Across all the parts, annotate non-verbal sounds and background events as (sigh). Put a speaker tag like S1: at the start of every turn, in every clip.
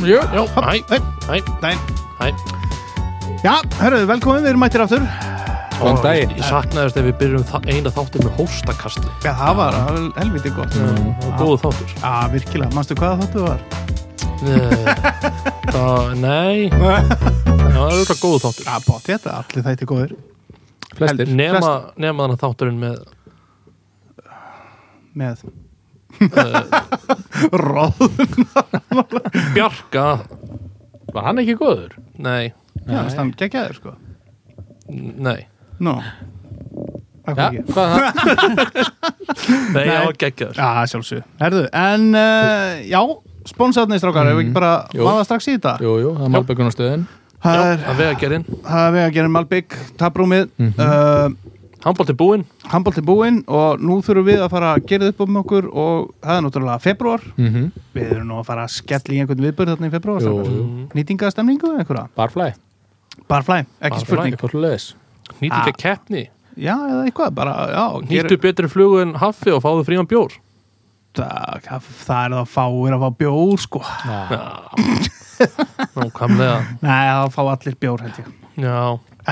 S1: Jú, jú,
S2: Hopp,
S1: hæ,
S2: nei.
S1: hæ,
S2: Nei.
S1: hæ
S2: Já, hörruðu, velkomin, við erum mættir aftur.
S3: Góðan
S1: Ó,
S3: daginn.
S1: Ég saknaðist ef við byrjum þa- eina þáttir með hóstakasti
S2: Já, það var hel- helviti gott.
S3: Mm.
S1: Það var góðu þáttur
S2: Já, virkilega, manstu hvað þáttu (laughs) var?
S3: (laughs)
S1: Nei, það, nei Það var auðvitað góðu þáttur
S2: Já, bótt þetta, allir þætti góðir.
S3: Flestir
S1: Nema, nema þannig þátturinn með
S2: Með
S1: eh,
S2: róðum.
S1: Bjarka
S3: Var hann ekki góður?
S1: Nei,
S2: Já, þess að hann geggjaður, sko.
S1: nei
S2: Nú.
S3: Já,
S2: Akkur ekki.
S3: hvað það?
S1: Nei,
S2: Nei.
S1: ég var geggjaður
S2: Já, sjálfsög. Herðu, en uh, já, sponsarnir strákar, mm. ef við ekki bara
S3: Jú.
S2: maður strax í þetta.
S3: Jú, jú, það er Malbökunarstöðin
S2: Það
S1: Já,
S2: er,
S1: að vega gerinn
S2: það er við að gera Malbygg, taprúmið, mm
S3: Mhm.
S1: Handbólt er búinn
S2: handbólti búinn og nú þurfum við að fara að gera upp um okkur og það er náttúrulega februar
S3: Mhm.
S2: við erum nú að fara að skella í einhvern viðbörð þarna í februar
S3: Jú,
S2: strákar.
S3: jú.
S2: nýtingastemningu eða einhverja
S3: Barfly
S2: barflæ, ekki
S1: Barfly.
S2: spurning
S3: Eitthvað leðis
S1: Nýttu
S2: Ah.
S1: ekki að keppni
S2: já, eða eitthvað, bara, já,
S1: Nýttu betri flugu en haffi og fáðu frían bjór
S2: það, það er það að fáir að fá bjór sko,
S1: Nákvæmlega
S2: nei, það fá allir bjór held ég
S1: Já,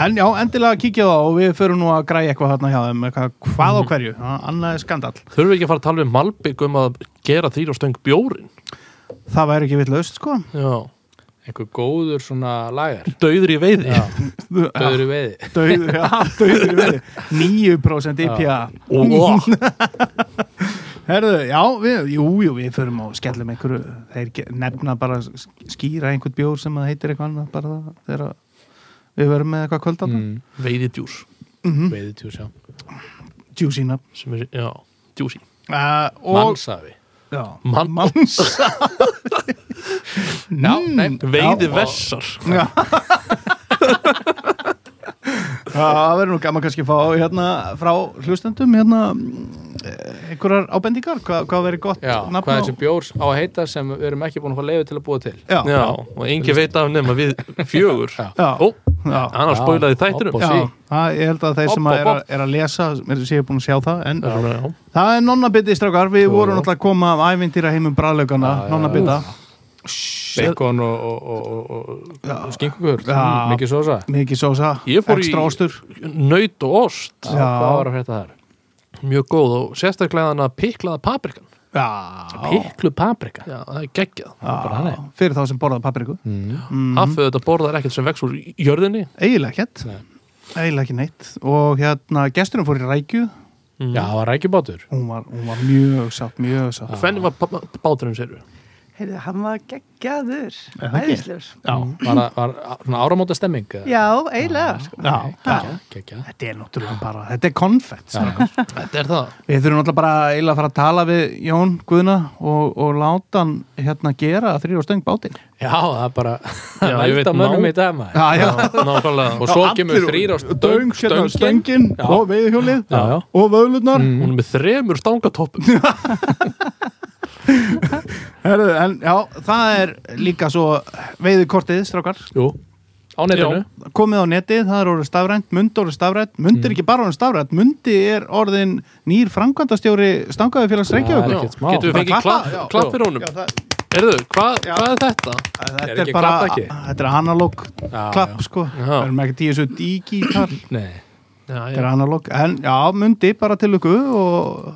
S2: en já, endilega kíkja á það og við förum nú að græja eitthvað þarna hjá þeim, eitthvað, hvað á hverju það- annað er skandal,
S1: þurfum við ekki að fara að tala um Malbygg um að gera þýr og stöng bjórin
S2: það væri ekki vill löst sko,
S1: Já,
S3: Eitthvað góður svona lagar
S1: döður í veiði
S3: Já,
S2: döður
S3: döður í veiði
S2: döður, já, döður í veiði. 9% IPA
S1: Og
S2: Herðu, já, við, jú, jú, við förum og skellum einhverju, þeir ge- nefna bara s- skýra einhvern bjór sem að heitir eitthvað annað bara það, þegar að við verum með eitthvað kvöldan mm.
S1: veiði djús
S2: Mhm.
S3: Veiði tjús, já
S2: Juicy nab
S1: sem er, já, djúsi
S2: uh, og,
S3: Mannsafi
S2: já,
S1: Man-
S2: manns Já,
S3: nei,
S1: Veiði
S2: Já.
S1: vessar
S2: Já (laughs) Það verður nú gaman kannski að fá hérna frá hlustendum hérna mm, eh, einhverjar ábendingar, hvað, hvað verður gott
S3: Já,
S2: nafn
S3: hvað
S2: á-
S3: þessi bjór á að heita sem við erum ekki búin að fá leiði til að búa til
S2: Já, já,
S1: Já, og engi veit af nema við fjögur
S3: Já.
S2: já,
S1: Ó,
S2: já.
S1: hann har
S3: Já.
S1: spólaði þættinum
S3: Opp
S2: Já,
S3: Sí.
S2: það, ég held að þeir
S3: Hopp,
S2: sem að
S3: hopp,
S2: er, að,
S3: hopp.
S2: er að lesa mér séu búin að sjá það en
S1: Já, já.
S2: það er nonnabiti strákar, við
S3: Jú, jú.
S2: vorum náttúrulega að koma af ævintýra heimum bræðlaugana,
S3: Já, já,
S2: nonnabita
S3: Bacon og, og, og, og, og skinkugur
S2: Já.
S3: Mikið sósa
S2: mikið sósa,
S1: Ég fór í-
S2: ekstra ástur
S1: Naut og ost
S3: Já, Hvað var að frétta þar?
S1: Mjög góð og sérstaklega hann að piklaða paprikan
S2: já,
S3: Piklu paprika
S1: Já, það er geggjað
S3: bara
S2: já,
S3: þannig. Mm.
S2: fyrir þá sem borðað papriku
S1: Haffi þetta borðar ekkert sem vex úr jörðinni
S2: eiginlega ekkert,
S3: Nei.
S2: eiginlega ekki neitt og hérna, gesturinn fór í rækju
S3: Já, það var rækjubátur
S2: hún var, hún var mjög sátt, mjög sátt
S1: Hvernig var pa- pa- báturinn séru?
S4: Heyrðu, hann var geggjaður,
S2: Er það ekki?
S4: æðislegur.
S2: já,
S3: Var það- var svona áramóta stemming?
S4: Já, eiginlega. sko.
S2: já, já.
S3: Kekja, kekja
S2: Þetta er náttúrulega bara, þetta er konfett strákar.
S1: Þetta er það
S2: Við þurfum alltaf bara eiginlega að fara að tala við Jón Guðna og, og láta hann hérna gera þrýr og stöng bátinn.
S3: Já, það er bara
S1: Já, ég veit
S3: Vælda mönnum
S1: ná-
S3: í dag maður
S2: Já, já.
S1: Nákvæmlega
S3: Og svo kemur þrýr á stöng,
S2: hérna,
S3: stöngin
S2: stöngin
S3: Já.
S2: og veiðhjólið
S3: Já, Mm. já.
S2: og vöðlurnar.
S1: Hún er með þremur stangatoppum
S2: Herðu, en já, það er líka svo veiðikortið, strákar.
S3: Jú, á netinu
S2: Komið á netið, það er orðið stafrænt, mund orðið stafrænt, mund
S3: Mm.
S2: er ekki bara orðið stafrænt, mundi er orðin nýr framkvæmdastjóri stangaði félags
S3: Það er
S2: Reykjavík.
S3: ekkert smá.
S1: Getum við
S2: Bara
S1: fengið
S2: klappa,
S1: klapp
S2: já.
S1: klapp fyrir honum?
S2: Já, það,
S1: Erðu, hvað
S2: Já.
S1: hvað er þetta?
S2: þetta
S3: Er
S2: er,
S3: ekki
S2: bara,
S3: klapp ekki?
S2: þetta er analóg
S3: Já,
S2: klapp,
S3: já.
S2: sko. Það er með ekki tíu svo digital.
S3: Nei,
S1: Já,
S2: Þetta
S1: já.
S2: er analóg, en já, mundi bara til ykkur og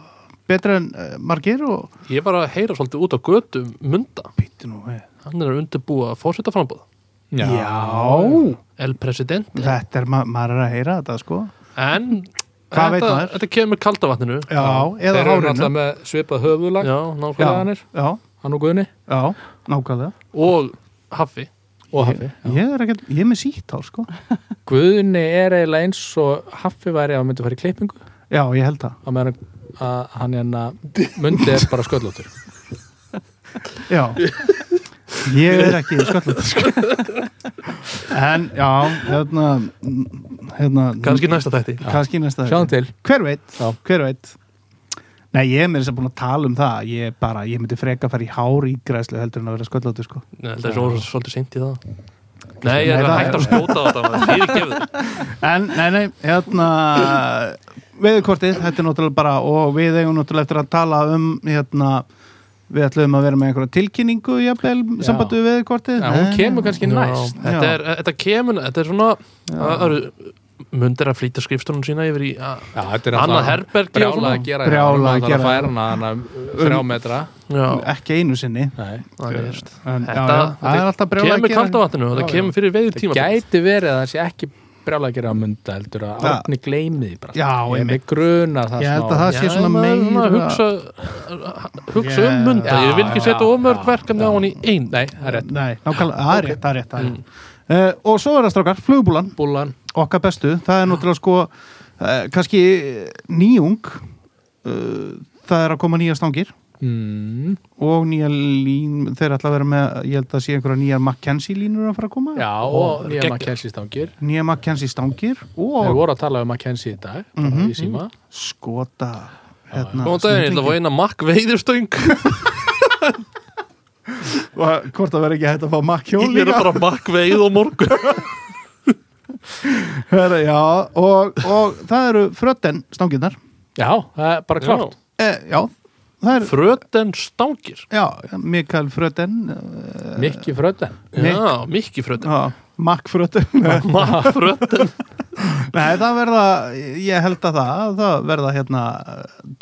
S2: betra en uh, margir og
S1: Ég var að heyra svolítið út á götu um Munda
S2: býttu nú eh. við.
S1: Hann er að undirbúa fórsetaframbóð
S2: Já.
S1: El Presidente
S2: þetta er, ma maður er að heyra þetta sko.
S1: En
S2: Hvað veit
S1: þetta,
S2: maður?
S1: þetta kemur með kaldavatninu
S2: Já,
S3: Þeir
S2: eða
S3: eru náttúrulega
S2: hárinu.
S3: með svipað höfulag
S1: Já, nákvæmlega
S3: félagarnir.
S2: já,
S3: Hann og Guðni
S2: já, nákvæmlega.
S1: Og Haffi
S3: og Haffi
S2: Ég er, ekkert, ég er með sítt á sko.
S3: Guðni er eiginlega eins og Haffi væri að myndi að fara í klippingu
S2: Já, ég held það.
S3: á meðan að hann hérna myndi er bara
S2: (laughs)
S3: sköllóttur
S2: Já. Ég er ekki sköllum sko. (laughs) En já, hérna, hérna,
S1: Kannski næsta þætti
S2: kannski næsta
S3: Sjáum til
S2: Hver veit,
S3: Já.
S2: hver veit Nei, ég er mér þess að búin að tala um það ég, bara, ég myndi freka að fara í hár ígræslu heldur en að vera sköllóttur sko.
S1: Nei, Þetta er svo svolítið seint í það Nei, ég er
S2: Nei,
S1: að
S2: það-
S1: hægt að skjóta á þetta Fyrir gefið
S2: En, nei, nei, hérna veðurkortið, þetta er náttúrulega bara og við eigum náttúrulega eftir að tala um hérna Við ætlum að vera með einhverja tilkynningu jafnvel,
S3: Já.
S2: sambandu við Eh, veðurkortið
S3: Já, hún kemur kannski
S1: Já.
S3: næst
S1: þetta,
S2: Já.
S1: er, þetta kemur, þetta er svona það eru mundir að flýta skrifstunum sína yfir í a-
S5: Já, þetta er
S1: annað
S5: náttúrulega
S1: herbergi og
S5: brjála
S1: svona.
S5: að gera
S2: Brjálað að
S5: að gera
S2: gera. Um-
S5: Það er náttúrulega þrjá metra
S1: Já,
S2: ekki einu sinni
S5: Nei.
S1: það er veist.
S2: en,
S1: Þetta-
S2: já, já, það er alltaf brjóla
S1: kemur kallt á vatninu og
S5: Já,
S1: það
S5: já.
S1: kemur fyrir veður
S5: Það
S1: tíma
S5: gæti verið að það sé ekki brjála að gera að mynda heldur að
S2: Já.
S5: Árni gleymi því bara
S2: Já,
S5: Ég er
S2: einmitt.
S5: með gruna það
S2: Ég held að
S5: smá.
S2: það sé svona meira
S1: hugsa, hugsa um
S2: Já.
S1: munda, ég vil ekki
S5: Já,
S1: setja
S5: já,
S1: ómörg
S5: já.
S1: verkefni á hann í einn
S5: Nei, það er rétt
S2: Nei, nákvæmlega, það er rétt, það er
S3: Mm.
S2: rétt, það er rétt. Uh, og svo er það strákar, flugbúlan,
S5: Búlan
S2: okkar bestu, það er náttúrulega sko uh, kannski eh, nýjung, uh, það er að koma nýja stangir
S5: mm.
S2: og nýja lín, þeir ætla að vera með, ég held að sé einhverja nýja Mackenzie línur að fara að koma,
S5: Já, og
S1: Ó,
S5: nýja
S1: geggjað.
S5: Mackenzie stangir
S2: nýja Mackenzie stangir
S5: Við
S2: og
S5: vorum að tala um Mackenzie í dag bara í síma
S2: skota hérna,
S1: Góðan daginn, ég ætla að fá eina makk
S2: (laughs)
S1: veiðurstöng
S2: Og hvort það verður ekki hægt að fá Mackenzie
S1: Ég er að fara makk veið á morgun
S2: Herra, já, og, og það eru fröten stangirnar
S5: Já, það er bara klart
S2: eh, Já, það eru
S1: (laughs) Fröten stangir
S2: Já, Mikael Fröten eh,
S5: Mikki fröðan
S2: Mikk.
S1: Já, mikki
S2: (laughs)
S1: fröten
S2: já, Mack Fröten Nei,
S1: Makk fröten
S2: það verða, ég held að það það verða hérna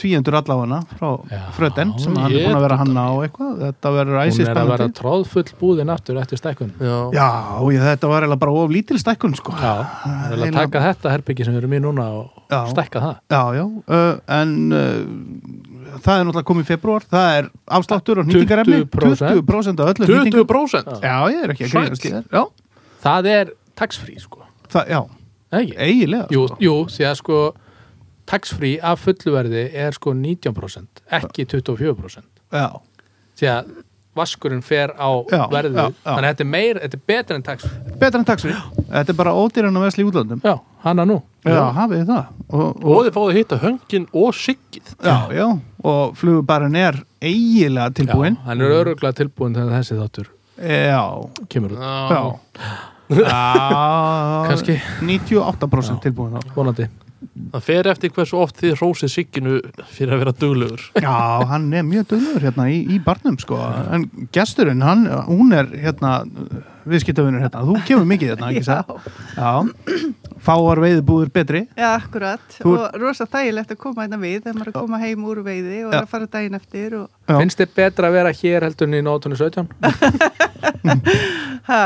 S2: tvíendur alláfana frá
S5: Já,
S2: Fröten sem hann er
S1: ég-
S2: búin að vera að hanna á eitthvað þetta verður
S5: Hún er að vera
S2: æsispennandi
S5: tróðfull búðin aftur eftir stækkun
S1: Já,
S2: Já, ég, þetta var eiginlega bara of lítil stækkun sko
S5: Já, það er að
S2: Eiginlega-
S5: taka þetta herbyggi sem við erum í núna og
S2: Já.
S5: stækka það
S2: Já, já, uh, en uh, það er náttúrulega komið í februar, það er afsláttur og nýtingarefni,
S5: 20%
S2: 20% af öllu
S1: 20%
S2: Já, ég er ekki að
S1: Sæll.
S2: grínast í þér Já,
S5: Það er tax-free sko
S2: það, já,
S5: Það ekki?
S2: eiginlega
S5: Jú, jú, því að sko tax-free af fulluverði er sko 19% ekki 24%
S2: Já,
S5: því að vaskurinn fer á
S2: Já,
S5: verðið
S2: já, já.
S5: þannig að þetta er meir, þetta er betra en tax-free
S2: betra en taxfree Þetta er bara ódýran að vesla í útlöndum
S5: Já, hana nú
S2: Já, hafið þið það og,
S1: Og þið fáið að hitta höngin og siggið
S2: Já, já, og flugubarinn er eiginlega
S5: Já,
S2: tilbúin
S5: hann er öruglega tilbúin þegar þessi þáttur
S2: Já,
S5: kemur út,
S2: já
S1: Já,
S2: Já,
S5: Kannski.
S2: 98% tilbúin þá
S5: vonandi
S1: það fer eftir hversu oft þið hrósið sigginu fyrir að vera duglegur
S2: Já, hann er mjög döglegur hérna í, í barnum sko, en gesturinn, hann, hún er hérna, viðskiptavinur hérna, þú kemur mikið hérna, ekki það?
S4: Já,
S2: Já, fáar veiðbúður betri,
S4: já, akkurat.
S2: Þú-
S4: Og rosa þægilegt að koma hérna við þegar maður er að koma heim úr veiði og
S2: Já.
S4: er að fara daginn eftir og
S2: Já.
S5: Finnst þið betra að vera hér heldur en í nótunni 17?
S4: ha,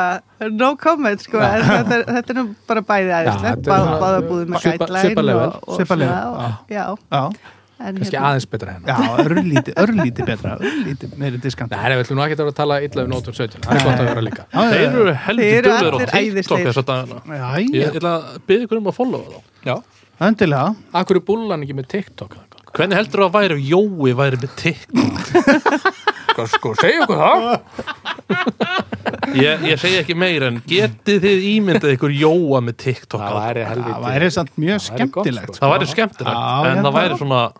S4: no comment sko. En þetta, er, þetta er nú bara bæði
S5: Já,
S4: aðeinslega.
S5: þetta er
S4: Bá,
S5: svona-
S4: Báða búðum með
S5: Svipa-
S4: gætlæn
S5: svipað level,
S4: og, og
S2: svipað level,
S4: svona, og- Já,
S2: já,
S4: en hérna-
S5: Kannski aðeins betra hennar
S2: já, örlíti, örlíti betra, örlíti meiri diskant.
S5: Nei, við ætlum nú ekki að vera að tala illa um nótunni 17 Það er gott að vera líka
S2: Já, já,
S1: Þeir
S2: já.
S1: eru heldur
S4: Þeir eru
S1: duglegur á
S4: allir
S1: TikTok
S4: æðislegir.
S1: þess að dagana Ég
S2: Jæja,
S1: ætla að byggja ykkur um að followa þá
S5: Já,
S2: endilega,
S5: akkur er búlan ekki með TikTok
S1: Hvernig heldur þú að væri ef Jói væri með TikTok?
S5: Hvað sko, segja okkur það?
S1: Ég, ég segi ekki meira en getið þið ímyndað ykkur Jóa með TikTok
S5: Það
S1: á?
S5: væri helviti
S2: það væri samt mjög
S5: væri gott,
S2: skemmtilegt.
S5: sko.
S1: Það væri skemmtilegt
S2: Já,
S1: En
S2: ég
S1: það
S2: bara-
S1: væri svona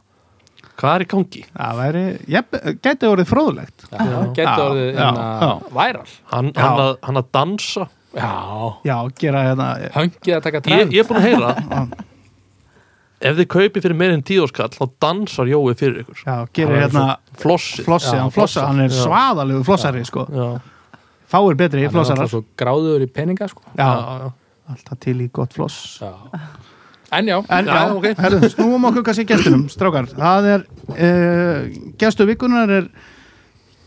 S1: Hvað er í gangi?
S2: Það væri, jep, gæti orðið fróðlegt.
S5: Það getur
S2: Já,
S5: orðið
S2: já,
S5: hérna, væral
S1: Hann,
S2: Já.
S1: hann, að, hann að dansa
S5: Já,
S2: Já, gera hérna,
S5: höngið að taka
S1: Ég,
S5: trend
S1: ég er búin að heyra Ef þið kaupið fyrir meirinn tíðoskall þá dansar Jói fyrir ykkur
S2: já, gera hérna
S1: Flossi
S2: flossi,
S5: Já,
S2: hann flossa,
S5: flossa.
S2: hann er
S1: Já.
S2: svaðalegu flossari sko.
S1: Já,
S2: Fáir betri
S5: Hann er alltaf
S2: flossarar.
S5: svo gráður í peninga sko
S1: já,
S2: Já,
S1: já
S2: alltaf til í gott floss
S5: Já. En já,
S2: En já,
S1: Já,
S2: já
S1: ok.
S2: herru, snúum okkur kannski gestunum, strákar Það er, uh, gestu vikunar er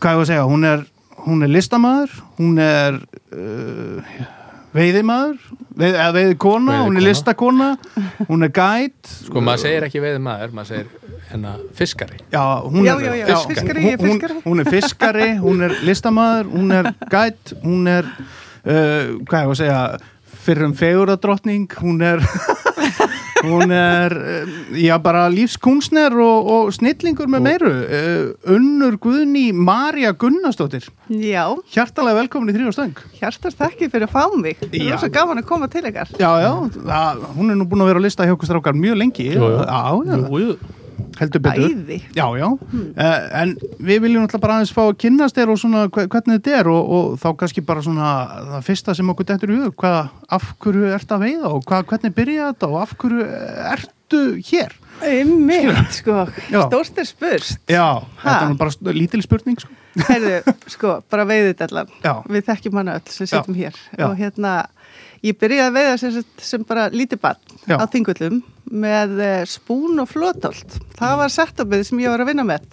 S2: Hvað ég var að segja, hún er Hún er listamaður Hún er uh, Veiðimaður, veið, eða veiðikona Hún er
S5: Veiðikona.
S2: listakona, hún er gæt
S5: sko maður segir ekki veiði maður maður segir hérna fiskari
S2: Já, hún
S4: Já,
S2: er
S4: já, já, fiskari, ég er
S2: hún,
S4: fiskari.
S2: hún, hún er fiskari, hún er listamaður Hún er gæt, hún er uh, Hvað ég var að segja Fyrrum feguradrottning Hún er (laughs) hún er, eh, já bara lífskunstner og, og snillingur með meiru uh, Unnur Guðni Marja Gunnarsdóttir
S4: já,
S2: Hjartalega velkomin í þrjóðstöng
S4: hjartast þakki fyrir að fá mig.
S2: Já.
S4: Rosa gaman að koma til ykkar.
S2: Já, já, það, hún er nú búin að vera að lista hjá okkur strákar mjög lengi
S1: Jú, jú.
S2: Já, já,
S1: Jú, jú
S2: heldur betur
S4: Æði.
S2: Já, já, Eh, en við viljum náttúrulega bara aðeins fá að kynnast þér og svona hve- hvernig þetta er og, og þá kannski bara svona það fyrsta sem okkur dettur í hug, hvað, af hverju ertu að veiða og hvað, hvernig byrja þetta og af hverju ertu hér?
S4: Einmitt, sko,
S2: Já.
S4: stórst er spurst
S2: Já, þetta er
S4: Ha?
S2: nú bara st- lítil spurning sko.
S4: Herðu, sko, bara veiðið allan
S2: Já,
S4: Við þekkjum hana öll sem
S2: Já.
S4: sittum hér
S2: Já.
S4: Og hérna, ég byrjaði að veiða sem, sagt sem bara lítið barn
S2: Já.
S4: á þingullum með eh, spún og flótolt Það var setupið sem ég var að vinna með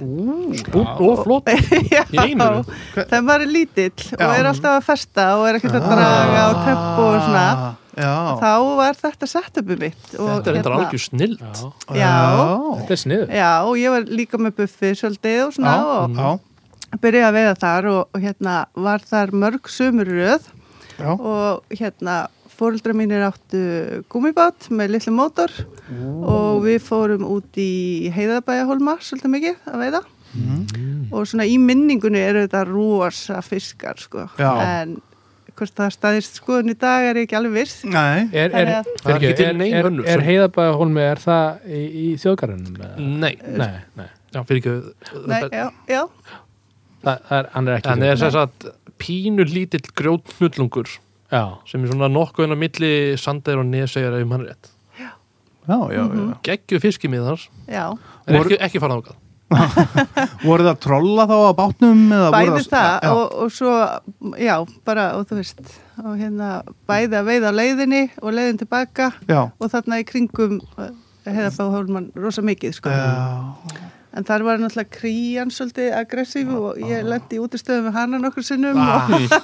S1: Búm og flott
S4: (laughs) Já,
S1: Í einu?
S4: það var lítill og
S2: Já. Ah.
S4: er alltaf að festa og er ekkert að draga og töpp og svona
S2: Já,
S4: þá var þetta setupið mitt og,
S1: Þetta er reyndar
S4: hérna,
S1: algjör snill
S5: Já,
S4: Já,
S5: þetta er sniðu
S4: já, og ég var líka með buffi svolítið og svona
S2: Já, Mm.
S4: og
S2: já,
S4: byrjaði að veiða þar og, og hérna var þar mörg sömur í röð
S2: já.
S4: og hérna fóreldra mínir áttu gummibát með litlu mótor og við fórum út í heiðabæjahólma svolítið mikið að veiða
S2: Mm.
S4: og svona í minningunni eru þetta rosa fiskar sko
S2: Já.
S4: en hvort það staðist skoðun í dag er ég ekki alveg viss
S2: Nei,
S5: Er, er,
S4: Þannig að-
S5: er,
S1: Það er ekki til
S5: er,
S1: nein
S5: er,
S1: önnur
S5: er
S1: sem- Mm.
S5: heiðabæðahólmi, er það í, í þjóðgarðinum? eða?
S1: Nei,
S5: Nei, nei.
S1: Eh, já, fyrir ekki eh,
S4: Nei, já, já,
S5: Það, það er, hann er ekki
S1: En það er sem sagt pínu lítill grjótnullungur
S5: Já,
S1: sem er svona nokkuð inn á milli sandeir og nesegar ef mann rétt
S2: já, já, já.
S4: Mhm.
S1: Geggju fiskimiðar
S4: já
S1: en
S2: Voru-
S1: ekki, ekki fara ákað
S2: Voru það trolla þá á bátnum? eða voru
S4: bæði það
S2: já,
S4: og, og svo, já, bara og þú veist, og hérna bæði að veiða á leiðinni og leiðin tilbaka
S2: Já,
S4: og þarna í kringum hefða þá hólman rosa mikið sko.
S2: já,
S4: en þar var náttúrulega krían svolítið aggressív og
S1: Ah.
S4: ég lendi í útistöðum með hana nokkur sinnum Um og,
S2: Ah.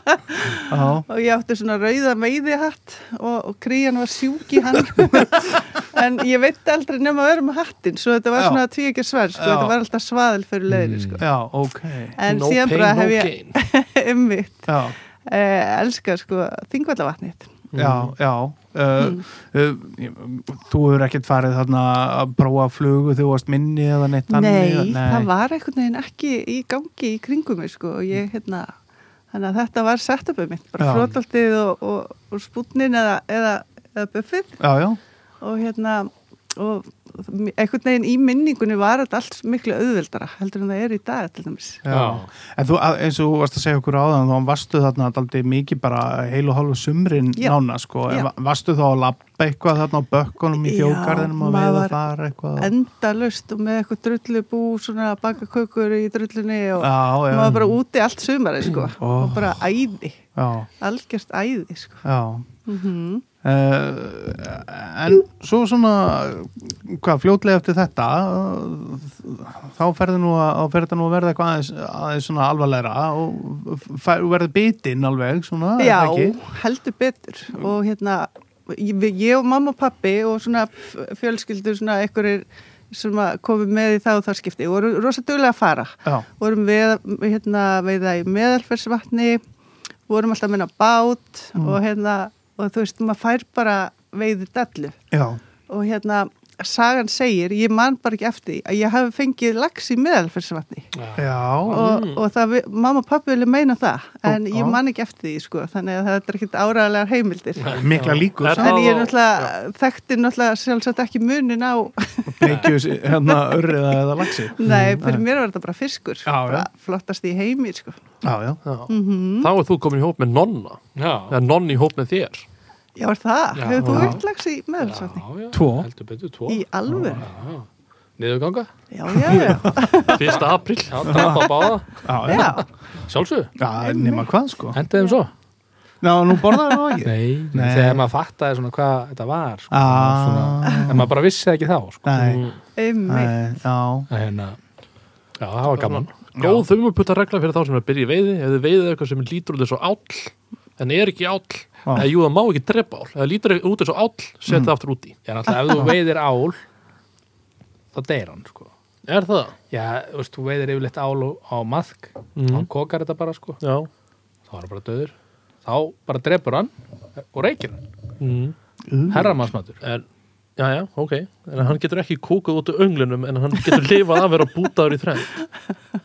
S2: já.
S4: og ég átti svona rauða meiði hatt og, og krían var sjúk í hann (laughs) en ég veit aldrei nema að vera með hattin svo þetta var
S2: Já.
S4: svona tvíekja sverð sko.
S2: Já.
S4: þetta var alltaf svaðil fyrir leiðinni sko.
S2: Já, ok.
S4: en
S1: Mm. No
S4: síðan
S1: pain,
S4: bara
S1: no
S4: hef (laughs) ég
S1: gain
S4: umvitt
S2: Já,
S4: eh, elska sko þingvallavatnið
S2: já, já. Uh, uh, þú hefur ekkert farið þarna að prófa flugu þegar þú varst minni eða neitt
S4: nei,
S2: eða-
S4: það var einhvern veginn ekki í gangi í kringum mig sko og ég hérna þannig að þetta var setupið mitt bara
S2: Já.
S4: flótaldið og, og, og spútnin eða, eða, eða buffið
S2: Já, já,
S4: og hérna og einhvern veginn í minningunni var þetta allt miklu auðveldara heldur en það er í dag til dæmis
S2: já.
S5: Já.
S2: En þú, að- eins og þú varst að segja okkur áðan, þá varstu þarna aldrei mikið bara heil og hálfu sumrin
S4: Já.
S2: nána, sko. En
S4: Já.
S2: va- Varstu þá að labba eitthvað þarna á bökkunum í
S4: Já,
S2: þjókarðinum að
S4: maður
S2: veiða
S4: var
S2: þar eitthvað?
S4: endalaust og með eitthvað drullubú svona að baka kökur í drullunni og
S2: já, já.
S4: maður bara úti allt sumari sko
S2: Ó.
S4: og bara æði
S2: Já,
S4: algjört æði sko.
S2: já.
S4: mm
S2: Uh, en svo svona hvað fljótlega eftir þetta uh, þá ferði nú að, þá fer þetta nú að verða eitthvað aðeins, aðeins svona alvarlegra og fær, verði bitinn alveg svona er
S4: já,
S2: það ekki?
S4: heldur betur og hérna ég, við- ég og mamma og pappi og svona f- fjölskyldur svona einhverjir sem að komu með í það og það skipti og voru rosa duglega að fara
S2: já,
S4: vorum við hérna, veiða í meðalfersvatni vorum alltaf að minna bát
S2: Mm.
S4: og hérna og þú veist, maður fær bara veiði dellu
S2: já,
S4: og hérna sagan segir, ég man bara ekki eftir því, að ég hafi fengið lax í meðalfersvatni
S2: já,
S4: og, og það, vi- mamma og pappi vilja meina það en
S2: Mm. Ó,
S4: ég
S2: á.
S4: man ekki eftir því sko, þannig að þetta er ekkert áraðlegar heimildir
S2: mikla líkur
S1: Er
S2: samt.
S4: en
S1: það
S4: ég
S1: þá-
S4: náttúrulega þekkti náttúrulega sjálfsagt ekki munin á
S2: (laughs) bleikjus, hérna örriða eða lagsi
S4: nei, fyrir mér var þetta bara fiskur
S2: Já,
S4: bara
S2: já.
S4: flottast í heimi sko. Mhm.
S2: já, já,
S1: Já.
S4: Hmm?
S1: Þá er þú komin í hóp með nonna
S5: já,
S1: eða nonni í hóp með þér
S4: já, er það,
S5: Já.
S4: hefur þú
S2: Já.
S4: upplags í meðalsvatni?
S5: já,
S2: Tvo.
S5: heldur betur, tvo.
S4: í alvöru?
S5: Niðurganga,
S4: já, já, já,
S1: 1. april
S5: já, tappa báða,
S2: (laughs) já, já.
S4: já.
S5: sjálfsög,
S2: já nema hvað sko
S5: hendaði þeim svo.
S2: já, nú borðar það ekki
S5: Nei,
S2: Nei.
S5: þegar maður fattaði svona hvað þetta var, sko,
S2: Ah.
S5: svona, en maður bara vissi það ekki þá, sko.
S2: nei,
S1: Mm.
S4: Einmitt.
S2: nei, já
S5: En hérna, já, það var gaman.
S1: Góð þumuputta regla fyrir þá sem er að byrja í veiði ef þið veiðið eitthvað sem lítur út eins og áll en er ekki áll
S2: Já.
S1: eða jú það má ekki drepa áll eða lítur út eins og áll setja
S4: Hmm.
S1: það aftur út í
S5: Ég er náttúrulega, ef þú veiðir ál, þá deyr hann, sko.
S1: Er það?
S5: Já, þú veist, þú veiðir yfirleitt ál á- á maðk,
S1: Mhm.
S5: hann kokar þetta bara, sko,
S1: Já
S5: þá er hann bara döður. Þá bara drepur hann og reykir hann,
S1: mm.
S5: herramannsmatur.
S1: en, Já, já, ok en hann getur ekki kúkað út úr önglunum en hann getur lifað að vera bútaður í (laughs) þræn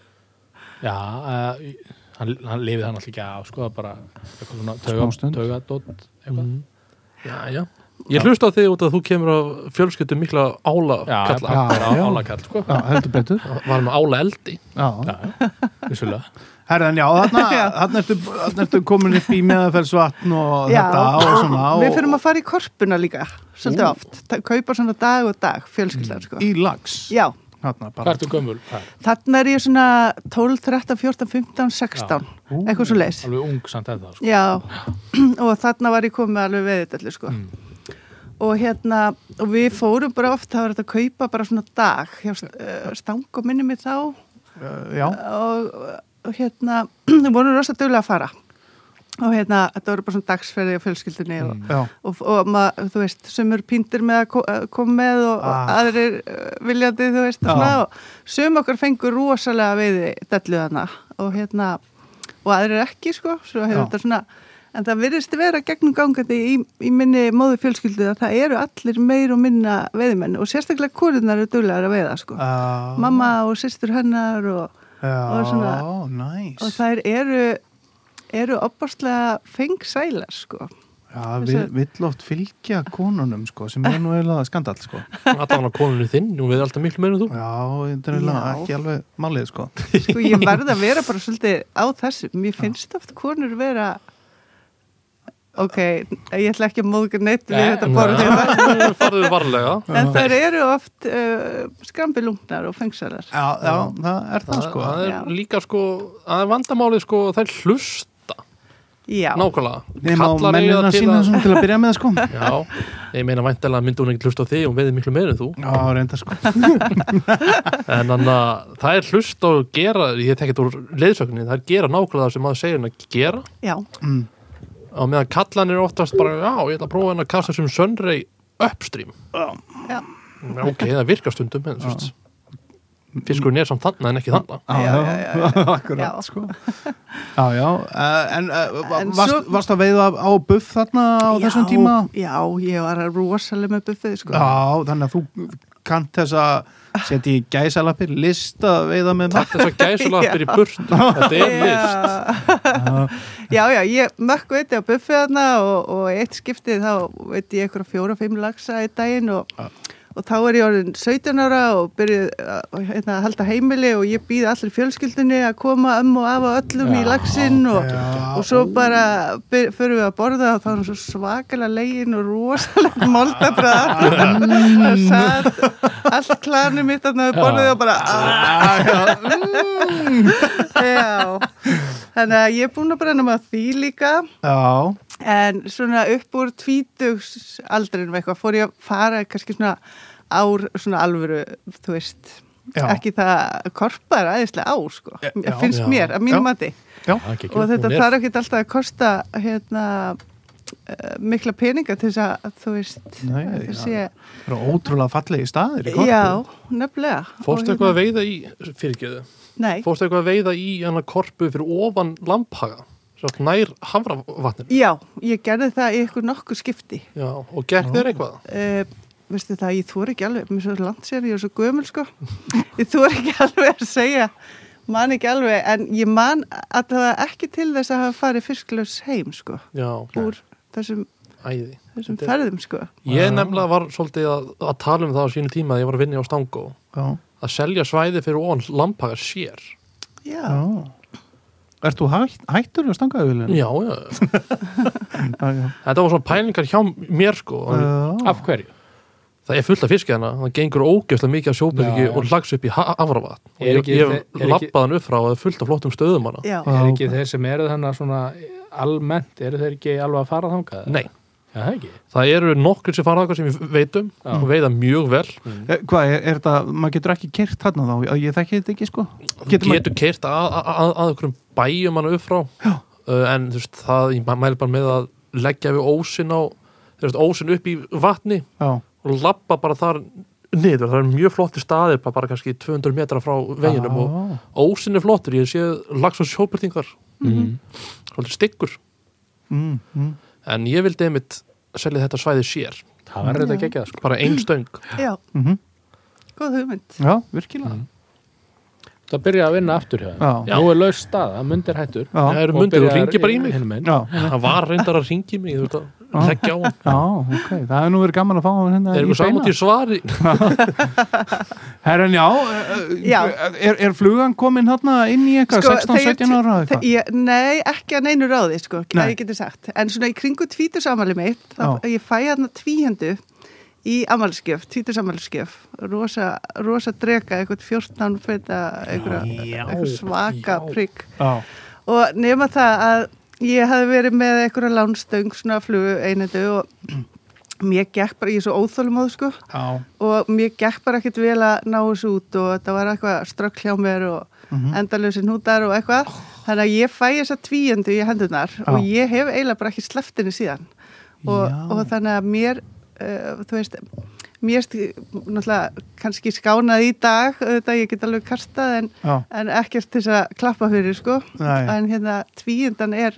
S5: Já, uh, hann, hann lifið hann alltaf ekki af, sko, það bara eitthvað svona
S2: Smástund.
S5: tauga- taugadótt, eitthvað.
S1: sko.
S2: Mm.
S1: Já, já Mhm. Ég hlusta á þig út að þú kemur af fjölskyldum mikla ála
S5: Já,
S1: kalla
S5: bara
S2: Já, já.
S5: álakall, sko.
S2: já, heldur betur
S1: Var með ála eldi
S2: já,
S5: Já, já.
S2: (laughs)
S5: vissulega
S2: Herðan, já, þarna,
S4: (laughs)
S2: þarna, ertu, þarna ertu komin upp í meðaferðsvatn og þetta og svona og,
S4: Við fyrir að fara í korpuna líka, svolítið oft. Ta kaupa svona dag og dag, fjölskyldan sko.
S2: í lags
S4: Já,
S2: Þarna
S5: hvað
S2: bara
S5: ertu gömul? Ha,
S4: þarna er ég svona 12, 13, 14, 15, 16, eitthvað svo leis.
S5: alveg ung samt
S2: (laughs)
S5: eða sko.
S4: Já, (clears throat) og þarna var ég komið alveg veðitallu sko. Og hérna, og við fórum bara oft, það var þetta að kaupa bara svona dag, hjá uh, stang og minni mig þá
S2: uh, Já,
S4: og, og hérna, (clears throat) við vorum rosa duglega að fara. Og hérna, þetta voru bara svona dagsferði á fjölskyldinni og,
S2: já,
S4: og, og maður, þú veist, sumur píndir með að ko- að koma með og, og
S2: Ah.
S4: aðrir eh, viljandi, þú veist,
S2: Já.
S4: svona, og sum okkar fengur rosalega veiði dellu þarna og hérna, og aðrir ekki, sko, svo hefur
S2: Já.
S4: þetta svona, en það virðist vera gegnum gangandi í, í minni móðu fjölskyldu að það eru allir meir og minna veiðmenn og sérstaklega konurnar eru duglegar að veiða, sko.
S2: uh,
S4: Mamma og systur hennar og,
S2: já,
S4: og svona-
S2: næs
S4: og þær eru, eru opastlega fengsælar, sko.
S2: Já, við, vill oft fylgja konunum sko, sem er nú eiginlega skandall sko.
S1: Allan á konunni þinn, nú við alltaf miklu meira en þú
S2: Já, þetta er eiginlega
S4: Já.
S2: ekki alveg málið
S4: (laughs)
S2: sko.
S4: Sko ég verð að vera bara svolítið á þessu. Mér finnst oft konur vera ok, ég ætla ekki að móðga neitt við þetta borð hérna.
S1: Nei, farðu varlega
S4: En þær eru oft uh, skrambilungnar og fengsalar.
S2: Já, já, það er það
S1: Það,
S2: sko
S1: það
S4: Já.
S1: er líka sko, það er vandamálið sko að þær hlusta
S4: Já,
S1: nákvæmlega
S2: Nefn á
S1: Kallar eiga
S2: mennina
S1: til
S2: sína
S1: að-
S2: svona til að byrja með sko
S1: Já, ég meina væntalega myndi hún ekkert hlusta á þig og veði miklu meira en þú
S2: Já, reynda
S4: (laughs)
S2: sko
S1: En þannig að það er hlusta og gera, ég tekið úr leiðsögnin, það er gera nákvæmlega það sem maður segir henni að gera
S4: já,
S1: og meðan kallan er oftast bara, já, ég ætla að prófa henni að kasta þessum sönrei uppstrím
S4: já.
S1: Já, ok, það virkar stundum en, svist, fiskurinn er samt þannig en ekki
S2: (laughs)
S1: þannig
S2: Já,
S4: Já, já, já, já.
S2: akkurat
S4: Já.
S2: sko Já, já, eh, en eh, va-
S4: En
S2: varst,
S4: svo-
S2: varst að veiða á buff þarna á þessum tíma?
S4: Já, ég var rosalega með buffið, sko.
S2: Já, þannig að þú kannt þess að setja í gæsalappir lista að veiða með mat
S1: Takk þess að gæsulapir í burt Þetta er list
S4: Já. já, já, ég mökk veiti á buffið þarna og, og eitt skiptið þá veit ég eitthvað fjóra-fimm lagsa í daginn og, og þá er ég orðin 17 ára og byrjuð að hérna, að halda heimili og ég býði allir fjölskyldinni að koma um og af og öllum í lagsinn og,
S2: Já.
S4: og svo bara byr, fyrir við að borða og þá er hann svo svakalega legin og rosalega moldabrað og satt allt klarnum mitt þarna við borðið og bara aah Já, þannig að ég er búin að brenna með því líka
S2: Já,
S4: en svona upp úr tvítugs aldrinum eitthvað fór ég að fara kannski svona ár svona alvöru, þú veist
S2: Já.
S4: ekki það korpa er æðislega á sko,
S2: Já,
S4: já, finnst
S1: já.
S4: mér að
S2: Já.
S4: mínu mati
S2: já,
S5: Það er ekki ekki.
S4: og þetta
S1: Hún er-
S4: þarf ekki alltaf að kosta hérna eh, mikla peninga til þess að þú veist
S2: Nei,
S4: að
S2: já.
S4: það sé,
S2: það eru ótrúlega fallegi staðir í korpu
S4: já, nefnilega hérna-
S1: Fórstu eitthvað að veiða í, fyrirgeðu
S4: Nei,
S1: Fórstu eitthvað að veiða í hennar korpu fyrir ofan lamphaga Svo nær hafravatnir
S4: já, ég gerði það í eitthvað nokkuð skipti
S1: Já, og gerð þér eitthvað
S4: uh, veistu það, ég þór ekki alveg mér er svo langt sér, ég er svo gömul
S1: (laughs)
S4: sko ég þór ekki alveg að segja man ekki alveg, en ég man að það ekki til þess að hafa farið fisklaus heim sko,
S1: Já,
S4: úr þessum,
S1: æði
S4: þessum
S1: Þetta er- Ah.
S4: ferðum sko
S1: Ég nefnilega var svolítið að, að tala um það á sínum tíma að ég var að vinna á Stangó
S2: já,
S1: að selja svæði fyrir ofan lamphaga sér
S4: já,
S2: já. Ert þú hætt, hættur að stanga auðvitað?
S1: Já, já,
S2: Já, já.
S1: þetta var svona pælingar hjá mér sko en
S2: Já.
S5: af hverju?
S1: Það er fullt af fiskja hérna, það gengur ógjöfslega mikið af sjóbyrgi
S5: Já, já.
S1: og lags upp í hafravatn og ég,
S5: Er ekki-
S1: ég
S5: er ekki-
S1: lappaðan upp frá að það er fullt af flottum stöðum hana
S4: já,
S2: Já,
S5: er ekki
S2: ok.
S5: þeir sem eru þannig svona almennt, eru þeir ekki alveg að fara
S2: Mm.
S5: þangað?
S1: Nei,
S5: Já, það ekki.
S1: það eru nokkur sem fara þakkar sem við veitum
S5: Já.
S1: og veiða mjög vel
S2: Eh, Hvað, er, er þetta, maður getur ekki kert þarna þá, ég, ég þekki þetta ekki sko
S1: getur,
S2: maður-
S1: getur keirt að, að, að, að okkur bæjum hana upp frá uh, en þú veist, það, ég mæ- mæli bara með að leggja við ósin á þú veist, ósin upp í vatni
S2: Já,
S1: og lappa bara þar niður, það er mjög flotti staðir bara, bara kannski 200 metra frá veginum og
S2: Já.
S1: ósin er flottur, ég sé lags og sjóbyrtingar svolítið styggur
S2: mm, mm.
S1: en ég vildi einmitt selja þetta svæði sér
S5: Það verður
S4: Mm.
S5: þetta ekki að sko.
S1: bara ein stöng
S4: já,
S2: Mhm.
S4: góð hugmynd
S2: já virkilega
S5: Það byrja að vinna aftur hjá þeim.
S2: Já.
S5: Nú er laus staða, mundir hættur.
S2: Já.
S1: það eru mundir, þú
S5: byrjar
S1: ringir bara í mig
S5: hinum megin.
S2: Já,
S1: það var reyndar að ringi mig þú veist að
S2: Já.
S1: leggja á hann
S2: Já, ok, það hefur nú verið gaman að fá hann hérna
S1: er
S2: í
S1: eitthvað saman
S2: beina.
S1: til svari
S2: Herran, já, eh, eh,
S4: Já. Sko,
S2: Er, er flugan komin hérna inn í eitthvað, 16-17 ára
S4: þe-
S2: eitthvað?
S4: ég, Nei, ekki að neinu ráði sko,
S2: Nei.
S4: að ég geti sagt, en svona í kringu tvítusamali mitt, þá
S2: Já.
S4: ég fæ hérna tvíhendu í amalskjöf tvítusamaliskjöf, rosa, rosa drega, eitthvað 14 feta, eitthvað, eitthvað svaka prigg
S2: Já,
S4: og nema það að ég hafði verið með einhverja lánstöng svona flugu einendu og mér gekk bara, ég er svo óþólumóð sko
S2: já,
S4: og mér gekk bara ekkert vel að ná þessu út og þetta var eitthvað strökk hjá mér og mm
S2: Mhm.
S4: -hmm. endalösi nútar og eitthvað
S2: Oh.
S4: þannig að ég fæ þessa tvíundu í hendunar og ég hef eiginlega bara ekki sleppt henni síðan og,
S2: Já.
S4: og þannig að mér uh, þú veist mér sti- náttúrulega kannski skánað í dag þetta ég get alveg kastað en,
S2: já.
S4: en ekkert til þess að klappa fyrir sko
S2: Nei.
S4: en hérna tvíundan er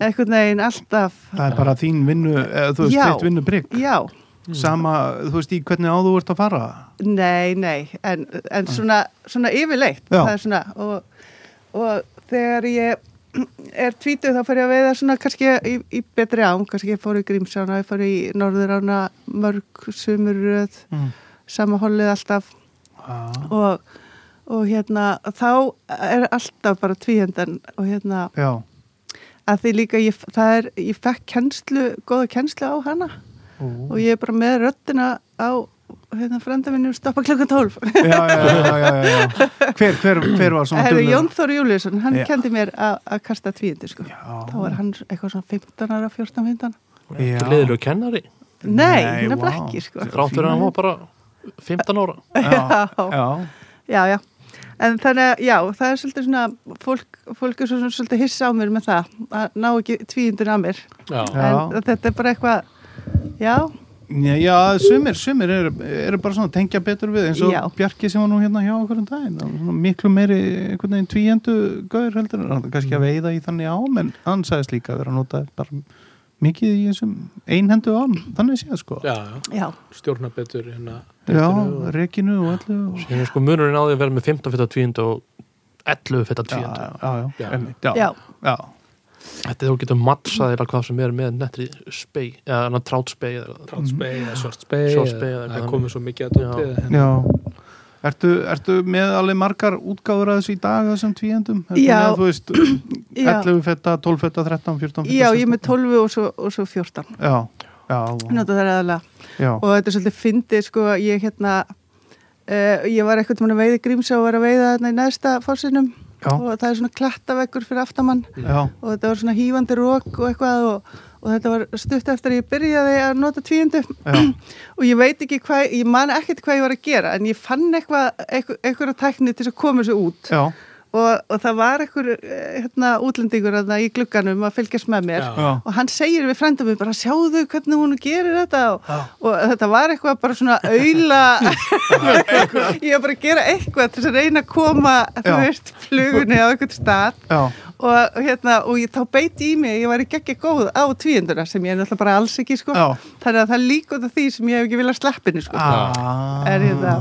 S4: einhvern veginn alltaf
S2: Það er bara þín vinnu, eða, þú veist,
S4: Já.
S2: þitt vinnu brygg
S4: já
S2: Sama, þú veist, í hvernig á þú ert að fara
S4: Nei, nei, en, en svona, svona yfirleitt,
S2: Já.
S4: það er svona og, og þegar ég er tvítuð þá fór ég að veiða svona kannski í, í betri ám, kannski ég fór í Grímsána, ég fór í Norðurána mörg sumurröð,
S2: mm.
S4: sama hollið alltaf og, og hérna þá er alltaf bara tvíhendan og hérna
S2: Já,
S4: að því líka ég, það er, ég fekk kennslu, góða kennslu á hana og ég er bara með röddina á hérna frenda minnum stoppa klukkan 12
S2: já, já, já, já, já, já. Hver, hver, hver var svona
S4: Herri,
S2: duglegur?
S4: Jón Þóri Júliusson, hann
S2: Já.
S4: kendi mér að að kasta tvíundi sko. þá var
S2: Já,
S4: hann eitthvað svona 15 ára, 14, 15
S2: Já.
S1: leðilegu kennari
S4: Nei,
S2: Nei,
S4: hann er
S2: vá.
S4: blekki sko.
S1: þrátt fyrir að hann var bara 15 ára
S2: já,
S4: já,
S2: Ah, já,
S4: já, já En þannig að, já, það er svolítið svona fólk, fólk er svona svolítið hissa á mér með það að ná ekki tvíundin að mér
S5: Já.
S2: já.
S4: en þetta er bara eitthvað já,
S2: Já, já, sumir, sumir eru, eru bara svona að tengja betur við eins og
S4: Já.
S2: Bjarki sem var nú hérna hjá okkur um daginn hann var svona miklu meiri einhvern veginn tvíendu gaur heldur, en hann er
S4: Mm.
S2: kannski að veiða í þannig ám en hann sagðist líka að vera að nota bara mikið í þessum einhendu ám þannig séð sko
S5: Já, já,
S4: já,
S5: stjórna betur hérna
S2: Já,
S5: og-
S2: rekinu og allu og...
S1: sem er sko munurinn á því að vera með 15 fyrir tvíund og 11 fyrir
S2: Já,
S1: tvíund
S2: já, já,
S5: Já.
S2: einmitt, já,
S4: já,
S2: já.
S1: þetta er þú getur matsað eða hvað sem er með nettri spei eða trátspei eða
S5: trátspeið eða svartspeið
S1: Svart spey eða
S5: eða- það
S1: eitthvað
S5: komið svo mikið að
S1: Já.
S5: dótið
S2: já. Ertu, ertu með alveg margar útgáður að þessu í dag að þessum tvíendum? Ertu
S4: Já.
S2: Með, þú veist,
S4: já.
S2: 11 fetta, 12 fetta, 13, 14
S4: Já, ég er með 12 og svo, og svo 14
S2: Já, já,
S4: Ég nota það aðalega
S2: já.
S4: og þetta er svolítið fyndið sko ég hérna uh, ég var eitthvað með að veiða í grímsa og var að veiða þarna í neðsta fórsinum
S2: Já.
S4: og það er svona klattaveggur fyrir aftamann
S2: Já,
S4: og þetta var svona hýfandi rók og eitthvað og, og þetta var stutt eftir að ég byrjaði að nota tvíundu
S2: já,
S4: og ég veit ekki hvað, ég man ekkert hvað ég var að gera en ég fann eitthvað, eitthvað, eitthvað tækni til þess að koma þessu út
S2: já,
S4: og, og það var eitthvað hérna, útlendingur þarna í glugganum að fylgjast með mér
S5: Já.
S2: já,
S4: og hann segir við frænda mig bara sjáðu hvernig hún gerir þetta og, og þetta var eitthvað bara svona auðla
S2: (laughs)
S4: ég var bara að gera eitthvað til þess að reyna að koma þú
S2: Já.
S4: veist flugunni á einhvern stað
S2: já,
S4: og, og hérna og ég þá beit í mig ég var í geggja góð á tvíunduna sem ég er náttúrulega bara alls ekki sko
S2: Já.
S4: þannig að það líka út af því sem ég hef ekki viljað sleppinu sko
S2: Ah.
S4: er þetta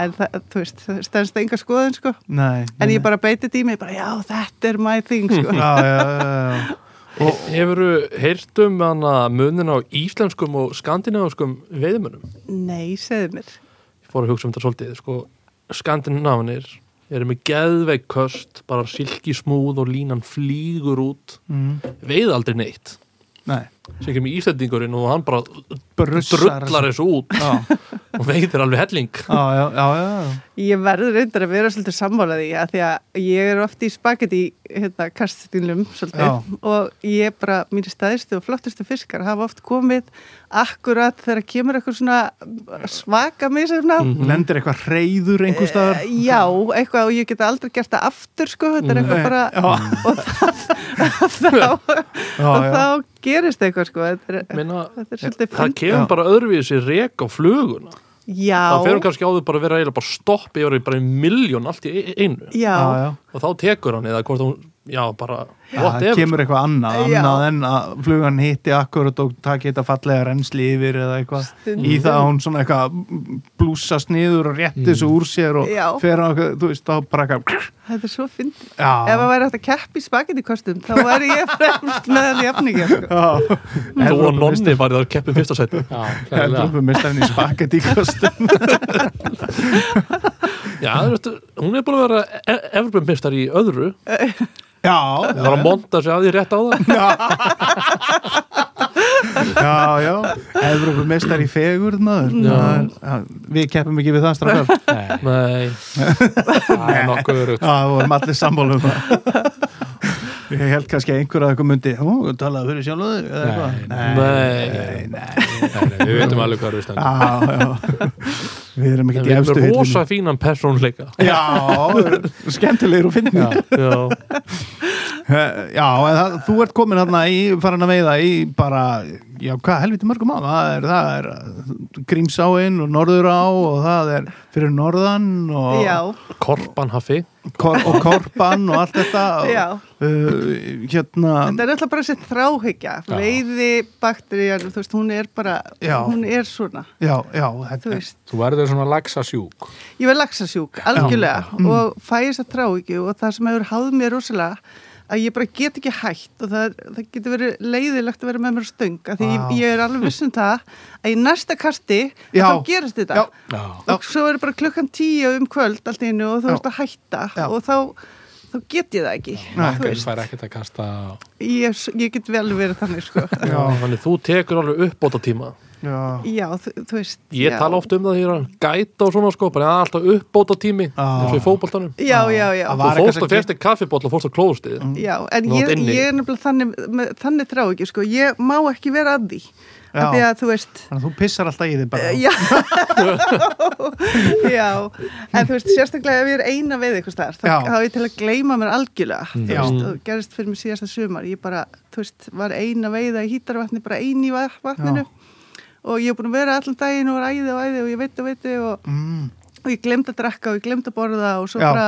S4: en það, þú veist, það stendst enga skoðun sko
S2: Nei, nei,
S4: en
S2: nei.
S4: ég bara beit þetta í mig bara já þetta er my thing sko
S2: (laughs) Já, já, já, já.
S1: hefuru heyrt um hana munin á íslenskum og skandinaviskum veiðmönnum
S4: nei, segðu mér
S1: ég fór að hugsa um þetta svolítið sko, skandinavanir eru með geðveik köst bara silki smúð og línan flýgur út
S2: Mm,
S1: veið aldrei neitt
S2: Nei,
S1: sem kemur íslendingurinn og hann bara
S2: brussar
S1: drullar þessu út
S2: Já,
S1: og veiðir alveg (laughs) helling
S2: já, já, já, já.
S4: Ég verður reyndar að vera svolítið sammálaði að því að ég er oft í spagetti hérna kastinlum svolítið
S2: Já.
S4: og ég bara, mínir staðistu og flottustu fiskar hafa oft komið akkurat þegar kemur eitthvað svona svaka misefna mm.
S2: Lendir eitthvað reyður einhver staðar
S4: Já, eitthvað og ég geta aldrei gert það aftur sko, þetta Eh, er
S2: Nei,
S4: eitthvað bara
S2: Eh, já,
S4: og, það, (laughs) þá,
S2: já,
S4: og
S2: já.
S4: þá gerist eitthvað sko, þetta er,
S1: Meina,
S4: þetta er svolítið
S1: það
S4: fyndið.
S1: kemur
S2: Já.
S1: bara öðruvísi rek á fluguna það
S4: Já,
S1: fyrir kannski áður bara að vera eiginlega bara stoppi yfir í bara í miljón allt í einu
S4: já,
S2: já, já.
S1: og þá tekur hann eða hvort hún já, bara
S2: það
S1: whatever,
S2: kemur eitthvað annað,
S4: Já.
S2: annað en að flugan hitti akkurat og taki þetta fallega rensli yfir eða eitthvað í það að hún svona eitthvað blúsast niður og rétti þessu úr sér og
S4: Já.
S2: fer á eitthvað, þú veist, þá bara eitthvað
S4: Þetta er svo fyndið. Ef
S2: já,
S4: að væri hægt að keppi spagettikostum, þá væri ég (laughs) fremst með þannig jafningi. Sko.
S2: já
S1: þú og nonni var það að keppi fyrsta seti
S5: Já,
S2: (laughs)
S5: klálega.
S2: Evrópumistarinn í spagettíkostum
S1: já, þú veist, hún er búin að vera e Evropamistar í öðru,
S2: Já,
S1: það var að monta sig að því rétt á það
S2: já, já Evrópumistar í fegurð maður
S1: Já.
S2: Það er- já, Við keppum ekki við það
S1: (laughs)
S2: strafum
S5: Nei,
S1: nei,
S5: það er nokkuð örugt.
S2: Já, við vorum allir sammálum það Ég held kannski að einhver að eitthvað myndi Ó, talaðu fyrir sjálföðu eða eitthvað
S1: Nei.
S2: nei, nei
S5: Nei, nei, Við veitum alveg hvað við stöndum.
S2: Já, já Við erum ekki
S1: við erum
S2: djæfstu
S1: með rosa fínan persónleika
S2: Já, skemmtilegur og finnir Já,
S1: já,
S2: já en það, þú ert komin hérna í farin að veiða í bara Já, hvað helviti mörgum á Það er, það er Grímsáin og Norðurá og það er fyrir norðan og,
S4: Já,
S1: korpan hafi
S2: kor, og Korpan og allt þetta og,
S4: já.
S2: Uh, Hérna
S4: Þetta er alltaf bara þessi þráhyggja, veiði, bakteríjar, þú veist, hún er bara,
S2: Já.
S4: hún er svona,
S2: Já, já,
S4: þú
S2: þetta
S4: veist.
S5: Þú verður svona laxasjúk.
S4: Ég var laxasjúk, algjörlega
S2: Mm.
S4: og fæ þess að trá ekki og það sem hefur háð mér rosalega að ég bara get ekki hætt og það, það getur verið leiðilegt að vera með mér á stöng af því
S2: Vá.
S4: ég, ég er alveg viss um það að í næsta kasti
S2: Já.
S4: þá gerist þetta
S2: Já.
S5: Já.
S4: og svo er bara klukkan tíu um kvöld allt í einu og þú
S2: Já.
S4: ert að hætta
S2: Já.
S4: og þá, þá get ég það ekki
S2: Nei.
S4: Þú
S5: Þú
S4: veist,
S5: fær ekkert að kasta á-
S4: ég, ég get vel verið
S2: (laughs)
S4: þannig sko
S2: Já.
S1: þannig þú tekur alveg uppbóta tíma
S2: Já,
S4: Já, þú, þú veist
S1: Ég
S4: já.
S1: tala oft um það hér að gæta og svona sko, bara það er alltaf uppbóta tími
S2: Ah.
S1: eins og í fótboltanum.
S4: Já, já, já
S2: Að
S1: Þú
S2: Var
S1: fórst
S2: eitthvað
S1: að
S2: sem-
S1: fyrst í kaffibóll og fórst að klóðustið.
S2: Mm.
S4: Já, en
S1: Þú
S4: ég,
S1: átt inni.
S4: ég er nefnilega þannig, með, þannig trá ekki, sko, ég má ekki vera að því,
S2: Já.
S4: af því að þú veist, (laughs)
S2: þannig að þú pissar alltaf í þig bara
S4: já, já, en þú veist, sérstaklega ef ég er eina veið eitthvað staðar, þá
S2: Já.
S4: þá er ég til að gleyma mér algjörlega, þú
S2: Já.
S4: veist, og gerist fyrir mig síðasta sumar, ég bara, þú veist, var eina veiða í hítarvatni, bara ein í va- vatninu, og ég er búin að vera allan daginn og var æði og æði og ég veit og veit og
S2: mm.
S4: og ég glemd að drekka og ég glemd að borða og svo
S2: Já.
S4: bara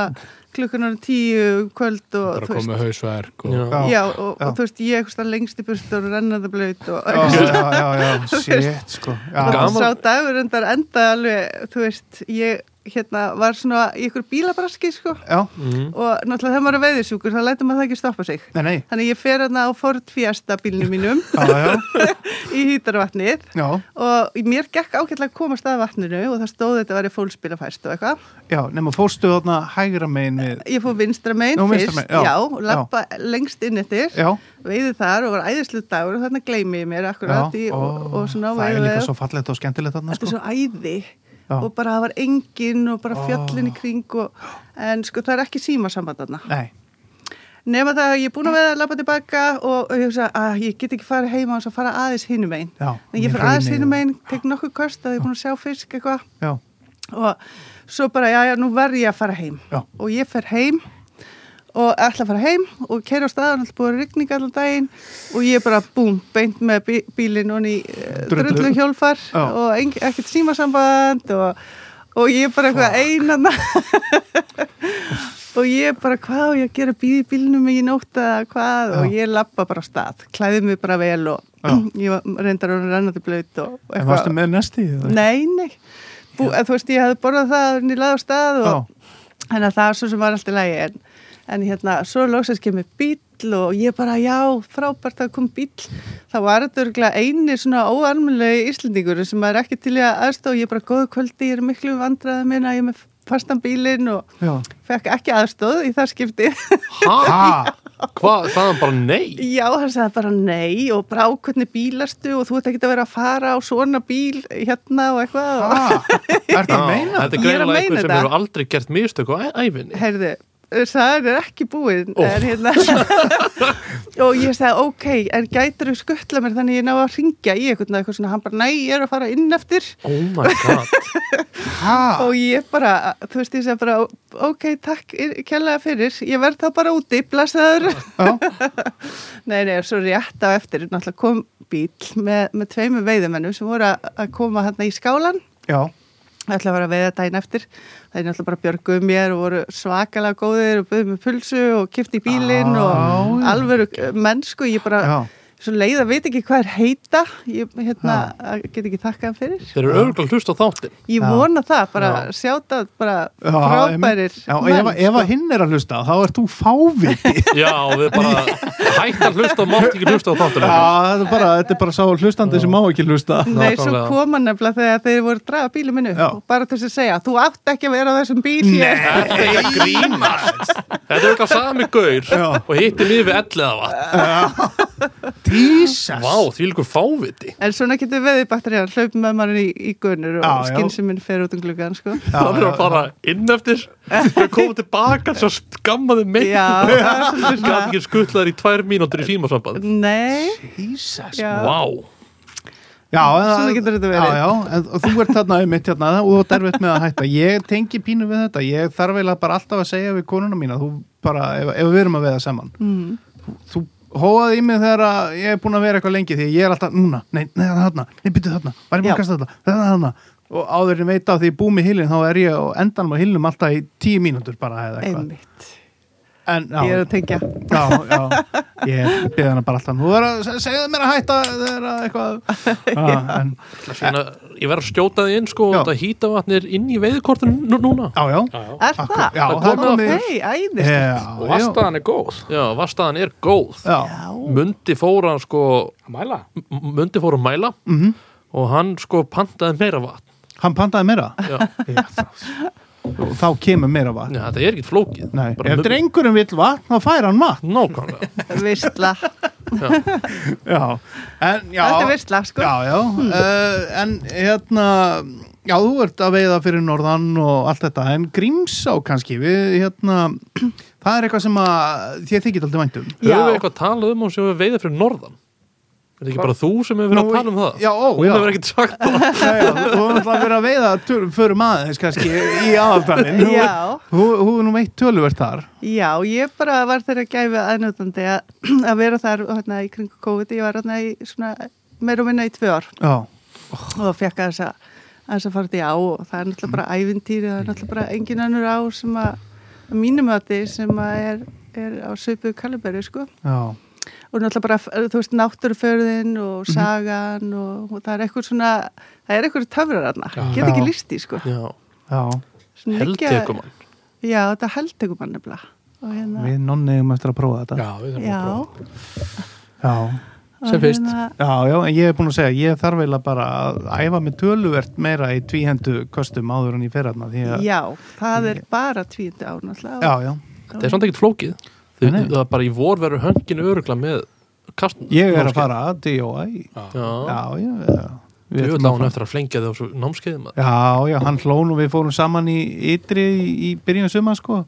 S4: klukkan orðin tíu um kvöld og
S5: bara að koma með hausverk og
S1: Já.
S2: Já.
S4: Já, og,
S2: já.
S4: og þú veist, ég eitthvað stað lengst í burt og rennaði blöyt og
S2: já, já, já, já,
S4: (laughs)
S2: shit sko já,
S1: Gaman.
S4: sá dagur undar enda alveg, þú veist, ég hérna var svona í ykkur bílabraski, sko,
S2: já,
S1: Mhm.
S4: og náttúrulega þegar maður er veiðisjúkur, þá lætur maður það ekki stoppa sig.
S2: nei, nei
S4: Þannig ég fer hérna á Ford Fiesta
S2: (laughs)
S4: bílnum mínum
S2: já, já,
S4: í hýtarvatnið
S2: já,
S4: og mér gekk ágætlega að komast að vatninu og það stóð þetta að vera fólksbílafæst og eitthvað.
S2: já, nema fórstu þarna hægra megin við,
S4: Ég fór vinstra megin
S2: Nú, vinstra
S4: fyrst,
S2: megin, já.
S4: já, lappa lengst inn eftir.
S2: já,
S4: veiði þar og var æðislu dagur og þannig gleymi ég mér
S2: já
S4: akkurat í,
S2: ó,
S4: og, og svona
S2: það er
S4: veiði
S2: líka svo fallegt og skemmtilegt þarna
S4: þetta er
S2: sko
S4: svo æði
S2: Já.
S4: og bara það var engin og bara fjöllin í kring og, en sko það er ekki símasamband þarna
S2: nei,
S4: nema það að ég er búin að veða að labba tilbaka og, og ég hugsa að ég get ekki farið heima og svo fara aðeins hinum einn
S2: Já,
S4: en ég
S2: mér
S4: fer aðeins
S2: hraunið
S4: hinum
S2: og-
S4: einn, tek nokkuð kost að ég er búin að sjá fisk eitthvað
S2: já,
S4: og svo bara, já, já, nú verð ég að fara heim
S2: Já.
S4: og ég fer heim og ætla að fara heim og keira á staðan alltaf búið rigning allan daginn og ég bara, búm, beint með bí bílinn og ný
S2: Drullu.
S4: drullu hjólfar
S2: Já.
S4: og eng- ekkert símasamband og, og ég bara eitthvað einan (laughs) og ég bara, hvað, á ég að gera bíði bílinnum í nótt eða hvað og ég lappa bara á stað, klæði mig bara vel og (clears throat) ég var- reyndar að renna til blöyt og
S2: en varstu með næsti eða?
S4: Nei, nei. Bú, að, þú veist, ég hefði borðað það áður en ég laði á stað og þannig að það var svo sem var allt í lagi en, en hérna, svo loksins kemur bíll og ég bara, já, frábært að kom bíll þá var þetta örgulega eini svona óarmulegi íslendingur sem er ekki til í að aðstofa, ég bara góðu kvöldi ég er í miklu vandraði minna, ég er með fastan bílinn og
S2: já,
S4: fekk ekki aðstof í það skipti (laughs)
S1: Hæ?
S2: ha,
S1: Hvað? Það er bara nei.
S4: Já, hann sagði bara nei og brá hvernig bílastu og þú ert ekki að vera að fara á svona bíl hérna og eitthvað og
S2: ha ertu að
S1: Já,
S2: meina?
S1: Þetta er
S4: Ég er að
S1: greiðlega
S4: meina
S1: einhver sem
S4: þetta.
S1: hefur aldrei gert mistök á æ- ævinni.
S4: heyrðu, það er ekki búinn
S1: Ó.
S4: en hérna (laughs) og ég sagði, ok, en gætur þú skuttla mér þannig ég ná að ringja í eitthvað, eitthvað svona, hann bara, næ, ég er að fara inn eftir
S1: Oh my god.
S2: ha,
S4: og ég bara, þú veist, ég sagði bara ok, takk, kjærlega fyrir ég verð þá bara úti, blessaður (laughs) nei, nei, svo rétt á eftir, náttúrulega kom bíl með, með tveimur veiðumennum sem voru að- að koma hérna í skálan
S2: já,
S4: Ég ætla að vera að veiða dæn eftir. Það er náttúrulega bara björguð mér og voru svakalega góðir og bauðu með pulsu og kipti í bílinn og alvöru mennsku. Ég bara,
S2: Já.
S4: svo leið að veit ekki hvað er heita. Ég hérna, get ekki þakkað fyrir.
S1: (laughs) Þeir eru örugglega hlust á þáttin
S4: Ég
S2: Já.
S4: vona það, bara sjáta bara
S2: Já,
S4: frábærir
S2: einmitt. Já, ef,
S4: menn,
S2: ef
S4: sko.
S2: að hinn er að hlusta þá ert þú fáviti
S1: (laughs) Já, við bara hægt að hlusta og mátt ekki hlusta á þáttin
S2: Já, þetta er bara, þetta er bara sá hlustandi sem má ekki hlusta
S4: Nei, svo
S1: Nákvæmlega.
S4: koma nefnilega þegar þeir voru að draga bílum minn upp
S2: Já.
S4: og bara til þess að segja, þú átt ekki að vera á þessum bíl hér.
S1: Er þetta ekki að grínast? Þetta er eitthvað sami gaur
S2: Já.
S1: og hittir mig við elliða vatn.
S2: Jesus
S1: Vá, því líkur fáviti.
S4: En svona getur veðið batterið að hlaupa með mann í, í gunnur
S2: Já,
S4: og
S2: já.
S4: skynsuminn fer út um gluggan, sko.
S1: Það er að fara inn eftir, þau koma tilbaka svo skammaði mig.
S4: Já, það er svolítið
S1: Gat
S4: svona.
S1: ekki skutlaður í tvær mínútur í símasamband.
S4: Nei,
S2: Jesus
S4: já.
S1: Vá,
S2: Já,
S4: Svona
S2: en-
S4: getur þetta verið.
S2: Já, já, en og þú ert þarna mitt hérna og þú ert erfitt með að hætta Ég tengi pínu við þetta, ég þarf eiginlega bara alltaf að segja við konuna mína þú bara, ef, ef við erum að veða saman mm.
S4: Hmm,
S2: þú, þú hóaði í mig þegar að ég er búin að vera eitthvað lengi því að ég er alltaf núna, nei, nei, það er þarna, nei, byttu þarna var ég búin
S4: Já.
S2: að kasta þetta, þetta er þarna og áður en ég veit á því ég búið með hilin þá er ég á endanum á hilnum alltaf í tíu mínútur bara eða eitthvað
S4: einmitt.
S2: en, já,
S4: Ég er að tengja.
S2: Já, já, ég byrði hana bara alltaf Þú verður að se- segja mér að hætta þegar að
S4: (laughs)
S2: eitthvað já, en,
S1: Sina, ég verð að skjóta þig inn
S2: Já.
S1: sko og þetta hýtavatnir inn í veiðkortun nú- núna.
S2: já, já,
S4: Er
S2: akkur-
S4: það?
S2: já
S1: Það
S2: það er
S1: komið
S2: komið
S4: Nei, æðist.
S2: Já,
S5: og
S2: já,
S5: aðstæðan er góð
S1: Já, vastaðan er góð.
S2: já,
S1: Mundi fór hann sko,
S5: að mæla
S1: M- Mundi fór að mæla
S2: Mhm.
S1: og hann sko pantaði meira vatn.
S2: hann pantaði meira
S1: Já,
S2: Já, þá- Þá kemur meira vatn
S1: Já þetta er ekkert flókið.
S2: Nei,
S1: Bara
S2: ef
S1: mun-
S2: drengurinn vill vatn, þá fær hann vatn (laughs)
S1: Nákvæmlega.
S2: Eh.
S4: (laughs) Vistla.
S2: Já, en já
S4: Þetta er vistla, sko.
S2: Já, já, uh, en hérna Já, þú ert að veiða fyrir norðan og allt þetta, en grímsá kannski við, hérna það er eitthvað sem að þér þykir um. aldrei væntum
S1: Höfum við
S4: Já.
S1: eitthvað talað um hún sem við veiða fyrir norðan? Er það ekki bara þú sem hefur verið
S2: Nú,
S1: að tala um það?
S2: já, ó,
S1: Hún
S2: já.
S1: hefur ekkert
S2: (laughs)
S1: sagt
S2: Já,
S1: það.
S2: já, þú hefur náttúrulega verið að veiða töl, fyrir maður kannski í aðaltalinn Þú-
S4: Já.
S2: Þú þú hefur nú veitt töluvert þar
S4: Já, ég bara var þeirra gæfi aðnjóðandi að (clears throat) að vera þar og hérna í kringu COVID. Ég var hérna í svona meira og minna í tvö ár
S2: Já,
S4: og fekk að þess að þess að fara þetta í á og það er náttúrulega bara ævintýri, það er náttúrulega bara engin annur á sem að, að mínum að sem að er, er á söpuðu kaliberi, sko.
S2: já,
S4: og náttúrulega bara, eh, þú veist, náttúruförðin og sagan og, og það er eitthvað svona, það er eitthvað töfrar aðna, get ekki
S2: Já.
S4: líst í, sko.
S1: Já, sko,
S2: já
S4: Svona
S1: heldtekum
S4: liggja-
S1: hann.
S4: Já, þetta er heldtegum hann nefnilega. Og hérna,
S2: Við nonniðum eftir að prófa þetta
S5: já, við þurfum
S4: já.
S5: að prófa
S2: Já,
S4: og
S5: Sem fyrst.
S4: Hérna,
S2: já, já, en ég hef búin að segja ég þarf eiginlega bara að æfa mig töluvert meira í tvíhendu kostum áður en í ferðarna því að
S4: já, það er bara tvíndi ár náttúrulega.
S2: já, já.
S1: Þetta er samt ekkert flókið. Þau,
S2: Nei, nei.
S1: það er bara í vor verður höngin örugla með kastn.
S2: Ég er að fara að D.O.I.
S1: Já,
S2: Já, já, já Við
S1: við
S2: ætlum að
S1: lágum
S2: fara-
S1: eftir að flengja þau á svo námskeiðum. að-
S2: Já, já, hann hló nú, við fórum saman í ytri í, í byrjun suma, sko.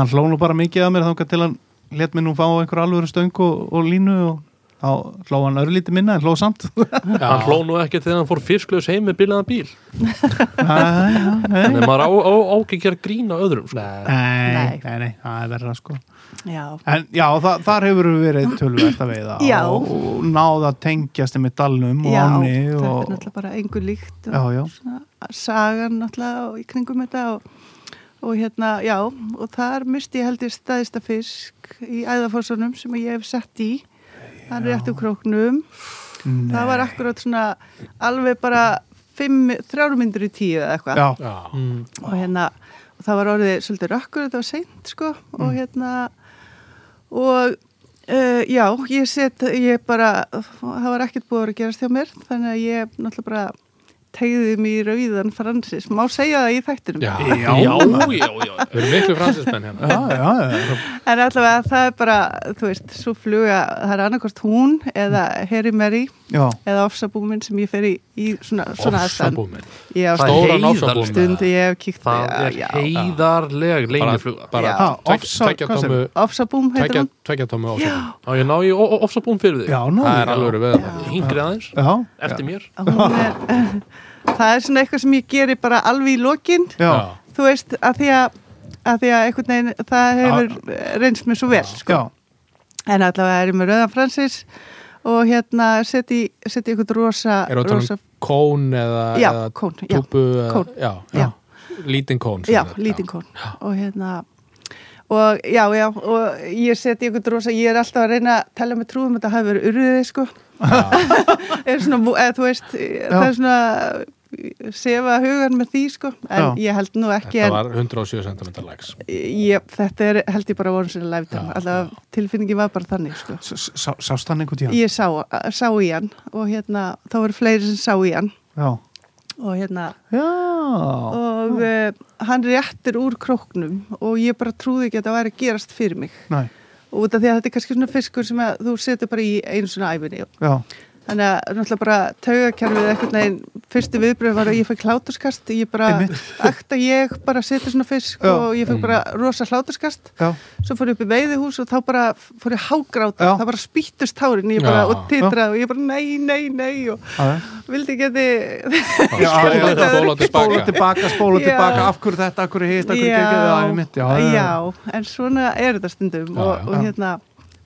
S2: Hann hló nú bara mikið að mér þangað til hann let mér nú fá einhver alvöru stöng og, og línu og þá hló hann örlítið minna en hló samt. (laughs)
S1: Hann hló nú ekki þegar hann fór fisklaus heim með bilaðan bíl.
S2: nei, já, nei.
S1: Þannig að maður á, á, á ekki að gera grína öðrum. Sko.
S2: Nei,
S4: Nei.
S2: nei, nei, það er verra, sko.
S4: Já,
S2: En já, þa þar hefur við verið tölvært að veiða
S4: Já.
S2: og, og náða tengjast með dalnum og
S4: já,
S2: áni
S4: þetta er
S2: og...
S4: náttúrulega bara engu líkt og
S2: Já, já.
S4: svona sagan náttúrulega og í kringum þetta og, og hérna, já, og þar misti ég held ég staðista fisk í æðafórsunum sem ég hef sett í hann er eftir króknum það var akkurat svona alveg bara fimm, þrjármyndur í tíu eða eitthvað
S2: Já,
S5: Já.
S4: og hérna og það var orðið svolítið rökkur, þetta var seint sko
S1: Mm.
S4: og hérna og uh, já, ég set ég bara, það var ekkert búið að vera að gerast hjá mér, þannig að ég náttúrulega bara tegði mig í rauðan fransis má segja það í þættinum
S5: Já.
S1: Já, já, já. já.
S5: við erum miklu fransismenn hérna
S2: já, já, já.
S4: en allavega það er bara, þú veist, svo fluga það er annarkvort hún eða Harry Mary
S2: já.
S4: eða ofsabúmin sem ég fer í, í svona, svona aðstæðan.
S5: ofsabúmin
S4: Já,
S1: Það
S5: stóra
S1: heiðarlegt.
S5: ofsabúmin
S4: stundi ég hef kíkt
S1: Það er
S4: já, já.
S1: heiðarleg leynifluga.
S5: bara
S2: Já.
S5: tvek-
S2: Ofsa-
S5: tvekja
S2: hvað sem-
S5: tómu
S4: ofsabúm heitir
S5: tvekja-
S4: hún
S5: tvekja tómu ofsabúmin
S1: Já, ég ná í ofsabúm fyrir þig.
S2: Já, nú.
S5: það er alveg verið það
S1: Hingri aðeins,
S2: Já,
S1: eftir mér.
S4: Hún er, (laughs) það er svona eitthvað sem ég geri bara alveg í lokin
S2: já,
S4: þú veist, að því að, að, því að einhvern veginn, það hefur reynst mér svo vel sko.
S2: já.
S4: en allavega er ég með Rauðan Fransis og hérna setja í- setja í eitthvað rosa,
S5: Er það að tala um
S4: rosa
S5: kón eða,
S4: já,
S5: eða
S4: kón, já,
S5: túpu eða-
S4: kón.
S5: Já,
S4: Já.
S5: lítinn kón sem
S4: já,
S5: sagt,
S4: lítinn kón og hérna og já, já, og ég setja í eitthvað rosa ég er alltaf að reyna um að tala með trúum þetta hafi verið urriði, sko
S5: já,
S4: (laughs) er svona, vo- eða þú veist, það er svona sefa hugan með því, sko en
S2: Já.
S4: ég held nú ekki
S5: Þetta
S4: en,
S5: var 107 cm lags
S4: ég, þetta er, held ég bara vonu sinni læftum,
S5: Já,
S4: alltaf tilfinningi var bara þannig, sko
S2: S- s- sá- Sást hann einhvern tíðan?
S4: ég sá, sá í hann og hérna, þá voru fleiri sem sá í hann
S2: Já.
S4: og hérna,
S2: Já.
S4: og uh, hann réttir úr króknum og ég bara trúði ekki að þetta væri að gerast fyrir mig
S2: Næ,
S4: og út af því að þetta er kannski svona fiskur sem að þú setur bara í einu svona æfinni
S2: já.
S4: þannig að náttúrulega bara taugakerfið eitthvað neginn, fyrstu viðbröð var að ég fekk hláturskast ég bara, akta ég bara setur svona fisk
S2: Já.
S4: og ég fekk bara rosa hláturskast
S2: Já.
S4: svo fór ég upp í veiðihús og þá bara fór ég hágráta,
S2: Já.
S4: það bara spýttust tárin ég bara,
S5: Já.
S4: og titraði og ég bara nei, nei, nei og
S2: Já.
S4: vildi ekki að þið
S2: Já, já,
S5: Spóla
S4: já.
S5: spóla
S2: Spóla
S5: tilbaka
S2: tilbaka, spóla
S4: Já.
S2: tilbaka, af hverju þetta, af hverju hitt, af hverju
S4: Já.
S2: gegið það, mitt, já.
S4: já, en svona er þetta stundum
S5: Já,
S4: og,
S5: já.
S4: og hérna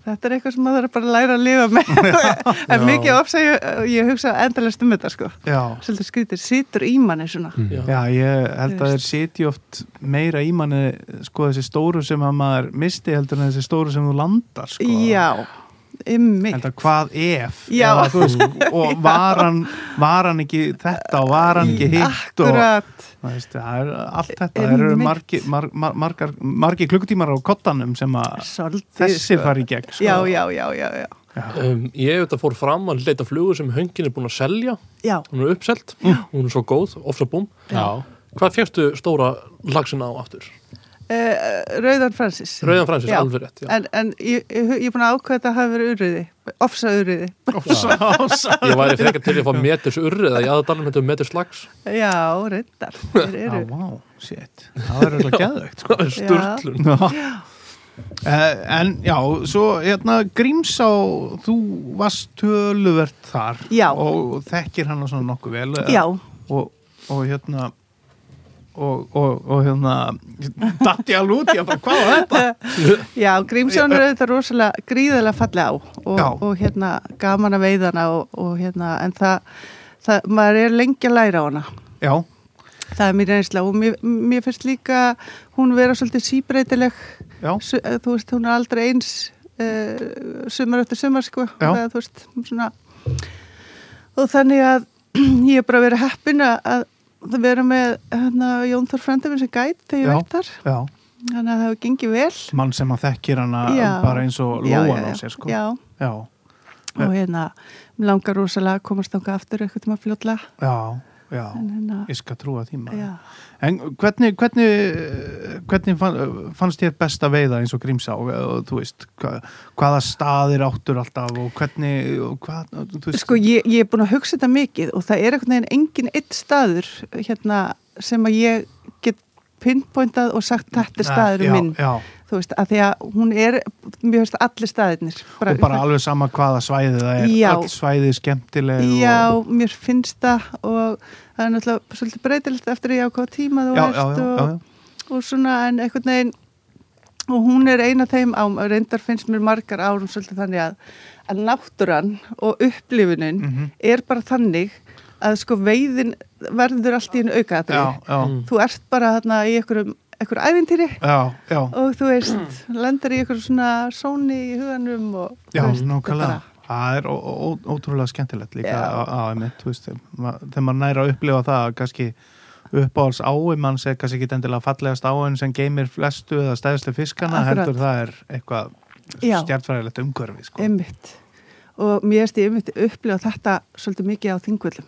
S4: þetta er eitthvað sem maður þarf bara að læra að lifa
S2: (laughs)
S4: með (laughs) en mikið ofsa ég, ég hugsa endalist um þetta sko
S2: Já.
S4: svolítið skrítið, situr í manni svona
S5: Já.
S2: Já, ég held
S4: Þú
S2: að
S4: veist.
S2: þeir sitji oft meira í manni, sko, þessi stóru sem að maður misti heldur en þessi stóru sem þú landar, sko.
S4: já, ymmi
S2: Held að hvað ef?
S4: Já.
S2: Eða, þú veist, og var hann, var hann ekki þetta og var hann ekki hitt og
S4: akkurat,
S2: þú veist, það er allt þetta, það eru
S4: Einmitt.
S2: margi, mar, mar, margar, margi klukkutímar á kottanum sem að
S4: svolítið
S2: þessir fari í gegn, sko.
S4: já, já, já, já, já
S1: um, ég auðvitað fór fram að leita flugur sem höngin er búin að selja
S4: já,
S1: hún er uppselt,
S2: Mm.
S1: hún er svo góð, ofsa búm
S5: Já,
S1: hvað fjöxtu stóra lagsin á aftur?
S4: uh, Rauðan Francis
S1: Rauðan Francis,
S4: Já.
S1: alveg rétt já.
S4: en, en ég, ég, ég er búin að ákveða að þetta hafi verið urriði ofsa urriði,
S2: Ofsa, ofsa.
S1: ég væri frekar til að fá metis urrið að ég aða dalum þetta metis lags
S4: já, reyndar
S2: (laughs)
S4: þeir
S2: Já,
S4: eru,
S2: vá, shit. Það er eitthvað geðvegt, sko.
S1: sturlun
S2: Já. Eh, En já, svo hérna Grímsá, þú varst töluvert þar
S4: Já.
S2: og þekkir hann svona nokkuð vel eh,
S4: já
S2: og, og hérna og, og, og hérna datt ég alveg út, ég bara hvað var þetta?
S4: Já, Grímsjón er auðvitað rosalega gríðarlega fallega á
S2: eh, Já.
S4: og, og hérna gaman að veiðana og, og hérna, en það, það maður er lengi að læra á hana
S2: Já,
S4: það er mér reynsla og mér, mér finnst líka hún vera svolítið síbreytileg
S2: já,
S4: Su, eh, þú veist, hún er aldrei eins uh, sumar eftir sumar sko
S2: Já.
S4: það, þú veist, svona og þannig að (clears throat) ég er bara verið heppin að- að það vera með hérna, Jón Þór Frendefinn sem gæt þegar
S2: Já.
S4: ég veitt þar
S2: já,
S4: þannig að það hefur gengið vel
S2: mann sem að þekkir hana
S4: Já.
S2: bara eins og
S4: Já,
S2: lóan
S4: já,
S2: á
S4: já.
S2: sér sko Eh.
S4: Já,
S2: já,
S4: og hérna, mér langar rosalega að komast þangað aftur eitthvað tíma fljótlega.
S2: já, já.
S4: En hérna,
S2: ég skal trúa því maður
S4: já.
S2: En hvernig, hvernig, hvernig fann- fannst þér best að veiða eins og Grímsá og þú veist, hva, hvaða staðir áttur alltaf og hvernig og hvað, þú veist,
S4: Sko, ég, ég er búin að hugsa þetta mikið og það er eitthvað neginn engin eitt staður hérna sem að ég get pinpointað og sagt þetta er staður
S2: Ah, já,
S4: minn.
S2: já,
S4: Þú veist, að því að hún er, mér finnst allir staðirnir.
S2: og bara alveg sama hvaða svæði það er,
S4: Já.
S2: öll svæði skemmtileg
S4: Já,
S2: og,
S4: mér finnst það og það er náttúrulega svolítið breytilegt eftir að ég á hvaða tíma þú
S2: já,
S4: ert
S2: já, já,
S4: og,
S2: já,
S4: og svona en einhvern veginn og hún er eina þeim á, reyndar finnst mér margar árum svolítið þannig að, að náttúran og upplifunin
S2: Mhm.
S4: er bara þannig að sko veiðin verður allt í einu aukaðri.
S2: já, já,
S4: Þú ert bara þarna í einhverjum, einhverjum ævintýri
S2: já, já,
S4: og þú veist, lendir í einhverjum svona sóni í huganum og þú
S2: já,
S4: veist,
S2: nákvæmlega.
S4: bara-
S2: Það er ó, ó, ótrúlega skemmtilegt líka
S4: Já.
S2: á á- einmitt, þú veist, ma- þegar maður næra að upplifa það að kannski uppáhalds ái mann segir kannski ekki endilega fallegast áin sem geymir flestu eða stæðstu fiskana
S4: Akkurat.
S2: heldur það er eitthvað
S4: Já. Um-
S2: stjartfræðilegt umhverfi sko.
S4: Einmitt. Og mér erst ég einmitt upplifa þetta svolítið mikið á þingvöldum.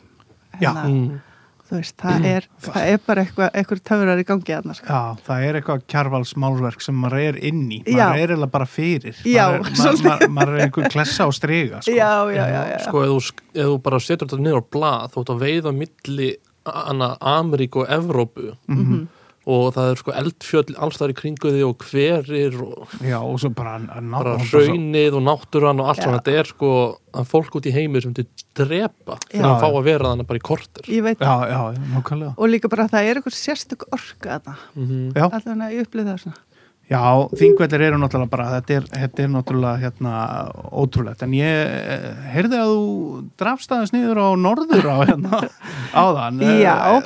S2: Já. Mm.
S1: Mm.
S4: Þú veist, það er, það er bara eitthvað, eitthvað töfrar í gangi annars. Sko.
S2: Já, það er eitthvað kjarvalsmálverk sem maður er inn í, maður
S4: Já.
S2: er eiginlega bara fyrir
S4: Já,
S2: maður, er,
S4: svolítið.
S2: ma ma maður er einhver klessa á strega sko.
S4: Já, já, já, já.
S1: sko ef þú, sk- ef þú bara setur þetta niður á blað þú ert að veiða milli anna, Ameríku og Evrópu
S4: Mhm.
S2: Mhm.
S1: og það er sko eldfjöll allstæðar í kringu því og hverir og
S2: já, og svo bara, ná,
S1: bara
S2: bara svo-
S1: hraunið og náttúran og allt
S4: Já.
S1: svona þetta er sko að fólk út í heimi sem þið drepa fyrir að
S4: Já.
S1: fá að vera þannig bara í korter
S4: Ég veit
S2: Já,
S4: það.
S2: já, nákvæmlega
S4: Og líka bara að það er eitthvað sérstök orka að það.
S1: mm -hmm.
S2: Já,
S4: Alltaf hann að ég upplifa það svona.
S2: Já, þingvellir eru náttúrulega bara, þetta er, þetta er náttúrulega hérna ótrúlegt, en ég eh, heyrði að þú drafst aðeins niður á norður á
S4: (laughs)
S2: hérna áðan. Eh,
S4: Já.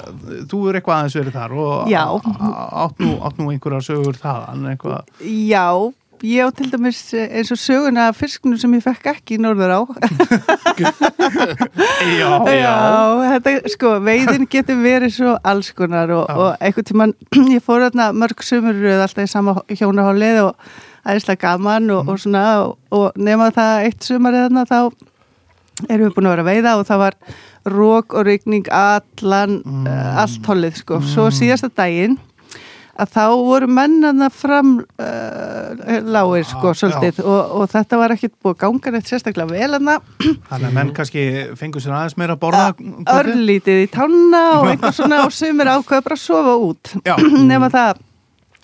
S2: Þú er eitthvað aðeins verið þar og
S4: Já.
S2: á- átt nú, átt nú einhverja sögur þaðan, eitthvað.
S4: Já, ég á til dæmis eh, eins og söguna af fisknum sem ég fekk ekki í norður á.
S2: Já,
S4: Já, þetta, sko, veiðin getur verið svo alls konar og,
S2: Já.
S4: og einhvern tímann, (clears throat) ég fór þarna mörg sömurröð alltaf í sama hjónahálið og æðislega gaman
S2: Mhm.
S4: og, og svona og, og nema það eitt sömarið þarna þá erum við búin að vera að veiða og það var rók og rigning allan, mm. allt hollið,
S2: Mm.
S4: sko. Svo síðasta daginn að þá voru mennana fram uh, lágir, sko,
S2: Já, já.
S4: svolítið og, og þetta var ekkit búið að ganga neitt sérstaklega vel hana
S2: Þannig að menn kannski fengur sér aðeins meira að borða. kvöldið?
S4: örlítið í tanna og eitthvað svona og sumir ákveða bara að sofa út
S2: Já.
S4: nema það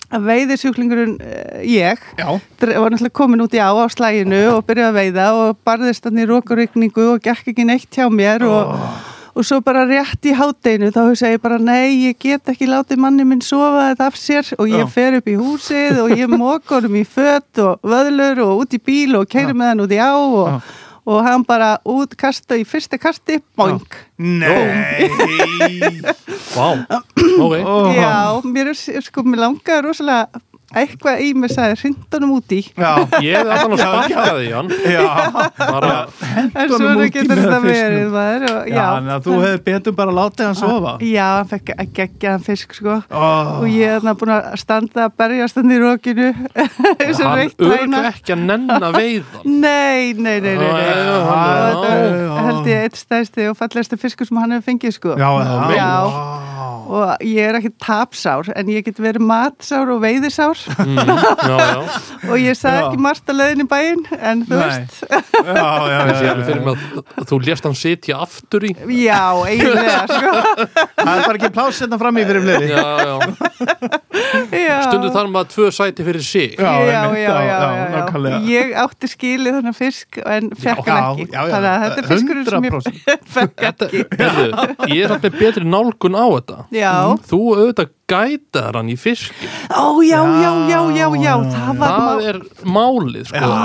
S4: að veiðisjúklingurinn eh, ég
S2: Já,
S4: dre- var náttúrulega komin út í á á slæginu og byrjaði að veiða og barðist hann í rókurykningu og gekk ekki neitt hjá mér og, og svo bara rétt í hátdeinu þá hugsa ég bara nei, ég get ekki látið manni minn sofa þetta af sér og ég
S2: Já.
S4: fer upp í húsið og ég móka honum í fött og vöðlur og út í bíl og keiri með hann út í á og,
S2: Já.
S4: og hann bara út kasta í fyrsta kasti, boink
S2: nei.
S1: Vá, ok
S2: Ó.
S4: Já, mér er sko, mér langaði rosalega eitthvað í mér sagði hrindunum úti
S2: Já,
S1: Ég er alltaf að sparka því hann
S2: já.
S1: bara,
S4: en
S2: Hendunum
S4: svona
S2: út í
S4: getur
S2: með
S4: þetta
S2: fiskinum.
S4: verið maður og,
S2: Já, þannig að þú hefði betur bara að láta hann sofa.
S4: Já, hann fekk að gegja hann fisk sko
S2: Oh.
S4: og ég er þannig búin að standa að berjast hann í rókinu (laughs) eins og
S1: hann
S4: veitt
S1: örgla
S4: hæna
S1: ekki að nenn að veiða
S4: (laughs) Nei, nei, nei, nei,
S1: Já, já, já,
S4: nei. Og
S1: hann-
S4: þetta er,
S2: já.
S4: held ég eitt stærsti og fallegasti fiskur sem hann hefur fengið sko
S2: Já, já,
S4: Já.
S2: Vá.
S4: og ég er ekki tapsár en ég get verið matsár og veiðisár
S1: mm, Já, já,
S4: og ég
S2: (laughs)
S4: sagði
S2: Já.
S4: ekki margt að leiðin í bæinn en þú
S2: Nei.
S4: veist
S2: (laughs) já, já,
S1: ég
S2: já,
S1: sé
S2: já,
S1: alveg fyrir mig að þú lést hann sitja aftur í
S4: Já, eiginlega, sko.
S2: það er bara ekki pláss hérna fram í fyrir um liði
S1: Já, já,
S4: Já.
S1: stundu þar maður tvö sæti fyrir sig
S4: Já, já, já,
S2: einmitt,
S4: já, já,
S2: nákvæmlega.
S4: Ég átti skilið þannig fisk en fekk hann ekki.
S2: já, já,
S4: Þannig að þetta er fiskurinn sem ég
S2: 100%.
S4: fekk
S1: Þetta,
S4: ekki.
S1: heyrðu, ég er alltaf betri nálgun á þetta
S4: Já,
S2: Mm.
S1: Þú auðvitað gætar hann í fiski
S4: ó, já, já, já, já, já, það var
S1: Það
S4: má...
S1: er málið sko.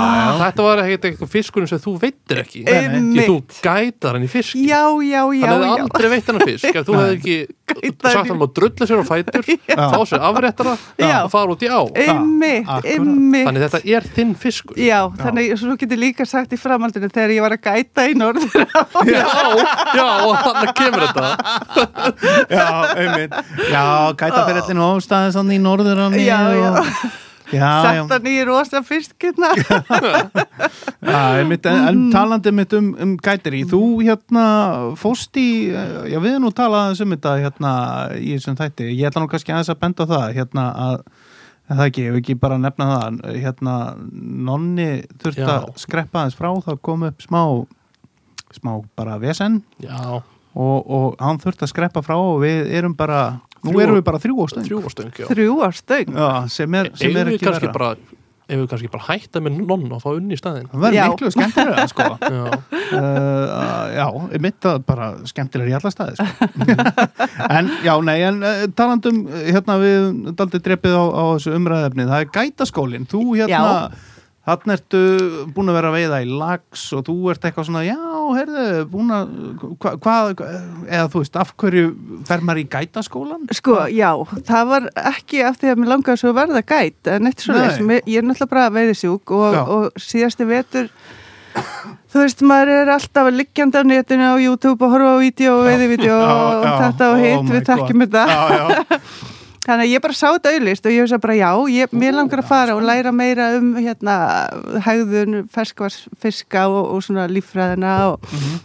S1: Þetta var ekkert eitthvað fiskurinn sem þú veitir ekki Því þú
S4: Einmitt.
S1: gætar hann í fiski
S4: Já, já, já,
S1: Hann hefði
S4: já.
S1: aldrei veitt hann fisk ef þú hefði ekki
S4: Gætað
S1: sagt hann að drulla sér á
S4: (laughs)
S1: fætur þá sér afréttara
S4: Já.
S1: og fara út í á
S4: Einmitt,
S2: Akkúrat.
S4: einmitt.
S1: Þannig þetta er þinn fiskur
S4: Já, þannig að svo getur líka sagt í framhaldinu þegar ég var að gæta í norður
S1: Já, já, og þannig kemur þetta
S2: já, einmitt já, gætaferðin hófstæði sann í norðurann
S4: Já, já,
S2: já, já.
S4: sagt hann í rosa fiskirna
S2: já einmitt, en, en talandi mitt um, um gætari þú hérna fóst í eh, já, við erum nú talað aðeins um þetta hérna í þessum þætti, ég ætla nú kannski aðeins að benda á það hérna að En það ekki, ef ekki bara nefna það hérna, nonni þurfti
S1: Já.
S2: að skreppa aðeins frá, þá kom upp smá smá bara vesen
S1: Já,
S2: og, og hann þurfti að skreppa frá og við erum bara, nú
S1: Þrjú-
S2: erum við bara þrjú á stöng
S1: þrjúastöng já.
S4: Þrjú á stöng
S2: já, sem er, sem
S1: Eigum
S2: er
S1: við
S2: ekki
S1: kannski
S2: verra
S1: bara Ef við kannski bara hætta með nonn og fá unni í staðinn
S2: það verður
S4: Já.
S2: miklu skemmtilega
S4: (laughs)
S2: sko uh,
S1: Já,
S2: já, mitt að bara skemmtilega í alla staði sko.
S4: (laughs)
S2: en já, nei, en uh, talandum eh, hérna við daldið drepið á, á þessu umræðefni, það er gætaskólin þú hérna
S4: Já.
S2: Þannig ertu búin að vera að veiða í lags og þú ert eitthvað svona, já, heyrðu, búin að, hvað, hva, eða þú veist, af hverju fer maður í gætaskólan?
S4: Sko, já, það var ekki af því að mér langaði svo að verða gæt en eitt svo leis,
S2: Nei.
S4: ég er náttúrulega bara veiðisjúk og,
S2: Já.
S4: og síðasti vetur þú veist, maður er alltaf liggjandi á netinu á YouTube og horfa á vídeo og veiðivídeó og þetta og hitt, við þekkjum þetta
S2: Oh Já, já, (laughs)
S4: þannig að ég bara sá þetta auðlist og ég veist að bara já, ég, mér langar að fara og læra meira um hérna, hægðun ferskvarsfiska og, og svona líffræðina og,
S2: Mhm,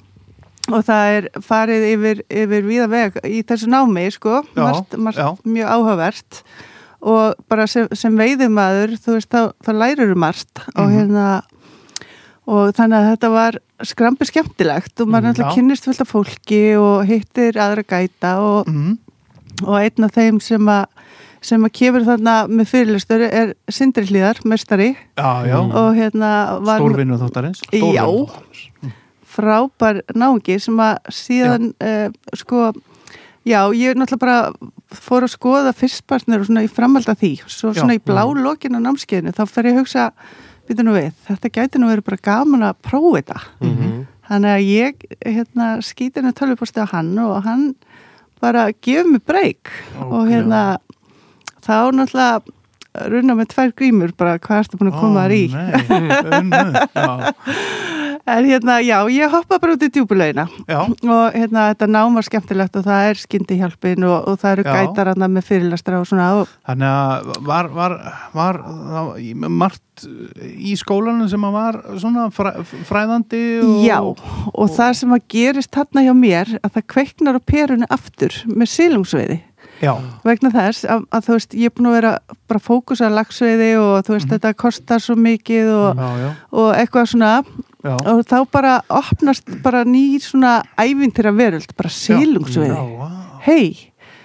S4: og það er farið yfir, yfir víða veg í þessu námi sko,
S2: Já,
S4: margt, margt
S2: já.
S4: mjög áhugavert og bara sem, sem veiðumadur þú veist, þá, þá lærir margt
S2: Mhm.
S4: og hérna og þannig að þetta var skrambi skemmtilegt og maður
S2: Mm,
S4: náttúrulega
S2: já.
S4: kynnist fullt af fólki og hittir aðra gæta og
S2: mhm.
S4: og einn af þeim sem að sem að kemur þarna með fyrirlistur er Sindri Hlíðar, mestari
S2: Já, já,
S1: Mm.
S4: og hérna var
S2: stórvinnu þáttarins
S4: Já.
S2: Mm.
S4: frábær náungi sem að síðan já. sko, já, eh, ég náttúrulega bara fór að skoða fyrstpartner og svona í framhald að því svo
S2: Já.
S4: svona í blá lokin á námskeiðinu þá fer ég að hugsa, býta nú við þetta gæti nú verið bara gaman að prófa þetta
S1: Mhm.
S4: þannig að ég hérna, skýti henni tölvuposti á hann og hann bara gefur mér breyk og hérna þá náttúrulega runna með tvær grímur bara hvað ertu búin að koma þar í
S2: þar í
S4: en hérna, já, ég hoppa bara út í djúbulauðina
S2: Já,
S4: og hérna, þetta nám var skemmtilegt og það er skyndi hjálpin og, og það eru
S2: Já.
S4: gætar hann með fyrirlastra og svona og,
S2: þannig að var, var, var það, í- margt í skólanum sem að var svona fræ, fræðandi og...
S4: já, og, það sem að gerist þarna hjá mér, að það kveiknar á perunni aftur með silungsveiði
S2: Já,
S4: vegna þess að, að þú veist, ég er búin að vera bara fókus á lagsveiði og þú veist,
S2: Mhm.
S4: þetta kostar svo mikið og,
S2: já, já,
S4: og eitthvað svona
S2: já.
S4: og þá bara opnast bara nýr svona ævintýra veröld, bara
S2: Já,
S4: sílungsveiði
S2: vá,
S4: hei,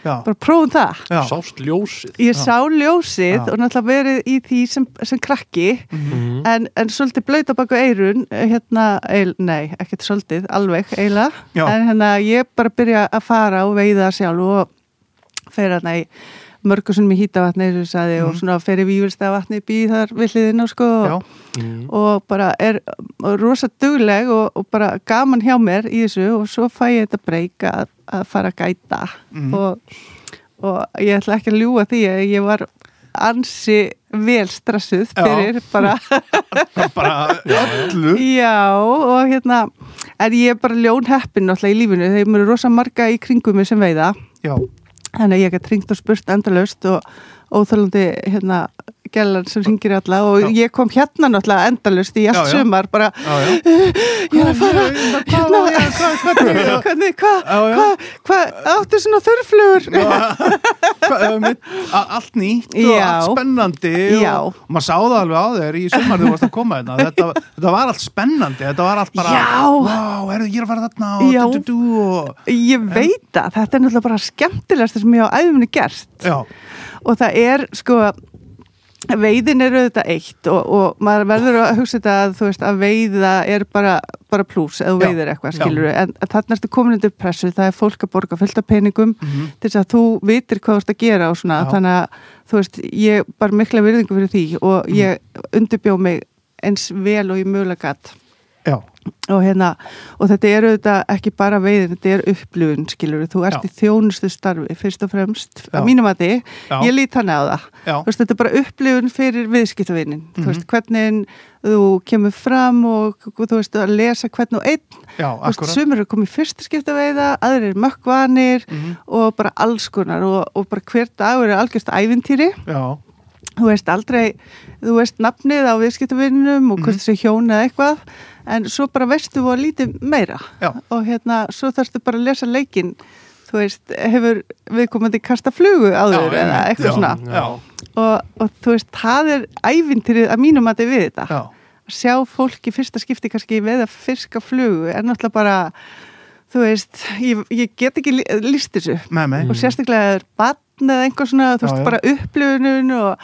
S2: já,
S4: bara prófum það
S2: já.
S1: sást ljósið
S4: ég sá ljósið
S2: Já.
S4: og náttúrulega verið í því sem, sem krakki
S1: Mhm.
S4: en, en svolítið blöyt á baku eirun hérna, eil, nei, ekkert svolítið alveg eila,
S2: Já.
S4: en hérna ég bara byrja að fara og veiða sjálf og fer hérna í mörgusunum í hýtavatni eins og ég sagði, og svona fer í vývilstavatni býð þar við hliðina sko
S2: Mhm. já.
S1: Mhm.
S4: og bara er rosa dugleg og, og bara gaman hjá mér í þessu og svo fæ ég þetta breyka að, að fara að gæta
S2: Mhm.
S4: og, og ég ætla ekki að ljúga því að ég var ansi vel stressuð
S2: Já.
S4: fyrir bara
S2: (laughs) bara öllu
S4: Já, og hérna en ég er bara ljón heppin náttúrulega í lífinu þegar mér eru rosa marga í kringum mig sem veiða
S2: Já,
S4: þannig að ég get ringt og spurt endalaust og óþölandi hérna gælan sem ringir í alla og
S2: Já.
S4: ég kom hérna náttúrulega endalaust í allt
S2: Já, já.
S4: sumar bara,
S2: já, já
S4: ég er að fara
S2: Hvað var ég, hvað, hvernig
S4: (laughs) hvernig, hvað,
S2: Já, já.
S4: hvað, hvað áttu svona þörflugur
S2: Hvað, um, a- Allt nýtt og
S4: Já.
S2: allt spennandi
S4: Já.
S2: og, og maður sá það alveg á þér í sumar þegar þú varst að koma hérna þetta, þetta var allt spennandi, þetta var allt bara
S4: Já.
S2: Vá, herðu, ég er að fara þarna og
S4: Já.
S2: du, du, du, og,
S4: ég veit að þetta er náttúrulega bara skemmtilegast sem ég á æfumni gerst
S2: Já,
S4: og það er sko veiðin er auðvitað eitt og, og maður verður að hugsa þetta að þú veist að veiða er bara, bara plús eða þú
S2: Já,
S4: veiðir eitthvað
S2: já.
S4: skilur en þarna ertu komin undir pressu, það er fólk að borga fullt af peningum til þess að þú vitir hvað þú ert að gera og svona
S2: Mhm. Já.
S4: þannig að þú veist ég bara mikla virðingu fyrir því og
S2: Mhm.
S4: ég undirbjó mig eins vel og ég mögulega gatt
S2: já,
S4: og hérna og þetta er auðvitað ekki bara veiðin þetta er upplifun skilur þú ert
S2: Já.
S4: í þjónustu starfi fyrst og fremst
S2: Já.
S4: að mínum að þið,
S2: Já.
S4: ég lít hana á það
S2: já, Mhm.
S4: Þú veist, þetta er bara upplifun fyrir viðskiptavinin þú veist, hvernig þú kemur fram og þú veist, að lesa hvern og einn,
S2: já,
S4: þú veist,
S2: akkurat
S4: sumur eru komið fyrst skiptaveiða, aðrir eru mökkvanir
S2: Mhm.
S4: og bara alls konar og, og bara hver dagur er algjörst ævintýri
S2: Já,
S4: þú veist aldrei, þú veist nafnið á viðskiptavininum og
S2: Mhm.
S4: hvort þessi hjón eða eitthvað, en svo bara veistu og lítið meira
S2: Já.
S4: og hérna, svo þarfstu bara að lesa leikin þú veist, hefur viðkomandi kasta flugu
S2: Já,
S4: áður
S2: einmitt,
S4: eða eitthvað svona
S2: já,
S4: og, og þú veist, það er ævintýrið að mínum að þið við þetta
S2: já,
S4: að sjá fólk í fyrsta skipti kannski veða fiska flugu er náttúrulega bara þú veist, ég, ég get ekki lí- lýst þessu
S2: með mig
S4: og sérstaklega ef það er batn eða einhver svona,
S2: Mm. Já,
S4: þú veist,
S2: já. Mm.
S4: bara upplifunun og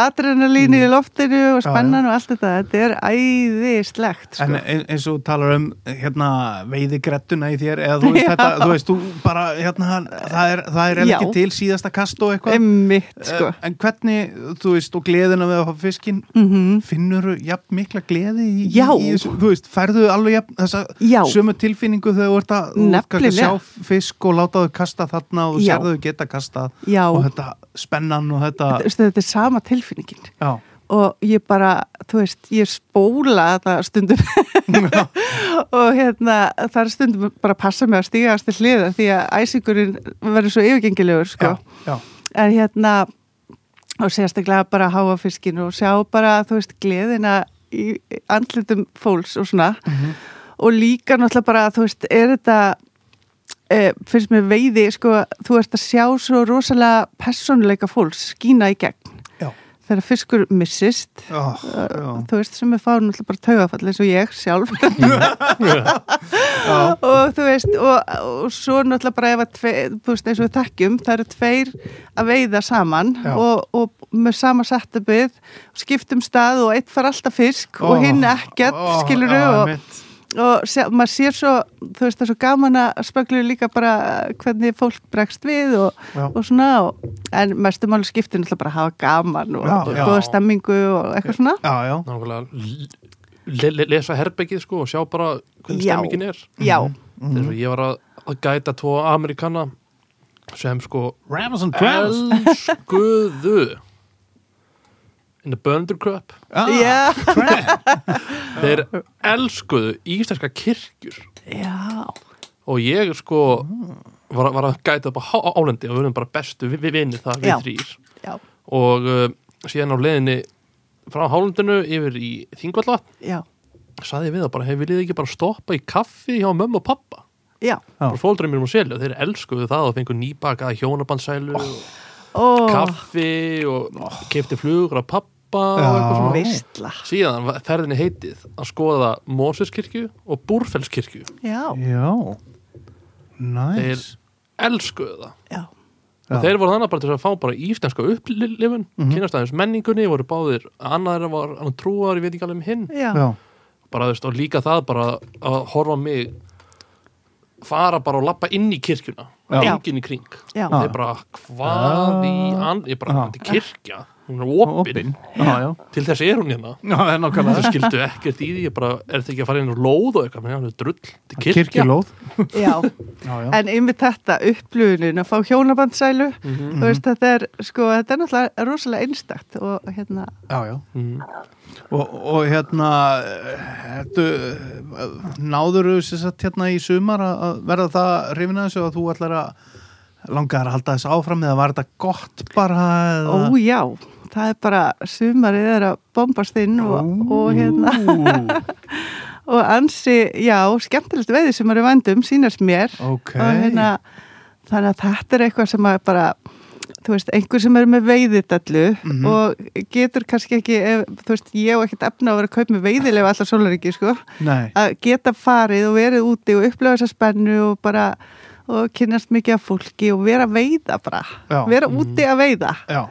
S4: adrenalínu í loftinu og
S2: Já,
S4: spennan og allt þetta þetta er æðislegt sko.
S2: En eh, ein- eins og þú talar um hérna, veiðigrettuna í þér eða þú
S4: (laughs)
S2: veist, þetta, þú veist, þú bara hérna, það er, það er eiginlega
S4: Já.
S2: ekki til síðasta kast og eitthvað
S4: emmitt, sko
S2: Eh, En hvernig, þú veist, og gleðina við að hafa fiskinn,
S4: mm
S2: finnur þú jafn mikla gleði í,
S4: Já.
S2: í þessu, þú veist, færðu alveg jafn þessa
S4: Já.
S2: sömu tilfinningu þegar þú ert að, þú ert kannski að
S4: Nefnilega.
S2: sjá fisk og láta þau kasta þarna og
S4: Já.
S2: sérðu þau geta kastað
S4: Já.
S2: og þetta spennan og þetta,
S4: Þú veist, þetta er sama tilfinningin
S2: já,
S4: (laughs) og ég bara, þú veist, ég spóla þetta stundum og hérna, það er stundum bara að passa mig að stíga til hliða því að æsingurinn verður svo yfirgengilegur sko.
S2: já, já,
S4: en hérna og sérstaklega bara að háa fiskin og sjá bara, þú veist, gleðina í andlitum fólks og svona
S2: Mhm.
S4: og líka náttúrulega bara, þú veist, er þetta e, finnst mér veiði, sko þú ert að sjá svo rosalega persónuleika fólks skína í gegn
S2: já,
S4: þegar fiskur missist
S2: já, já,
S4: þú veist sem er fáin alltaf bara taugafall eins og
S2: (laughs)
S4: ég sjálf og þú veist og, og svo náttúrulega bara ef að tve, þú veist eins og við þekkjum, það eru tveir að veiða saman
S2: Já.
S4: og, og með sama setupið skiptum stað og eitt far alltaf fisk og hinn ekkert,
S2: Ó,
S4: skilur
S2: já,
S4: og,
S2: einmitt.
S4: og sé, maður sér svo, þú veist það er svo gaman að spögglu líka bara hvernig fólk bregst við og,
S2: Já.
S4: og svona og, en mestum alveg skiptir náttúrulega bara að hafa gaman og,
S2: Já,
S4: og
S2: já.
S4: góða stemmingu og eitthvað svona
S2: já, já,
S1: nákvæmlega le le lesa herbergið sko og sjá bara hvernig
S4: Já. Mhm.
S1: stemmingin er
S2: Mm-hmm.
S1: þess
S4: já,
S1: að ég var að, að gæta tvo Amerikana sem sko
S2: Ramazon Travis
S1: elskuðu in the Böndur Cup
S2: Ah,
S4: já,
S1: þeir elskuðu íslenska kirkjur
S4: já.
S1: og ég sko var, var að gæta upp á há- álendi og við erum bara bestu við, við vinni það
S4: Já.
S1: við þrýr
S4: já.
S1: og uh, síðan á leiðinni frá hálendinu yfir í Þingvalla
S4: Já,
S1: saði ég við það bara, hefur viljið ekki bara stoppa í kaffi hjá mömmu og pappa
S4: já.
S2: Já.
S1: bara fólkdurinn mínum og selja, þeir elskuðu það og fengu nýbakaða hjónabandsælu
S2: Oh.
S1: og
S4: Ó,
S1: kaffi og oh. kefti flugur af pappa og
S2: Já.
S1: eitthvað svona
S4: veistla.
S1: síðan var ferðinni heitið að skoða Móseskirkju og Búrfellskirkju
S4: Já,
S2: já, næs
S1: þeir elskuðu það
S4: já,
S2: Já.
S1: og þeir voru þannig bara til að fá bara íslenska upplifun mm -hmm. kynast aðeins menningunni, voru báðir annar var annar trúar, ég veit ekki alveg um hinn
S4: já,
S2: já,
S1: bara þú veist, og líka það bara að horfa á mig fara bara og lappa inn í kirkjuna
S2: Já.
S1: enginn í kring
S4: já,
S1: þeir bara, hvað í an... ég bara,
S2: Já.
S1: þetta er kirkja, hún er opin,
S2: opinn já, já,
S1: til þess er hún hérna
S2: já, það er nákvæmlega
S1: þau skildu ekkert í því, ég bara er þetta ekki að fara inn og lóð og eitthvað, menn það er drull þetta er kirkja,
S2: kirkjulóð
S4: já.
S2: já, já,
S4: En yfir þetta upplugunin að fá hjónabandsælu, þú veist, þetta er, sko, þetta er náttúrulega rosalega einstakt og hérna,
S2: já, já.
S1: Mm.
S2: Og, og hérna hefðu, náðuru sér satt hérna í sumar að að verða það hrifin að þessu að þú ætlar að langar að halda þessu áfram eða var þetta gott bara eða...
S4: ó já, það er bara sumarið er að bombast inn og, og hérna,
S2: hérna
S4: og ansi, já, skemmtilegt veði sem eru vandum, sínast mér
S2: ok
S4: og hérna, þannig að þetta er eitthvað sem að bara þú veist, einhver sem er með veiðidallu
S2: Mhm.
S4: og getur kannski ekki ef, þú veist, ég á ekkert efna að vera að kaupa með veiðilega allar sólaringi, sko
S2: Nei,
S4: að geta farið og verið úti og upplifa þessa spennu og bara og kynnast mikið af fólki og vera að veiða bara,
S2: Já. Mhm.
S4: vera úti að veiða
S2: já,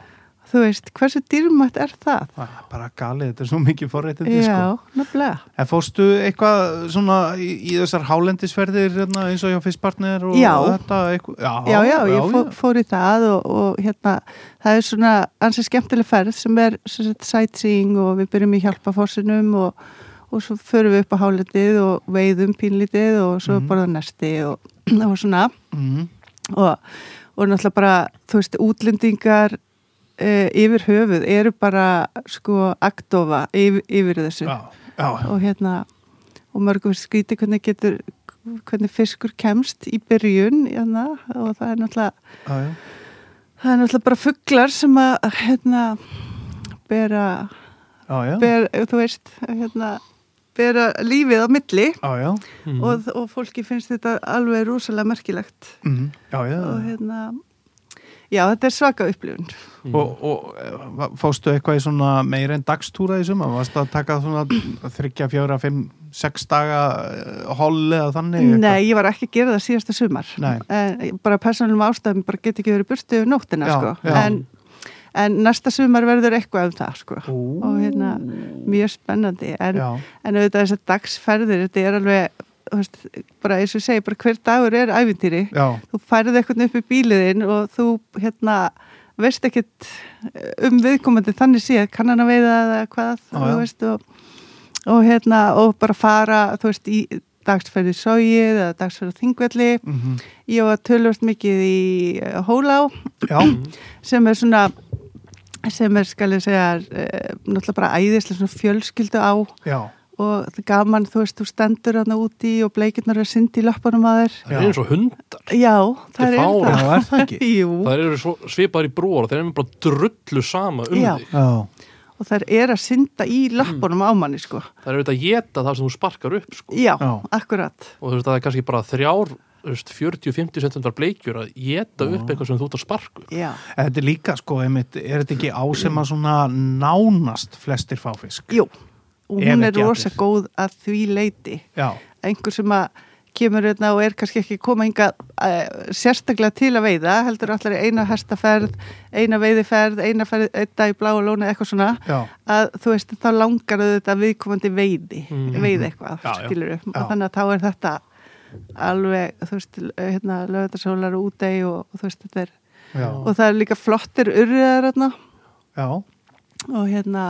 S4: þú veist, hversu dýrmætt er það?
S2: það er bara galið þetta er svo mikið forréttindi sko.
S4: Já, nefnilega
S2: En fórstu eitthvað svona í, í þessar hálendisferðir hérna, eins og hjá fyrstpartner og
S4: Já.
S2: þetta eitthvað,
S4: já, já, ég fó, fór í það og, og hérna, það er svona ansið skemmtileg ferð sem er sem sagt, sightseeing og við byrjum í hjálpafossinum og, og svo förum við upp á hálendið og veiðum pínlítið og svo mm. borða nesti og, (clears throat) og svona
S2: mm,
S4: og, og náttúrulega bara, þú veist, útlendingar e, yfir höfuð eru bara sko aktofa yfir, yfir þessu
S2: já, já, já,
S4: og hérna og mörgum finnst skrítið hvernig getur hvernig fiskur kemst í byrjun hérna, og það er náttúrulega
S2: já, já.
S4: það er náttúrulega bara fugglar sem að hérna bera,
S2: Já, já.
S4: ber, þú veist hérna, bera lífið á milli
S2: Já, já.
S1: mm.
S4: og, og fólki finnst þetta alveg rosalega merkilegt
S2: Mm, já, já.
S4: og hérna já, þetta er svaka upplifun
S2: Og, og eh, va- fórstu eitthvað í svona meira en dagstúra í suma? Varstu að taka svona þryggja, fjóra, fimm, sex daga holl eða þannig? eitthvað?
S4: Nei, ég var ekki að gera það síðasta sumar
S2: Nei.
S4: en bara persónum ástæðum bara get ekki verið burtu um nóttina
S2: Já,
S4: sko.
S2: já.
S4: en, en næsta sumar verður eitthvað um það sko.
S2: Ú.
S4: og hérna, mjög spennandi en,
S2: Já.
S4: en auðvitað þessar dagsferðir þetta er alveg, þú veist, bara eins og ég segi bara hver dagur er æfintýri
S2: Já,
S4: þú færið eitthvað upp í bíliðin og þú hérna veist ekkit um viðkomandi þannig séð kann hann að veiða eða hvað
S2: Já,
S4: þú
S2: já.
S4: veist og, og hérna og bara fara þú veist í dagsferði sóið eða dagsferði þingvelli
S2: Mhm.
S4: ég var tölvöld mikið í eh, Hólá
S2: já,
S4: sem er svona sem er skal ég segja eh, náttúrulega bara æðislega svona fjölskyldu á
S2: já.
S4: og það er gaman þú veist þú stendur hann úti og bleikirnar er synd í löppunum að þér
S1: það er eins og hundar
S4: já, það
S1: Þetta
S4: er
S1: er fáránlegt.
S2: Já, er það ekki?
S4: (laughs) Jú,
S1: það eru svo svipaðar í brúar og þeir eru bara drullu sama um
S4: Já.
S1: þig
S2: Já,
S4: og þær er að synda í lappunum á manni, sko.
S1: það eru auðvitað að geta það sem þú sparkar upp sko.
S4: Já,
S2: Já.
S4: akkurat.
S1: og þú veist það er kannski bara þrjár þú veist, 40-50 centum var bleikjur að geta upp eitthvað sem þú ert að sparku
S4: Já,
S2: þetta er líka sko, einmitt, er þetta ekki á sem að svona nánast flestir fá fisk?
S4: jú. Og
S2: Ef
S4: hún
S2: ekki
S4: er rosa
S2: allir.
S4: góð að því leiti.
S2: Já,
S4: Einhver sem að kemur hérna og er kannski ekki koma hinga sérstaklega til að veiða, heldur allar í eina hestaferð, eina veiðiferð, eina ferð, einn dag í blá og lóna eitthvað svona,
S2: já,
S4: að þú veist, þá langar þau þetta viðkomandi veiði,
S1: Mhm.
S4: veiði
S2: Mm.
S4: eitthvað,
S2: Já, já.
S4: skilur upp,
S2: Já.
S4: og þannig að þá er þetta alveg, þú veist, hérna, lögðarsólar og útegi og, og þú veist, þetta er,
S2: já,
S4: og það er líka flottir urriðar hérna,
S2: já,
S4: og hérna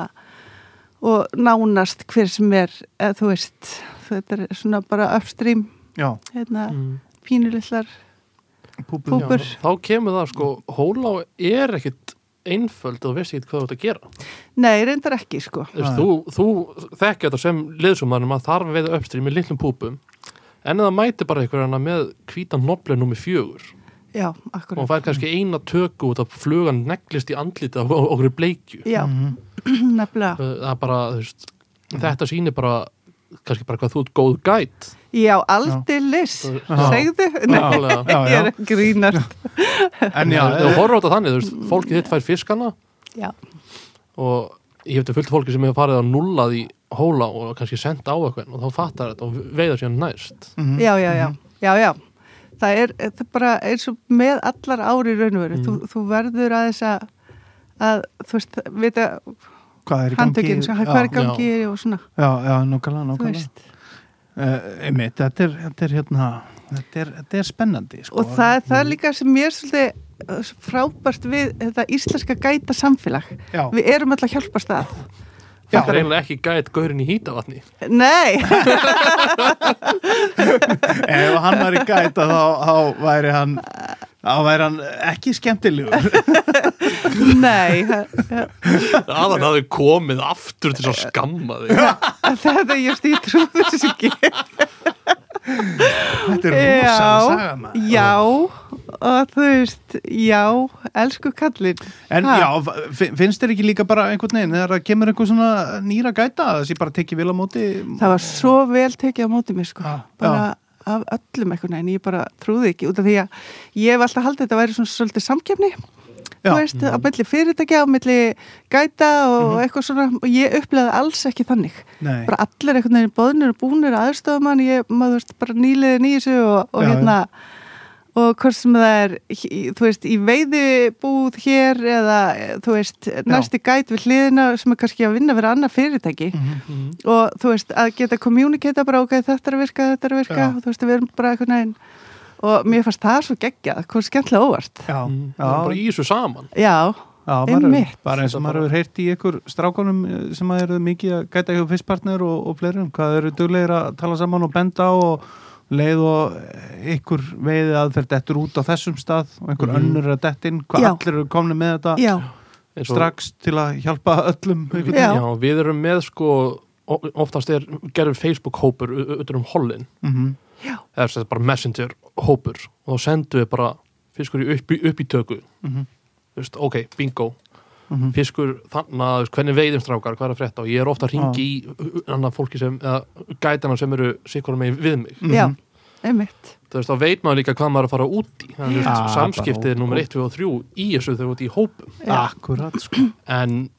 S4: og nánast hver sem er eða, þú veist, þetta er svona bara upstream,
S2: já,
S4: hérna mm.
S1: Mm.
S4: pínulillar
S2: púpur.
S4: púpur
S1: Þá kemur það sko, hólá er ekkit einföld og þú veist ekki hvað þú ert að gera
S4: nei, reyndar ekki sko
S1: Þú veist,
S2: Nei.
S1: þú, þú þekkja þetta sem liðsumarnum að þarf að veiða uppstrið með litlum púpum en það mæti bara einhver hana með hvítan noblen nummi fjögur
S4: já,
S1: og hún
S4: akkurat,
S2: Mm.
S1: fær kannski eina töku út að flugan neglist í andlita og okkur bleikju
S4: já, (clears throat)
S2: Mhm.
S1: Ah.
S4: nefnilega
S1: það er bara, þú veist, þetta sýnir bara kannski bara hvað þú ert góð gæt
S4: já, aldilis,
S1: Já.
S4: segðu nei,
S1: Nálega.
S2: Já,
S4: (laughs) ég
S2: já.
S4: er að grínast
S2: En já, eh.
S1: þú horfður á þetta þannig, þú veist, fólkið þitt fær fiskana
S4: já,
S1: og ég hefði fullt fólki sem hefur farið að nullað í hóla og kannski senda á eitthvað og þá fattar þetta og veiða sér næst
S2: mhm.
S4: já, já, já, já, já. Það er, eh, það er bara eins og með allar ári raun og veru,
S2: Mhm.
S4: þú, þú verður að þess að, að þú veist, vita
S2: hvað er í gangi?
S4: handtökin, sem- hvað er í
S1: Já.
S4: gangi og svona,
S2: Já, já, nokkala,
S4: þú
S2: nokkala.
S4: veist
S2: Uh, einmitt, þetta er, þetta er hérna, þetta er, þetta er spennandi, sko.
S4: og það, það er líka sem ég er svolítið uh, svo frábært við þetta íslenska gæta samfélag
S2: Já,
S4: við erum alltaf hjálpast að
S2: já,
S1: það er eiginlega ekki gæt gaurinn í hýtavatni
S4: nei, (laughs)
S2: ef hann var í gæta þá, þá væri hann, þá væri hann ekki
S4: (laughs)
S2: skemmtilegur.
S4: nei það-
S1: aðan hafði komið aftur til að skamma þig
S4: (laughs) það er just ég trú þess ekki
S2: Þetta er rosalega saga
S4: já,
S2: maður.
S4: já og þú veist, já elsku kallinn
S2: En
S4: Ha.
S2: já, fi- finnst þér ekki líka bara einhvern veginn, þegar það kemur einhver svona nýra gæta, þess ég bara tekið vil á móti
S4: það var svo vel tekið á móti mér sko
S2: Já,
S4: bara af öllum eitthvað en ég bara trúði ekki út af því að ég hef alltaf haldið að þetta væri svona svolítið samkefni
S2: Já.
S4: þú veist, á milli fyrirtækja, á milli gæta og
S2: Mhm.
S4: eitthvað svona og ég upplegaði alls ekki þannig
S2: Nei,
S4: bara allir einhvern veginn bóðnir og búnir aðstofamann, ég maður þú veist bara nýliðin í þessu og, og
S2: Já, já.
S4: hérna og hvort sem það er í- þú veist, í veiðibúð hér eða þú veist, næsti gæt við hliðina sem er kannski að vinna vera annað fyrirtæki
S2: Mm. Mhm,
S4: og þú veist, að geta kommunikata bara ok, þetta er að virka, þetta er að virka
S2: Já.
S4: og þú veist, við erum bara eitthvað neginn og mér fannst það svo geggjað, hvað skemmtilega óvart
S2: já,
S1: það
S2: já,
S1: var bara í þessu saman
S4: já,
S2: já maður,
S4: einmitt.
S2: bara eins og maður hefur heyrt í ykkur strákunum eh, sem að eru mikið að gæta hjá fyrstpartner og, og fleirum, hvað eru duglegir að tala saman og benda á og leið og eh, ykkur veiði aðferð dettur út á þessum stað og einhver
S1: Mhm.
S2: önnur er að dettin, hvað
S4: Já.
S2: allir eru komni með þetta
S4: já,
S1: Eins og-
S2: strax til að hjálpa öllum einhvern
S1: við,
S4: Já.
S1: já. við erum með sko o- oftast er, gerum Facebook hópur utan um hollin,
S2: Mhm.
S4: já,
S1: eða sem sagt bara messenger hópur og þá sendum við bara fiskur í upp, upp í tökku
S2: Mhm.
S1: Vist, ok, bingo,
S2: Mhm.
S1: fiskur þannig að þú veist, hvernig veiðum strákar, hvað er að frétta og ég er ofta að ringi í annað fólki sem eða gætana sem eru sikvarum megin við mig
S2: Mhm.
S4: já einmitt,
S1: þú veist, þá veit maður líka hvað maður er að fara út í þannig
S2: Já,
S1: að
S2: bara
S1: samskiptið er
S2: út-
S1: nummer 1, 2 og 3 í þessu þegar þú ert í hópum
S4: já,
S2: Akkurat, sko.
S1: en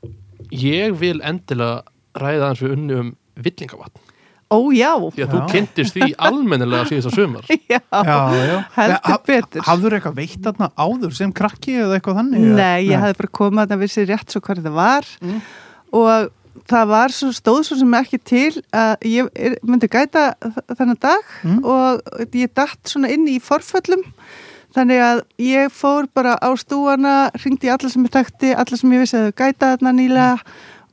S1: ég vil endilega ræða aðeins við unni um villingavatn
S4: ó já
S1: því að þú
S2: Já. (laughs)
S1: kynntist því almennilega síðasta sumar
S4: (laughs) já,
S2: Já, já.
S4: heldur
S2: Ha-
S4: betur
S2: Hafður eitthvað veitt þarna áður sem krakki eða eitthvað þannig? eða?
S4: Nei, ég hafði bara komað að það vissi rétt svo hvað það var
S2: Mm.
S4: og það var svo stóð svo sem ekki til að ég er- myndi gæta þ- þennan dag
S2: Mm.
S4: og ég datt svona inn í forföllum þannig að ég fór bara á stúana ringdi í alla sem ég takti, alla sem ég vissi að þau gæta þarna
S2: Mm.
S4: nýlega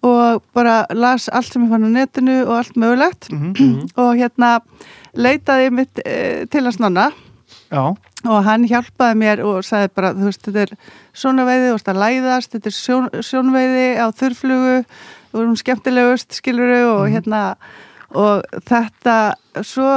S4: og bara las allt sem ég fann á netinu og allt mögulegt
S2: Mhm.
S4: og hérna leitaði mitt e, til að snanna
S2: Já,
S4: og hann hjálpaði mér og sagði bara, þú veist, þetta er svona veiði, þú veist að læðast, þetta er sjón, sjónveiði á þurrflugu, þú erum skemmtilegust, skiluru og
S2: Mhm.
S4: hérna og þetta svo,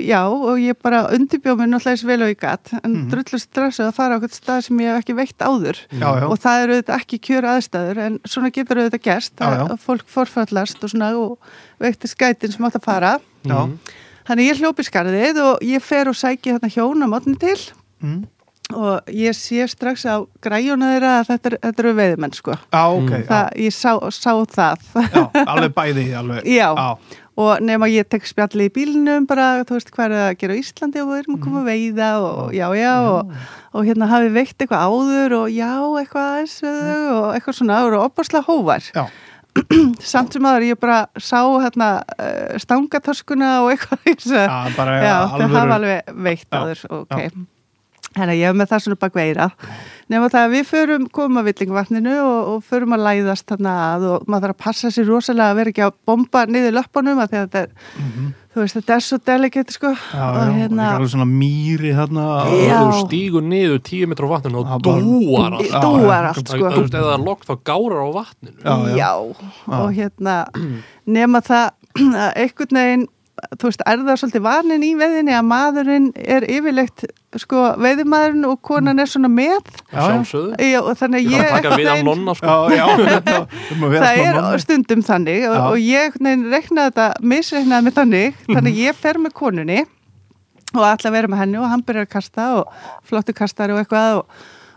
S4: já, og ég bara undirbjóð mér náttúrulega eins vel og ég gat en mm
S2: Mhm.
S4: drullu stressuð að fara á eitthvað stað sem ég hef ekki veitt áður
S2: já, já.
S4: og það eru auðvitað ekki kjör aðstæður en svona getur auðvitað gerst
S2: Já, já.
S4: að fólk forfallast og svona og veitti skætin sem átt að fara
S2: Já.
S1: Mhm.
S4: þannig ég hljópi skarðið og ég fer og sæki þarna hjón á mótni til
S2: Mm.
S4: og ég sé strax á græjuna þeirra að þetta, er- þetta eru veiðmenn sko.
S2: Já, ok,
S4: Það, ég sá, sá það (laughs)
S2: já, já, alveg bæði, alveg.
S4: Já.
S2: já,
S4: og nema ég tek spjalli í bílnum bara, þú veist, hvað er að gera á Íslandi og við erum að koma að veiða og já, já og, og hérna hafi veikt eitthvað áður og já, eitthvað aðeins við þau og eitthvað svona, það eru opaslega hóvar
S2: já.
S4: (clears throat) samt sem aður ég bara sá hérna eh, stangatöskuna og eitthvað (laughs) þess að-
S2: Já, bara,
S4: já,
S2: alvöru-
S4: þau hafa alveg veikt
S2: Já,
S4: áður, ok Þannig að ég hef með það svona bakveira nema það að við förum, komum að villingvatninu og, og förum að læðast þarna að og maður þarf að passa sér rosalega að vera ekki að bomba niður löppunum að því að þetta er þú veist, þetta er svo delicate sko
S2: Mhm. Já, já,
S4: og
S2: hérna,
S4: hérna
S2: alveg svona mýri þarna
S1: Og
S4: Já.
S1: þú stígur niður 10 metrar á vatninu
S2: Já,
S1: og
S2: bara-
S1: dúar
S4: í-
S1: allt
S2: Já,
S4: dúar
S1: Það-
S4: allt
S1: það-
S4: sko
S1: Þú veist, ef það er lokk þá gárar á vatninu
S2: Já, já.
S4: og hérna nema það (clears throat) að einhvern veginn þú veist, er það svolítið vanin í veðinni að maðurinn er yfirleitt sko, veiðimaðurinn og
S2: Mm.
S4: konan er svona með
S2: Já, já.
S1: sjálfsögðu
S4: já, og þannig að
S1: Það er
S4: ég
S1: að taka við af nonna sko
S2: Já, já, þetta, um að vera
S4: það
S2: smá
S4: er
S2: nonni.
S4: stundum þannig og,
S2: Já. Mhm.
S4: og ég nein, reiknaði þetta, misreiknaði mig þannig þannig að ég fer með konunni og ætla að vera með henni og hann byrjar að kasta og flottu kastari og eitthvað og,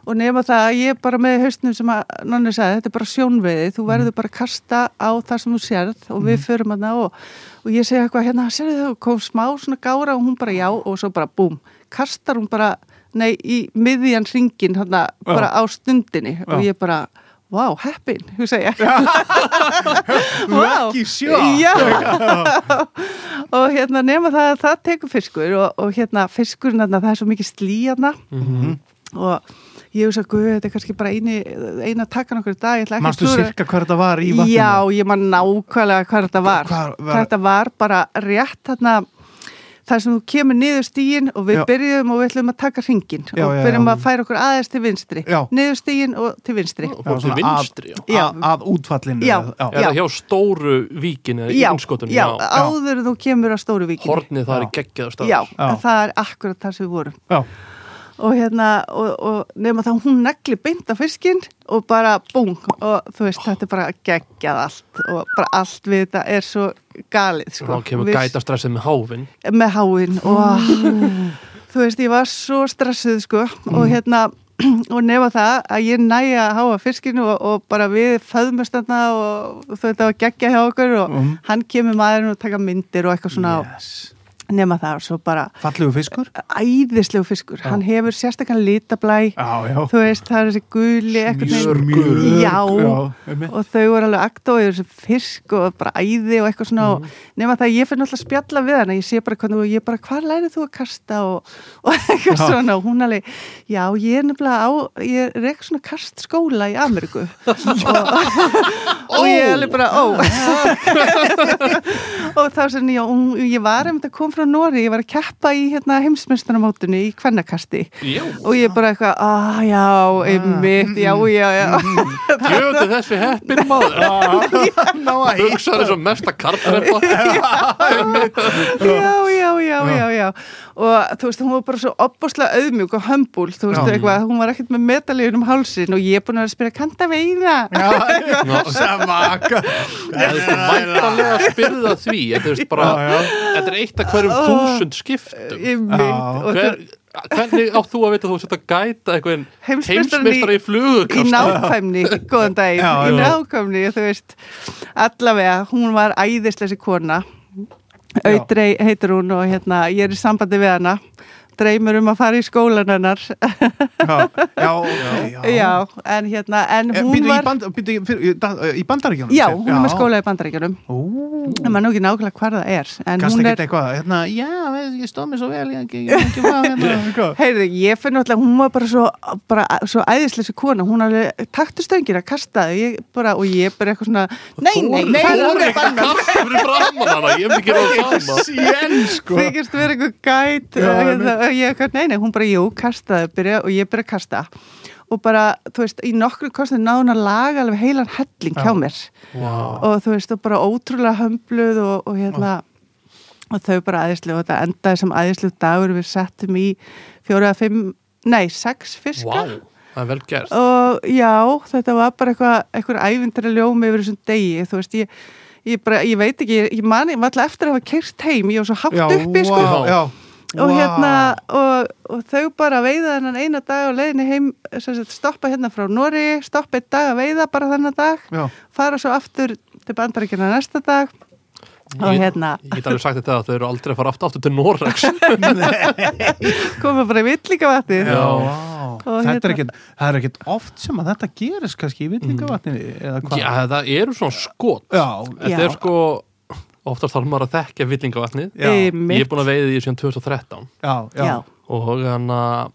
S4: og nema það að ég er bara með haustnum sem að nonni sagði, þetta er bara sjónveiði þú
S2: Mhm.
S4: verður bara að kasta á það sem þú sérð og við förum að það og, og ég segi eitthvað hérna, sérðu þau, kom smá svona gára og hún bara já og svo bara búm kastar hún bara, nei, í miðjan ringin, hérna,
S2: Já.
S4: bara á stundinni og
S2: Já.
S4: ég bara, vá, heppin þú segja Vá.
S2: Lucky shot. (laughs)
S4: Já. og hérna nema það að það tekur fiskur og, og hérna fiskurinn þarna, það er svo mikið slíjana
S2: Mm. Mhm.
S4: og ég hugsa, guð, þetta er kannski bara eini, eina takkan okkur í dag, ég ætla ekki
S2: Manstu
S4: klúðra-
S2: sirka hvað þetta var í vatninu?
S4: Já, ég man nákvæmlega hvað þetta var.
S2: Hvar var-
S4: Þetta var bara rétt þarna þar sem þú kemur niður stígin og við
S2: Já.
S4: byrjum og við ætlum að taka hringin
S2: Já,
S4: og
S2: já,
S4: byrjum
S2: já.
S4: að færa okkur aðeins til vinstri.
S2: Já.
S4: Niður stígin og til vinstri.
S1: og
S2: Já,
S1: fór til
S2: svona að-
S1: vinstri já.
S4: Já.
S2: Að, að útfallinu.
S4: Já.
S2: já.
S1: Er það hjá stóru víkin eða
S4: Já,
S1: innskotunum
S4: já, áður en þú kemur að stóru víkinni.
S1: Hornið það er geggjaður stafur
S4: Já,
S2: Já.
S4: en það er akkurat þar sem við vorum
S2: já.
S4: og hérna, og, og nema þá hún negli beint af fiskinn og bara búng og þú veist, þetta er bara geggjað allt og bara allt við þetta er svo galið,
S1: Þá
S4: sko
S1: kemur
S4: Við-
S1: gæta stressið með háfinn
S4: með háinn og ah, þú veist, ég var svo stressuð sko
S1: Mm.
S4: og hérna og nefa það að ég næja að háa fiskinu og, og bara við föðmust þarna og þú veit það var geggja hjá okkur og
S1: Mm.
S2: Mhm.
S4: hann kemur maðurinn og taka myndir og eitthvað svona
S2: Yes.
S4: og nema það og svo bara
S2: Fallegu fiskur?
S4: æðislegu fiskur, hann hefur sérstakann litablæ,
S2: Já, já.
S4: þú veist það er þessi guli, eitthvað
S1: Smjör.
S2: Mjög-
S4: Já.
S2: einmitt.
S4: (laughs) og þau voru alveg aktóið þessu fisk og bara æði og eitthvað
S2: Mm.
S4: svona og nema það að ég fyrir náttúrulega að spjalla við hana ég sé bara hvernig, og ég bara hvað lærið þú að kasta og, og (laughs) eitthvað
S2: Já.
S4: svona og hún alveg, já ég er nefnilega á ég er ekki svona kastskóla í Ameriku og, og ég er alveg bara, ó (laughs) og þá sem ég, og ég var einmitt að kom frá Nóri, ég var að keppa í hérna, heimsmyndstunamótinu í kvennakasti
S1: Já,
S4: og ég bara eitthvað, ah já, einmitt, já,
S2: Mm,
S4: já, já
S1: gjöðu þessi heppin
S4: (laughs)
S1: maður
S2: Ná að hýta.
S1: hugsaður eins og mesta
S4: (laughs)
S1: kartrepa
S2: mm.
S4: já, já, já, já, já og þú veist, hún var bara svo opbúslega auðmjúk og hömbúl, þú veist,
S2: Já.
S4: eitthvað hún var ekkert með metalíun um hálsin og ég er búin að vera að spyrja, kann það veiða?
S2: Já, samaka.
S1: Það er væntalega að spyrða því Þetta er, veist, bara,
S2: Já,
S1: þetta er eitt af hverjum þúsund skiptum
S4: Einmitt. Og
S1: Hver, Hvernig átt þú að vita að þú sett að gæta einhvern
S4: Heimsmeistarinn í-
S1: heimsmeistara í
S4: í
S1: flugukast
S4: nákvæmni, góðan dag
S2: Já,
S4: í
S2: já.
S4: nákvæmni, þú veist allavega, hún var æðislesi kona Auðrey heitir hún og hérna, ég er í sambandi við hana dreymur um að fara í skólan hennar
S2: Já, já, ok, já.
S4: já, en hérna en
S2: Eh,
S4: hún
S2: Býttu, í,
S4: var,
S2: band, býttu fyrir, í da- í bandaríkjónum?
S4: já, hún er með skóla í bandaríkjunum
S2: Ú,
S4: en maður nú ekki nákvæmlega hvar það er en
S2: kannski
S4: hún er
S2: ekkert eitthvað, hérna, já, veist, ég stóð mér svo vel, ég, ég, ég, ég var (laughs) hérna, eitthvað.
S4: Heyrðu, ég finn náttúrulega, hún var bara svo, bara, svo æðislega kona, hún alveg taktu stöngir að kasta þau, ég bara, og ég bara eitthvað svona, nei, nei, nei,
S1: Þú er
S4: nei,
S1: ekki kast fyrir framann hana Ég hef ekki gera það sama
S2: Sén, sko.
S4: þykist vera eitthvað gæt,
S2: Já,
S4: og
S2: einmitt.
S4: hérna, og ég eitthvað, nei, nei, hún bara, jú, kastaði, byrja, og ég byrja að kasta, og bara, þú veist, í nokkru kostið náði hún að laga alveg heilan helling hjá mér,
S1: wow.
S4: og þú veist, og bara ótrúlega hömbluð og, og hérna, og þau bara æðislega, og þetta endaði sem æðislega dagur, við settum í fjóra eða fimm, nei, sex fiska,
S1: wow, það er vel gert
S4: og já, þetta var bara eitthvað eitthvað ævindri ljómi yfir þessum degi þú veist, ég, ég, bara, ég veit ekki ég, ég mani, ég var alltaf eftir að hafa kyrst heim ég var svo hátt
S2: Já,
S4: uppi
S2: vá,
S4: sko,
S2: já,
S4: og
S2: Vá.
S4: hérna og, og þau bara veiða þennan eina dag og leiðinni heim, sem sagt, stoppa hérna frá Nóri, stoppa einn dag að veiða bara þennan dag,
S2: Já.
S4: fara svo aftur til bandaríkina næsta dag og hérna
S1: Ég get alveg sagt þetta að þau eru aldrei að fara aftur, aftur til Norex
S4: koma bara í villingavatnið
S2: Já,
S4: Og
S2: þetta er
S4: hérna-
S2: ekkit, það er ekkit oft sem að þetta gerist kannski í vitningavatni eða hvað
S1: Já, það eru svona skot
S2: já,
S1: Þetta
S4: Já.
S1: er sko Oftast þarf maður að þekkja villingavatnið
S2: já, já,
S4: Einmitt.
S1: Ég er búin að veiða í því síðan 2013
S2: já,
S4: Já.
S1: Og hann að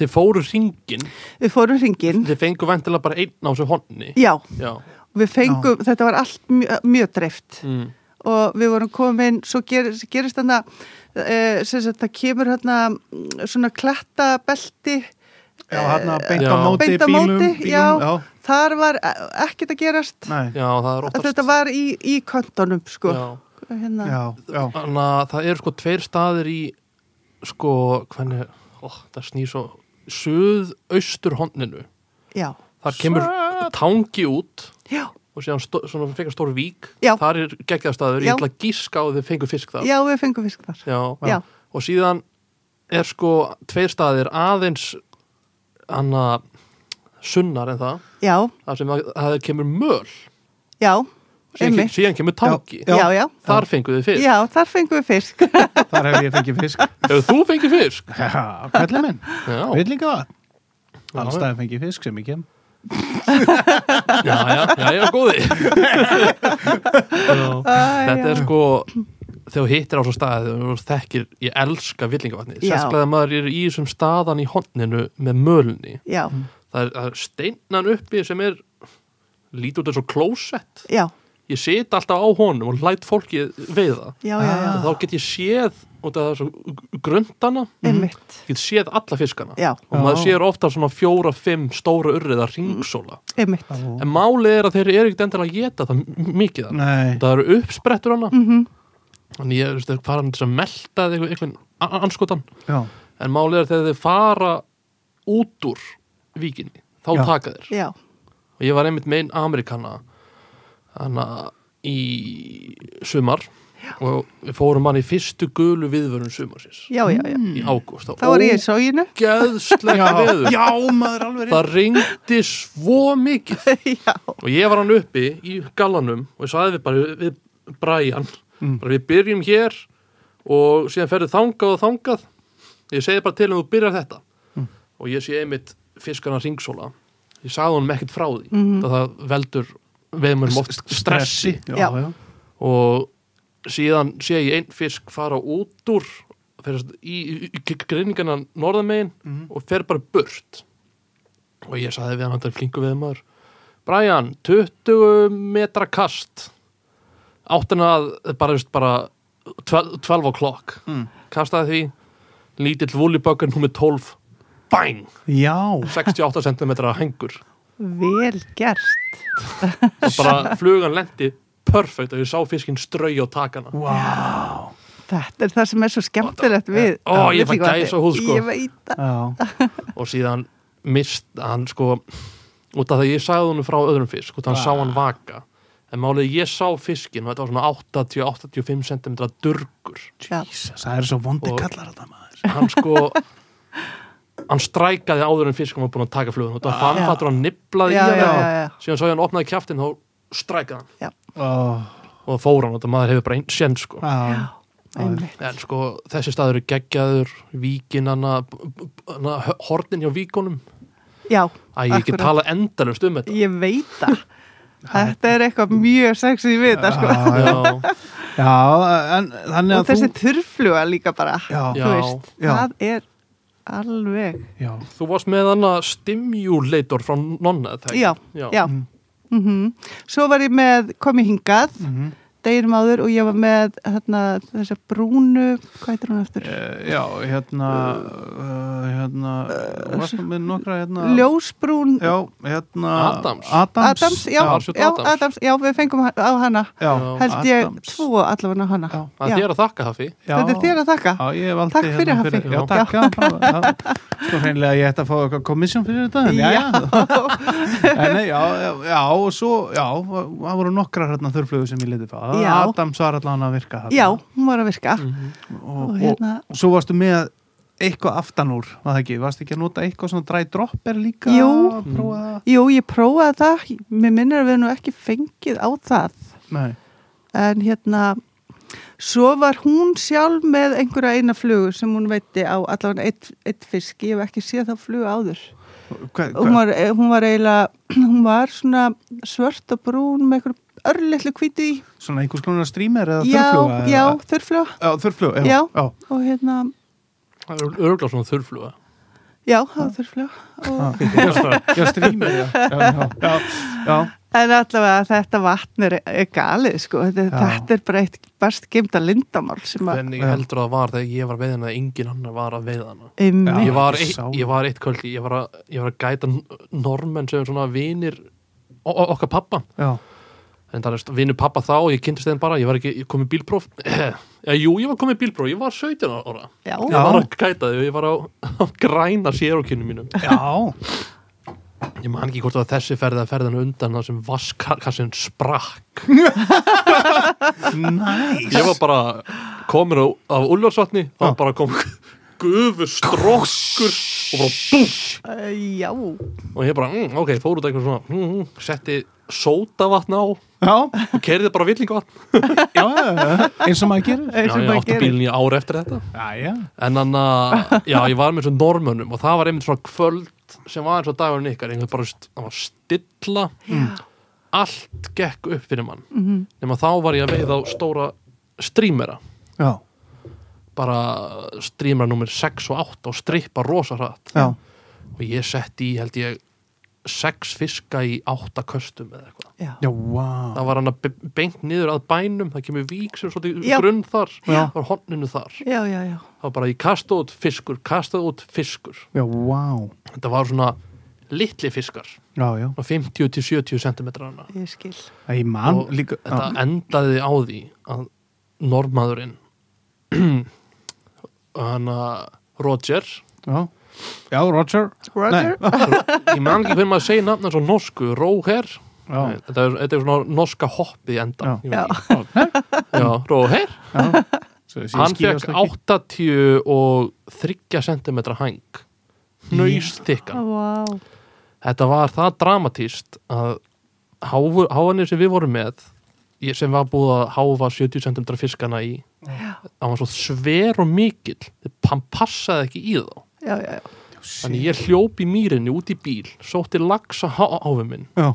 S1: Þið fóru ringin
S4: Við fórum hringin
S1: Þið fengu vendilega bara einn á þessu honni
S4: Já,
S1: Já
S4: við fengum, þetta var allt mjög, mjög dreift
S1: mm.
S4: og við vorum komin, svo gerist, gerist þarna, e, sem sagt, það kemur hérna svona klettabelti
S2: já hann að
S1: Já.
S2: beinta móti
S4: Beint á
S2: bílum,
S4: móti,
S2: bílum
S4: já.
S2: já,
S4: þar var e- ekkert að gerast
S2: nei,
S1: Já, það er oftast
S4: þetta var í, í kontónum sko
S1: Já
S4: hérna.
S2: já, já,
S1: Þannig að það eru sko tveir staðir í sko, hvernig, ó, það snýr svo suðaustur honninu
S4: já,
S1: þar kemur tangi út
S4: já,
S1: og síðan stó, svona fekar stór vík
S4: Já.
S1: þar er geggjastaður, ég
S4: Já.
S1: ætla að gíska og þið fengur fisk þar
S4: já, við fengum fisk þar
S1: Já.
S4: Já.
S1: og síðan er sko tveir staðir aðeins hana sunnar en það,
S4: já,
S1: þar sem að, það kemur möl,
S4: já,
S1: síðan, ke-
S4: einmitt
S1: síðan kemur tangi
S4: já, já,
S1: þar fengur þið fisk
S4: já, þar fengum við
S1: (laughs)
S4: fisk
S2: þar hef ég fengið fisk
S1: Hefur þú fengið fisk?
S2: já, kallið minn,
S1: Já,
S2: vitningavatn
S1: Já.
S2: alls það fengið fisk sem ég kem
S1: já, já, já, já, góði já. Þetta er sko þegar þú hittir á svo staði þegar þú þekkir, ég elska villingavatni
S4: Já.
S1: sérstaklega að maður er í þessum staðan í honninu með mölunni
S4: já,
S1: það er, það er steinan uppi sem er lítið út eins og klósett
S4: já,
S1: ég sit alltaf á honum og læt fólkið veiða
S4: já, já, já.
S1: og þá get ég séð út af þessu gröndana
S4: einmitt
S1: get séð alla fiskana
S4: já,
S1: og maður sér ofta svona fjóra, fimm stóra urriða ringsóla
S4: einmitt
S1: en málið er að þeir eru ekkert endilega að geta það m- mikið þarna.
S2: nei,
S1: það eru uppsprettur hana
S4: mm
S1: þannig ég veist, fara hann til að melta eða einhvern- einhvern a- anskotan
S2: já,
S1: en málið er þegar þeir fara út úr víkinni þá
S2: Já.
S1: taka þeir
S4: já,
S1: og ég var einmitt megin Amerikana hana í sumar og við fórum hann í fyrstu gulu viðvörun sumarsins
S4: já, já, já
S1: í ágúst
S4: þá var ég í sóginu
S1: ógeðslega
S2: já,
S1: viður
S2: já, maður alveg rétt.
S1: það ringdi svo mikið
S4: (laughs) já,
S1: og ég var hann uppi í gallanum og ég sagði við bara við Brian bara við byrjum hér og síðan ferðu þangað og þangað ég segi bara til hann þú byrjar þetta og ég sé einmitt fiskarna ringsóla ég sagði honum ekkert frá því mm. það veldur veðmur oft stressi
S2: já, já,
S1: og síðan sé ég einn fisk fara út úr fer í, í, í grinningana norðamegin og fer bara burt og ég saði við hann þetta er flingu við maður Brian, 20 metra kast áttina að bara, veist, bara 12 12 o'clock mm. kastaði því lítill vúlibökkur nummer 12 bang,
S2: já
S1: 68 cm hengur
S4: vel gert
S1: og bara flugan lendi perfekt og ég sá fiskinn strau á takana
S2: Wow.
S4: þetta er það sem er svo skemmtilegt við
S1: Ó, ég fæ
S4: villingavatnið.
S1: gæsahúð, sko.
S4: ég veit það
S2: Já,
S1: og síðan mist hann sko út af því að ég sagði honum frá öðrum fisk út af hann sá hann
S4: Ah.
S1: vaka en málið ég sá fiskin og þetta var svona 80-85 cm durgur
S4: já,
S2: Jesus, það er svo vondi
S1: Og-
S2: kallar þetta maður
S1: hann
S4: (laughs)
S1: sko hann strækaði áður en fiskum var búin að taka flugun út af hann
S4: Já.
S1: fattur hann niblaði
S4: Ah. já,
S1: í
S4: já,
S1: hann
S4: já, já.
S1: síðan sá ég hann opnaði kjaftin þá strækaði hann
S2: oh,
S1: og það fór hann út af maður hefur bara einn sén sko
S4: Ah.
S2: já,
S4: einmitt
S1: en sko þessi staður er geggjaður víkin hann að hornin hjá víkonum
S4: Já,
S1: að ég ekki
S4: Akkurat.
S1: tala endalust um þetta
S4: ég veit
S1: (laughs)
S4: það. Þetta er eitthvað mjög sexy við þetta,
S1: Ah.
S4: sko.
S1: já,
S2: já en, þannig
S4: Og
S2: að
S4: þessi
S2: þú
S4: þurrfluga líka bara,
S2: Já.
S4: þú
S1: Já.
S4: veist,
S2: Já.
S4: það er alveg,
S2: já,
S1: Þú varst með hana stimulator frá nonna, eða það ekki?
S4: já, já. já. Mm Svo var ég með, kom ég
S1: Mhm.
S4: hingað, mm
S2: mhm.
S4: -hmm. deginum áður og ég var með hérna, þessa brúnu, hvað heitir hún eftir?
S2: Eh, já, hérna uh, hérna,
S4: Eh,
S2: varstu með nokkra hérna
S4: Ljósbrún
S2: já, hérna
S1: Adams.
S2: Adams,
S4: Adams, já,
S1: Adams,
S4: já,
S1: Adams.
S4: Adams, já, við fengum hann- á hana,
S2: já,
S4: held ég
S2: Adams.
S4: tvo allavega á hana.
S2: Já.
S1: Það er þér að þakka, Hafi.
S2: Já.
S4: Þetta er þér að þakka.
S2: Já, ég hef aldrei
S4: Takk fyrir,
S2: hérna
S4: Hafi.
S2: Já,
S1: Já.
S2: takk, já, bara, já. Sko hreinlega ég ætti að fá eitthvað komissjón fyrir þetta en, já, já. En, nei, já, já, já, og svo, já, það voru nokkrar hérna þurflögu sem ég liti fá já.
S4: Já.
S2: Adams var allan að virka þarna.
S4: Já, hún var að virka
S1: Mm,
S2: og,
S4: og
S2: og,
S4: hérna,
S2: og svo varstu með eitthvað aftan úr, var það ekki? Varstu ekki að nota eitthvað svona dry dropper líka?
S4: Jú. Mm.
S2: að prófa það?
S4: jú, ég prófaði það, mér minnir að við nú ekki fengið á það,
S2: Nei.
S4: en hérna, svo var hún sjálf með einhverja eina flugu sem hún veitti á allavega eitt, eitt fisk, ég hef ekki séð þá flugu áður.
S2: Hva,
S4: Hún var, eh, hún var eiginlega, (clears throat) hún var svona svört og brún með einhverju örlittlu hvítu í,
S2: Svona einhvers konar streamer eða
S4: já,
S2: þurrfluga?
S4: já, þurrfluga
S2: Já, þurrfluga, já.
S4: Já.
S2: já.
S4: og hérna,
S1: Það er örgulega svona þurrfluga.
S4: já, það var þurrfluga og...
S2: (laughs) Já, streamer, já. Já, já, já. já.
S4: En allavega þetta vatn er, er galið sko, þetta,
S2: Já.
S4: þetta er bara eitt best gemda lindamál sem að
S1: Þannig
S2: Já.
S1: heldur að það var þegar ég var að veiða hana, engin annar var að veiða hana.
S2: Já.
S1: Ég
S4: einmitt,
S1: var,
S2: ég
S1: eitt,
S2: sá
S1: ég var eitt kvöldi, ég var að, ég var að gæta normenn sem er svona vinir o- o- okkar pappa.
S2: já.
S1: En það er vinur pappa þá og ég kynntist þeim bara, ég var ekki, ég kom í bílpróf. (clears throat) Já, jú, ég var komið í bílpróf, ég var 17 ára.
S4: já,
S1: Ég var að gæta þau, ég var á, á græna sérókynum mínum.
S4: (laughs)
S2: Já,
S1: Ég man ekki hvort það var þessi ferð að ferðan undan það sem vaskassin sprakk.
S2: næs
S1: (laughs) Ég var bara komin á, af Ulfarsvatni, þá bara kom gufu strokkur og bara búf.
S4: Eh, já,
S1: Og ég bara, mm, ok, fór út eitthvað svona, mm, mm, setti sótavatn á og
S2: Já,
S1: kerði bara villingavatn.
S2: já, já, eins og maður gerir
S1: Já,
S4: eins og
S1: ég
S4: maður
S1: átti
S4: gerir.
S1: bílinn í ár eftir þetta.
S2: Já, já,
S1: En hann að, já, ég var með svona normönnum og það var einmitt svona kvöld sem var eins og dagurinn ykkar, einhvern bara, st- það var stilla, allt gekk upp fyrir mann. Mm -hmm. Nefna þá var ég að veið á stóra streamera,
S2: já,
S1: bara streamera nummer 6 og 8 og strippa rosa hratt.
S2: já.
S1: Og ég setti í, held ég, sex fiska í átta köstum eða eitthvað.
S4: Já.
S2: Já, vá
S1: Það var hann að be- beint niður að bænum, það kemur vík sem svolítið
S4: Já.
S1: grunn þar,
S2: Já.
S1: það var honninu þar.
S4: já, já, já,
S1: Það var bara ég kastaði út fiskur, kastaði út fiskur.
S2: Já, vá
S1: þetta var svona litli fiskar
S2: Já, já,
S1: svona 50 til 70 cm hana
S4: ég skil
S2: ég man
S1: Og
S2: líka
S1: þetta endaði á því að normaðurinn (clears throat) hann að Roger
S2: Já, já, Roger
S4: Roger,
S2: Nei,
S1: ég man ekki hvernig maður segir nafn svo norsku, Róher
S2: Já.
S1: Nei, þetta, er, þetta er svona norska hoppið
S2: Já.
S1: enda Ég
S4: já,
S1: veit ekki. (laughs) Já, Róher,
S2: já Svo ég sé
S1: hann
S2: skýrast
S1: fekk
S2: ekki.
S1: 83 og 30 cm hæng nöyst þykkan
S4: vá
S1: þetta var það dramatíst að háfu- háanir sem við vorum með ég- sem var búið að háfa 70 cm fiskana í það var svo sver og mikill hann passaði ekki í þá
S4: já, já, já,
S1: þannig ég hljóp í mýrinni út í bíl sótti lagsa háfi minn
S2: Já,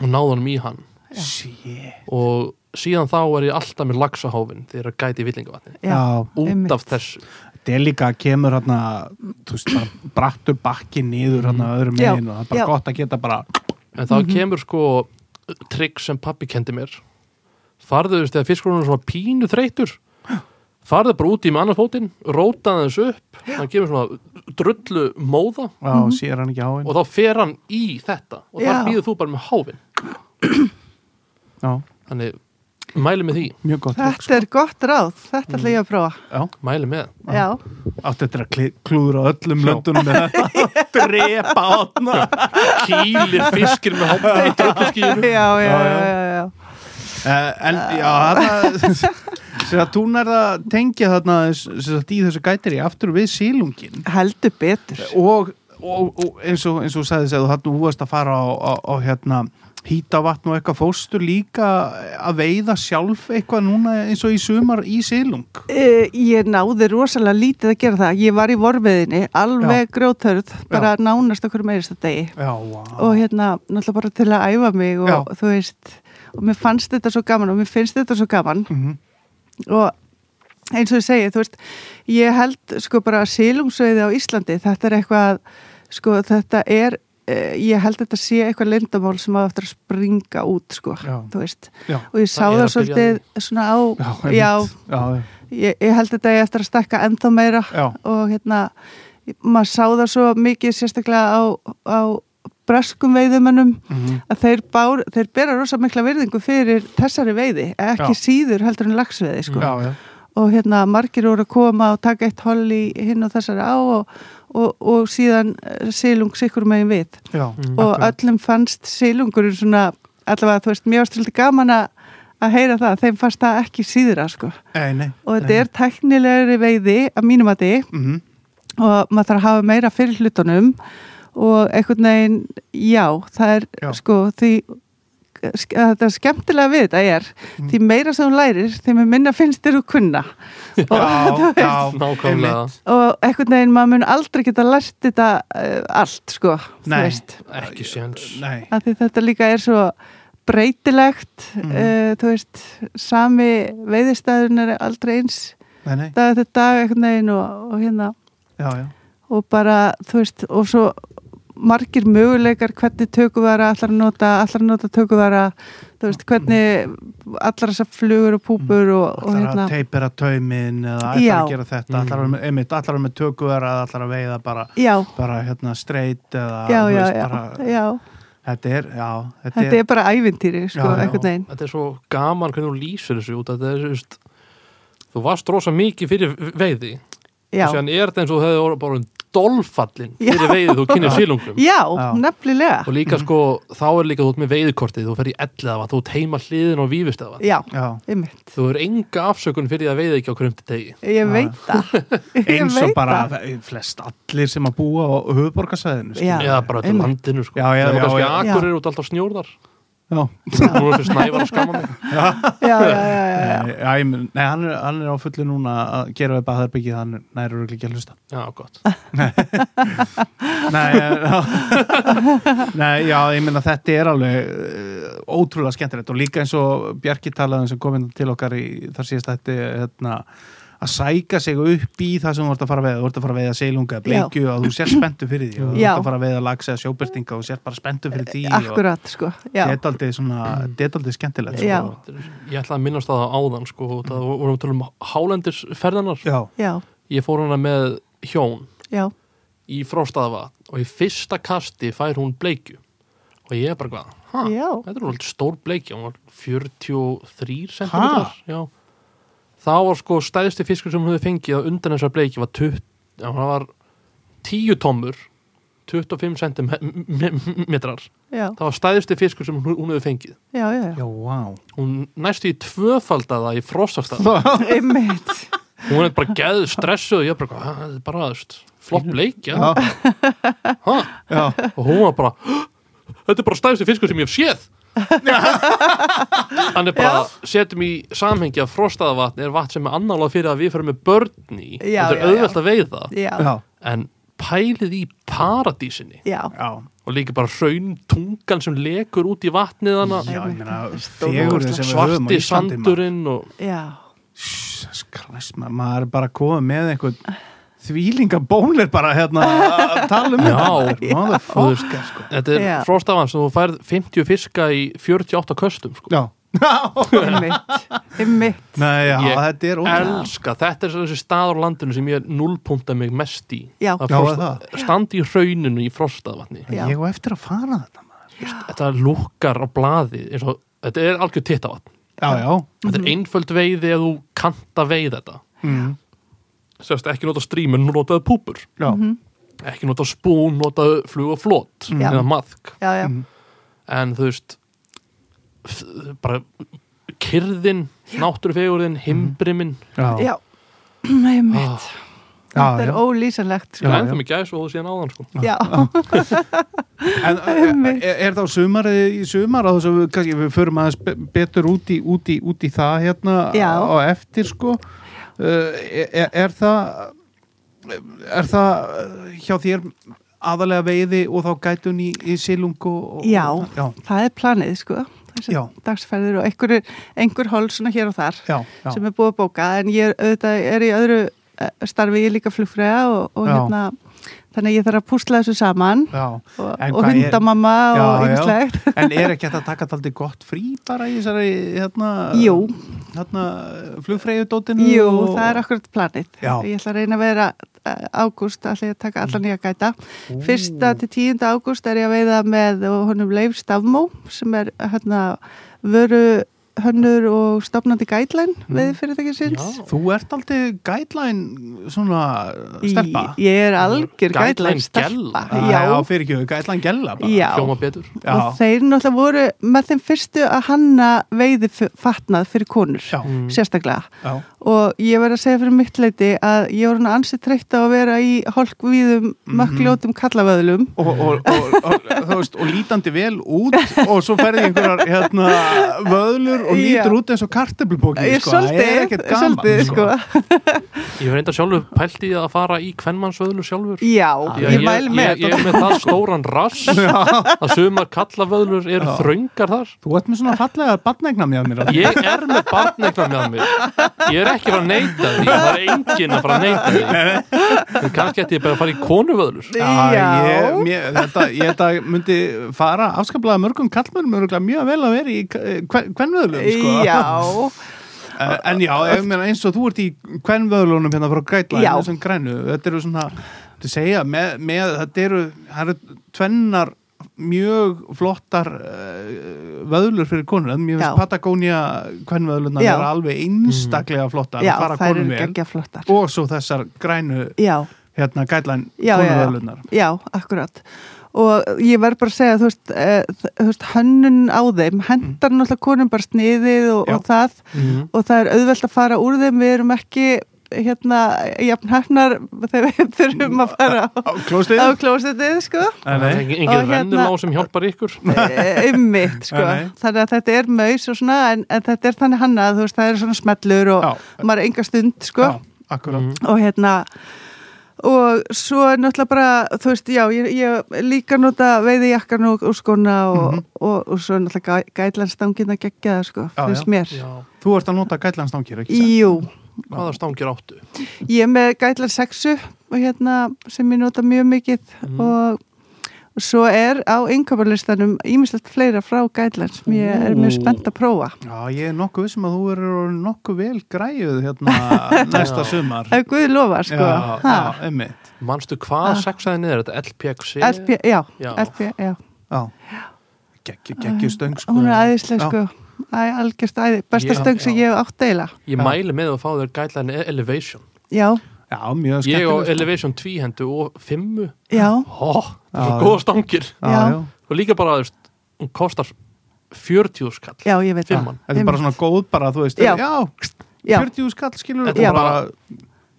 S1: og náði hann í hann
S2: sí
S1: og síðan þá er ég alltaf með lagsa háfin þegar að gæti í villingavatni
S2: Já.
S1: út
S4: einmitt.
S1: af þessu
S2: Þetta er líka kemur hérna, þú veist, bara brattur bakki niður hérna öðrum
S4: Mm. Já,
S2: megin og það er bara
S4: já.
S2: gott að geta bara
S1: en þá kemur sko trikk sem pappi kendi mér farðu, þú veist, þegar fiskurinn er svona pínu þreytur farðu bara út í með annar fótinn rótaði þessu upp það kemur svona drullu móða
S2: Já,
S4: Mm-hmm.
S2: sér hann ekki á henn
S1: og þá fer hann í þetta og
S4: Já.
S1: það býður þú bara með háfinn
S2: Já,
S1: þannig, mæli með því
S2: mjög gott
S4: þetta er gott ráð, þetta ætla ég að prófa
S2: Já,
S1: mæli með,
S4: já,
S2: áttu eftir að kli- klúðra öllum löndunum
S4: (laughs)
S2: með þetta Drepa átna
S1: kýlir fiskir með háfinn í drulluskíðinu
S4: (laughs) já, já, já,
S2: já.
S4: já, já.
S2: Eh, En já, (laughs) þarna Sér að þú nærða að tengja þarna sem sagt, í þessu gæteri aftur við sílungin
S4: heldur betur
S2: og, og, og eins og eins og þú sagði þess að þú varst að fara á, á, á hérna hýta vatn og eitthvað fóstu líka að veiða sjálf eitthvað núna eins og í sumar í silung
S4: Uh, ég náði rosalega lítið að gera það ég var í vorveðinni, alveg grjóthörð bara nánast okkur meirist að degi
S2: Já, vá
S4: og hérna, náttúrulega bara til að æfa mig og
S2: Já.
S4: þú veist, og mér fannst þetta svo gaman og mér finnst þetta svo gaman
S2: Mhm.
S4: og eins og ég segi, þú veist ég held sko bara að sílungsveiði á Íslandi, þetta er eitthvað sko þetta er eh, ég held þetta sé eitthvað lindamál sem á eftir að springa út sko,
S2: Já.
S4: þú veist
S2: Já,
S4: og ég sá
S1: Það er
S4: það
S1: að byrja
S4: svolítið svona á,
S2: já, einmitt.
S4: já
S2: já,
S4: ég, ég held þetta ég eftir að stekka ennþá meira
S2: Já.
S4: og hérna maður sá það svo mikið sérstaklega á, á breskum veiðumönnum
S2: mhm.
S4: að þeir, bár, þeir bera rosa mikla virðingu fyrir þessari veiði ekki
S2: Já.
S4: síður heldur en lagsveiði sko.
S2: já, já.
S4: og hérna margir voru að koma og taka eitt holl í hinn og þessari á og, og, og síðan eh, silung sikkur megin við
S2: já.
S4: Mhm. og öllum fannst silungurinn svona allavega þú veist, mér var svolítið gaman að að heyra það, þeim fannst það ekki síðra sko.
S2: Nei, nei.
S4: og þetta er teknilegri veiði að mínum að þið
S2: Mm -hmm.
S4: og maður þarf að hafa meira fyrir hlutunum og einhvern veginn, já, það er
S2: Já.
S4: sko því þetta er skemmtilega við þetta er
S2: Mm.
S4: því meira sem hún lærir, þeim er minna finnst þér að kunna
S2: Já, já,
S1: Nákvæmlega
S4: og einhvern veginn maður mun aldrei geta lært þetta uh, allt sko, þú
S2: Nei.
S4: veist
S1: Ekki
S2: einmitt.
S1: séns
S2: Nei,
S4: að því þetta líka er svo breytilegt mm. þú veist, sami veiðistæðun er aldrei eins
S2: nei, nei,
S4: dag eftir dag einhvern veginn og, og hérna
S2: já, já.
S4: og bara, þú veist, og svo margir möguleikar hvernig tökuvara allar að nota, allar að nota tökuvara þú veist, hvernig allar þessar flugur og púpur og, og
S2: Allar
S4: hérna
S2: Mm. að teipera taumin eða ætlar
S4: Já.
S2: að gera þetta, allar
S1: Mm.
S2: að vera með, einmitt, allar að vera með tökuvera, allar að veiða bara,
S4: já,
S2: bara hérna streit eða,
S4: já,
S2: þú
S4: já,
S2: veist,
S4: já,
S2: bara,
S4: já
S2: þetta er, já, þetta,
S4: þetta er bara ævintýri, sko,
S2: Já, já.
S4: einhvern veginn
S1: Þetta er svo gaman hvernig þú lýsir þessu út að þetta er, þú veist Þú varst rosa mikið fyrir veiði
S4: já,
S1: og séðan er þetta eins og þú hefði orðið bara um dolfallin
S4: Já.
S1: fyrir veiði þú kynir sílungum
S4: já,
S2: Já.
S1: og
S4: nefnilega
S1: líka sko, þá er líka þú ert með veiðkortið þú fer í elliða þú ert heima hliðin og vífist eða
S4: já,
S2: já,
S4: einmitt,
S1: þú er enga afsökun fyrir því að veiði ekki á krumti degi
S4: ég
S2: Já.
S4: veit það
S1: (laughs)
S4: Ég
S2: eins og
S4: veit
S2: bara
S4: það.
S2: flest allir sem að búa á höfuborgarsæðinu,
S4: Já.
S1: eða bara til
S4: einmitt.
S1: landinu sko
S2: Já, já,
S1: það
S2: já,
S1: er kannski
S2: já.
S1: akkurir út alltaf snjórðar
S2: já,
S1: nú er þessi snævar að skama
S4: (laughs)
S1: mig
S4: já, já, já,
S2: (laughs)
S4: já, já.
S2: Nei, Eh, já, ég mun- nei hann, er, hann er á fullu núna að gera við baðherbyggið, hann næri röglega ekki að hlusta
S1: já, gott
S2: Nei, já, nei, já ég meina þetta er alveg eh, ótrúlega skemmtilegt og líka eins og Bjarki talaðum sem kom inn til okkar í þar síðast þetta hérna, að sæka sig upp í það sem þú ert að fara að veiða, þú ert að fara að veiða seilunga, eða bleikju og þú sér spenntu fyrir því og þú
S4: Já.
S2: ert að fara að veiða lags eða sjóbyrtinga og þú sér bara spenntu fyrir því og
S4: akkurat, sko já,
S2: þetta er aldrei svona, þetta er aldrei skemmtilegt
S4: Já.
S2: sko.
S1: ég ætla að minnast það á áðan sko, og það vorum að tala um hálendisferðanar
S2: já,
S4: já,
S1: ég fór hana með hjón
S4: já,
S1: í frostaðavatn og í fyrsta kasti fær hún bleikju og ég er bara hvað, ha,
S4: Já.
S1: þetta er alveg stór bleikja hún var 43
S2: Ha?
S1: cm þá var sko stæðsti fiskur sem hún hefði fengið á undan þessar bleikju var, 20, já, hún var 10 tommur 25 cm það
S4: já,
S1: var stæðsti fiskur sem hún, hún hefði fengið
S4: já, já, já.
S2: já, wow
S1: hún næstu í tvöfaldaða í frostastað
S4: einmitt
S1: hún er bara geð stressuð og ég er bara, "Ha, þetta er bara þú veist, flott bleikja
S2: já,
S1: ha
S2: já,
S1: og hún var bara "Hå, þetta er bara stæðstu fiskur sem ég hef
S4: (laughs)
S1: séð hann er bara setjum í samhengi að frostaðavatn er vatn sem er annála fyrir að við fyrir með börn í
S4: Já,
S1: þetta er
S4: já,
S1: auðvelt að veiða
S4: já,
S2: já,
S1: en pælið í paradísinni
S4: já,
S2: já.
S1: og líka bara hraun tungan sem lekur út í vatnið hana
S2: Já, ég meina,
S4: Stór-
S2: fegurðin sem við höfum á
S1: svarti
S2: Íslandi, maður.
S1: sandurinn og
S4: já
S2: Jesus Christ, ma maður er bara að koma með einhvern þvílinga bónir bara hérna að tala um
S1: Já.
S2: þetta (laughs) motherfucker sko
S1: þetta er
S4: Já.
S1: frostaðavatn sem þú færð 50 fiska í 48 köstum sko.
S2: Já,
S4: einmitt, einmitt
S2: Nei, já
S1: Ég
S2: þetta er ótrúlega
S1: elska, þetta er svo þessi staður á landinu sem ég nullpunta mig mest í
S4: Já.
S1: Að
S2: Já, er
S1: frosta- standi í hrauninu í frostaðvatni
S4: Já.
S2: Ég á eftir að fara þetta maður
S1: þetta lukkar á blaði eins og, þetta er algjör tittavatn
S2: Já, já,
S1: þetta
S4: Mhm.
S1: er einföld veiði að þú kanta veið þetta
S2: mm.
S1: Sérst, ekki nota strímur, nú notaðu púpur
S2: já.
S1: ekki nota spún, notaðu flug og flót
S4: Mhm, Mm,
S2: Mm,
S4: Já.
S1: eða maðk
S4: já, já,
S1: en þú veist f- bara kyrðin, náttúrufegurðin himbrimin,
S2: já.
S4: já Mhm. (clears throat) einmitt,
S1: ah,
S4: þetta er
S2: já.
S4: ólýsanlegt
S1: ég
S4: sko.
S1: er
S2: Já, já.
S1: ennþá mig gæs og þú síðan áðan sko.
S4: já,
S2: En
S4: (laughs)
S2: eh, er, er þá sumarið í sumar að þess að við, kannski, við förum aðeins be- betur út í, út í, út í það hérna
S4: Já.
S2: á eftir sko uh, er, er það er það uh, hjá þér aðalega veiði og þá gætun í, í silung og, og
S4: já,
S2: já,
S4: það er planið sko, þessi
S2: Já.
S4: dagsferðir og einhver, einhver hol svona hér og þar
S2: já, já.
S4: sem er búið að bóka en ég er, auðvitað, er í öðru eh, starfi, ég er líka flugfræða og, og
S2: Já.
S4: hérna, þannig að ég þarf að púsla þessu saman
S2: já.
S4: og,
S2: En
S4: og
S2: hvað er-
S4: hundamamma
S2: Já,
S4: og
S2: já.
S4: yngislegt
S2: en er ekki hægt að taka þetta gott frí bara í þessari hérna,
S4: Jú.
S2: hérna flugfreyjudótinu
S4: Jú,
S2: og-
S4: það er akkurat planið.
S2: Já.
S4: Ég ætla að reyna að vera eh, ágúst að því að taka alla nýja gæta. Fyrsta til tíunda ágúst er ég að veiða með eh, honum Leif Stafmó sem er hérna vöru hönnur og stopnandi guideline mm. veði fyrirtækisins.
S1: Já.
S2: Þú ert aldrei guideline svona
S4: Í-
S2: stelpa
S4: Ég er algjör
S1: Guideline
S4: guideline stelpa.
S1: gella.
S2: Ah,
S4: Já,
S2: já fyrir ekki, guideline gæla bara
S4: já.
S1: hljóma betur
S4: Og
S2: já,
S4: þeir náttúrulega voru með þeim fyrstu að hanna veiði fatnað fyrir konur,
S2: já,
S1: Mm.
S4: sérstaklega.
S2: já.
S4: Og ég verð að segja fyrir mitt leiti að ég voru hann ansið treytt á að vera í holkvíðum,
S2: Mhm.
S4: mökkljótum kallavöðlum.
S2: Og, og, og, og, þú veist, og lítandi vel út og svo ferði einhverjar hérna, vöðlur og
S4: Já.
S2: lítur út eins og karteblubóki
S4: Ég
S2: sko. það er
S4: svolítið,
S2: ekkert gaman
S4: svolítið, sko.
S1: ég hef reynda sjálfur pælt í að fara í kvennmannsvöðlu sjálfur
S4: Já,
S1: Já,
S4: ég mæl með
S1: ég, ég er með það stóran (laughs) rass að sumar kallavöðlur eru
S2: Já.
S1: þröngar þar
S2: Þú ert með svona fallega barnegna mjög mér Addi.
S1: ég er með barnegna með mér ég er ekki fara að neyta því það er enginn að fara að neyta því en kannski ætti ég bara að fara í konuvöðlur
S4: Já.
S2: ég, mér, þetta, ég þetta myndi fara afskaplega mörgum kallmörnum örugglega mjög vel að vera í hvernvöðlum sko.
S4: Já,
S2: (laughs) Eh, En já, ég meina, eins og þú ert í hvernvöðlunum hérna frá
S4: Já.
S2: grætlæðin sem grænu, þetta eru svona þetta segja, með, með, þetta eru það eru tvennar mjög flottar uh, vöðlur fyrir konur, en mér
S4: Já.
S2: finnst Patagonia hvernvöðlunar
S4: Já.
S2: eru alveg einstaklega flottar,
S4: já,
S2: fara
S4: þær eru
S2: konum vel
S4: geggja flottar.
S2: og svo þessar grænu
S4: Já,
S2: hérna gætlæn
S4: já, já, já.
S2: konuvöðlunar
S4: já, akkurat. Og ég verð bara að segja, þú veist, eh, þ- þú veist hönnun á þeim, hendar náttúrulega konum bara sniðið og,
S2: Mhm. Já.
S4: og það
S1: Mhm.
S4: og það er auðvelt að fara úr þeim, við erum ekki hérna, jafn hefnar þegar við (laughs) þurfum að fara á,
S2: á klóstið
S4: á klósetið, sko.
S1: það er engin- engin
S4: Og hérna-
S1: rennulá sem hjálpar ykkur
S4: ummitt sko.
S2: Eh. Ah, Nei, nei.
S4: þannig að þetta er maus og svona en, en þetta er þannig hannað, þú veist, það er svona smellur og
S2: Já.
S4: maður er enga stund sko.
S2: Já, akkurat
S4: og hérna og svo er náttúrulega bara þú veist, já, ég, ég líka nota veiði jakkan og, og skona og, og, og svo er náttúrulega gætlanstangin að gegja það, sko,
S2: Mhm. Já,
S4: finnst
S2: já.
S4: mér
S1: Já.
S2: Þú ert að nota gætlanstangir, ekki satt?
S4: Jú,
S1: hvaða stangir áttu
S4: ég er með gætlan sexu og hérna sem ég nota mjög mikið
S2: Mhm.
S4: og og svo er á yngöparlistanum ímislegt fleira frá gætlan sem ég er mjög spennt að prófa
S2: Já, ég er nokkuð vissum að þú eru nokkuð vel græjuð
S4: (laughs)
S2: hérna næsta sumar
S4: Ef Guði lofa, sko.
S2: Já,
S4: Ha,
S2: já, einmitt
S1: manstu
S4: Ah.
S1: hvað saxaðin er þetta LPXC
S4: LP, já,
S1: Já.
S4: LP, já.
S2: Já, Geggju- geggjuð stöng sko
S4: Hún er aðeinslega,
S2: Já.
S4: sko. Æ, algjörst æði. Besta
S1: Já,
S4: stöng sem
S1: já.
S4: ég hef átt eila.
S1: ég mæli með að fá þér gætlæðin Elevation
S4: Já,
S2: Já, mjög sko.
S1: ég á
S2: skemmtilegt
S1: Elevation 2 hendu og 5
S4: já,
S1: ó, það er
S2: Já.
S1: svo góða stangir
S2: Já,
S4: Já.
S2: já.
S1: og líka bara, þú veist, hún kostar 40 skall
S4: já, ég veit
S1: Fimman.
S2: Þetta er bara svona góð bara, þú veist
S4: Já. Já.
S2: 40 skall skilur
S1: Þetta er
S2: Já.
S1: bara-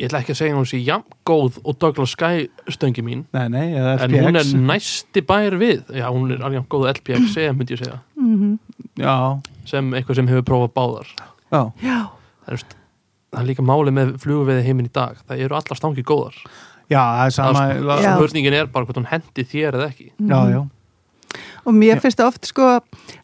S1: ég ætla ekki að segja hún sé jafn góð og Douglas Sky stöngi mín
S2: Nei, nei, eða
S1: en hún er
S2: FPX
S1: næsti bær við já, hún er alveg jafn góð og LPX myndi ég segja,
S4: Mhm.
S2: Já,
S1: sem eitthvað sem hefur prófað báðar
S2: já
S4: Já,
S1: það er, veist, það er líka máli með flugveði heiminn í dag það eru allar stangi góðar
S2: Já, það er sama
S1: Það-
S4: Já.
S1: spurningin er bara hvort hún hendi þér eða ekki
S2: Já, já
S4: mhm. og mér finnst það oft, sko,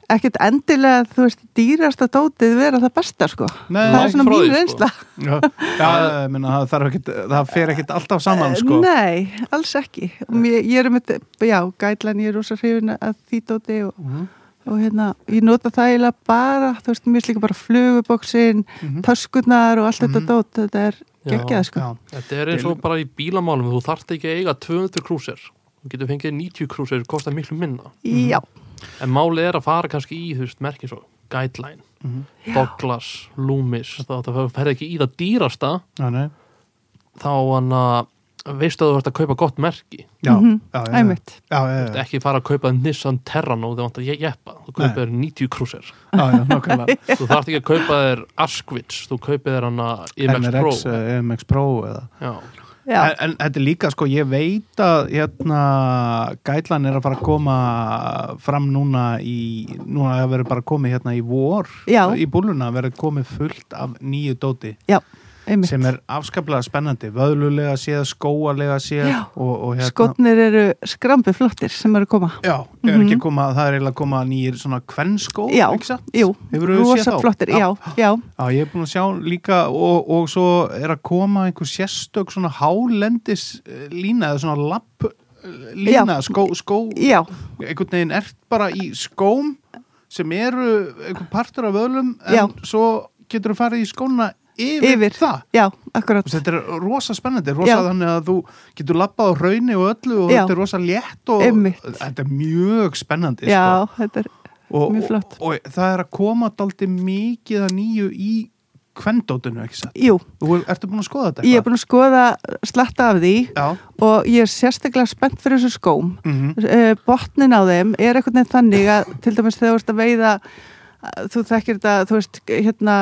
S4: ekkert endilega, þú veist, dýrasta dótið vera það besta, sko.
S2: Nei,
S4: það
S1: nei,
S4: er svona
S1: frá því,
S4: mín
S1: sko.
S4: reynsla.
S2: Já, já ég meina, það, þarf ekkit, það fer ekkit alltaf saman sko.
S4: Eh, Nei, alls ekki. Og mér, ég er um þetta, já, gætlan, ég er rosa hrifin að því dóti og, og hérna, ég nota það eiginlega bara, þú veist, mér slíka bara fluguboksin, töskunar og allt þetta dót, þetta er
S1: Já.
S4: geggjað, sko.
S2: Mm. Mhm. Já.
S1: þetta er eins og bara í bílamálum þú þarft ekki að eiga 200 krúsir þú getur fengið 90 krúsir, kostar miklu minna
S4: Já,
S1: en máli er að fara kannski í þú veist, merkið svo, guideline
S2: Mhm. Mm-hmm.
S1: Douglas, Loomis þá það ferði ekki í það dýrasta
S2: Já, nei.
S1: þá hann að veistu að þú ert að kaupa gott merki
S2: Já,
S4: Mhm.
S2: já, já, já.
S4: æmitt.
S2: Já, já, já, já,
S1: ekki fara að kaupa Nissan Terrano þegar vantar ég jeppa, þú
S2: Nei.
S1: kaupir þér 90 krúsir
S2: já, nákvæmlega (laughs)
S1: þú þarft ekki að kaupa þér Askwitz, þú kaupir þér hann að IMX Pro
S2: MRX, eh, MX Pro eða
S1: Já.
S4: Já,
S2: en, en þetta er líka sko, ég veit að hérna, gætlan er að fara að koma fram núna í, núna það verður bara komið hérna í vor,
S4: Já.
S2: í búluna verður komið fullt af nýju dóti
S4: já, einmitt.
S2: Eh, sem er afskaplega spennandi vöðlulega séð, skóalega séð
S4: Já.
S2: og, og hérna
S4: Skotnir eru skrambi flottir sem eru að koma.
S2: Já, er ekki að koma, það er eiginlega að koma nýjir svona kvenskó,
S4: Mhm. Já,
S2: ekki satt?
S4: jú,
S2: Hefurðu séð
S4: rosa
S2: þá?
S4: flottir, já, já,
S2: Já, ég er búin að sjá líka og, og svo er að koma einhver sérstök svona hálendis eh, lína eða svona lapp eh, lína,
S4: Já.
S2: skó, skó
S4: já,
S2: einhvern veginn ert bara í skóm sem eru einhver partur af öðlum en
S4: Já.
S2: svo getur þú farið í skóna yfir,
S4: yfir.
S2: það
S4: Já, akkurat.
S2: Og Þetta er rosa spennandi, rosa
S4: Já.
S2: þannig að þú getur lappað á raunni og öllu og
S4: Já.
S2: þetta er rosa létt og
S4: Einmitt.
S2: þetta er mjög spennandi sko.
S4: Já, þetta er
S2: og,
S4: Mjög flott.
S2: og, og það er að koma daldi mikið að nýju í kvendótinu, ekki satt?
S4: Jú,
S2: Þú ertu búin að skoða þetta?
S4: ég er búin að skoða slatta af því
S2: Já,
S4: og ég er sérstaklega spennt fyrir þessu skóm.
S2: mm
S4: Eh, Botnin á þeim er einhvern veginn þannig að til dæmis þegar þú ert að veiða þú þekkir þetta, þú veist, hérna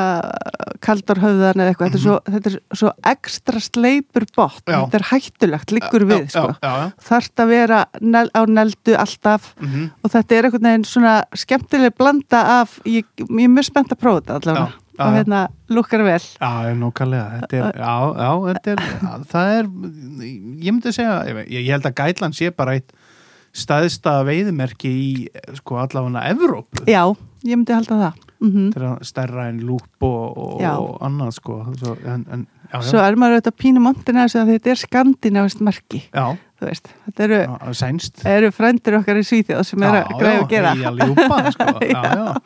S4: kaldorhöfðan eða eitthvað þetta, er svo, þetta er svo ekstra sleipur botn,
S2: Mhm. Já.
S4: þetta er hættulegt, liggur við sko.
S2: Já, já, já.
S4: þarft að vera nel, á neldu alltaf
S2: Mhm.
S4: og þetta er einhvern veginn svona skemmtileg blanda af, ég, ég er mjög spennt að prófa þetta allavega
S2: Já, já,
S4: og
S2: já.
S4: hérna lukkar vel
S2: Já, nákvæmlega, þetta er, já, já, þetta er, það er, ég myndi segja, ég, veit- ég held að Gætland sé bara eitt staðista veiðmerki í, sko, allavega Evrópu.
S4: já, ég myndi halda það mm
S2: Þetta er að stærra en lúp og, og,
S4: Já.
S2: og annað, sko, svo, en, en, já,
S4: svo
S2: já,
S4: er maður auðvitað pínu montin að þessu að þetta er skandinavist merki
S2: já,
S4: þú veist, þetta eru,
S2: já, sænst.
S4: eru frændir okkar í Svíþjóð sem er að græða að gera
S2: Já, já, ljúpa,
S4: (laughs)
S2: sko, já, já,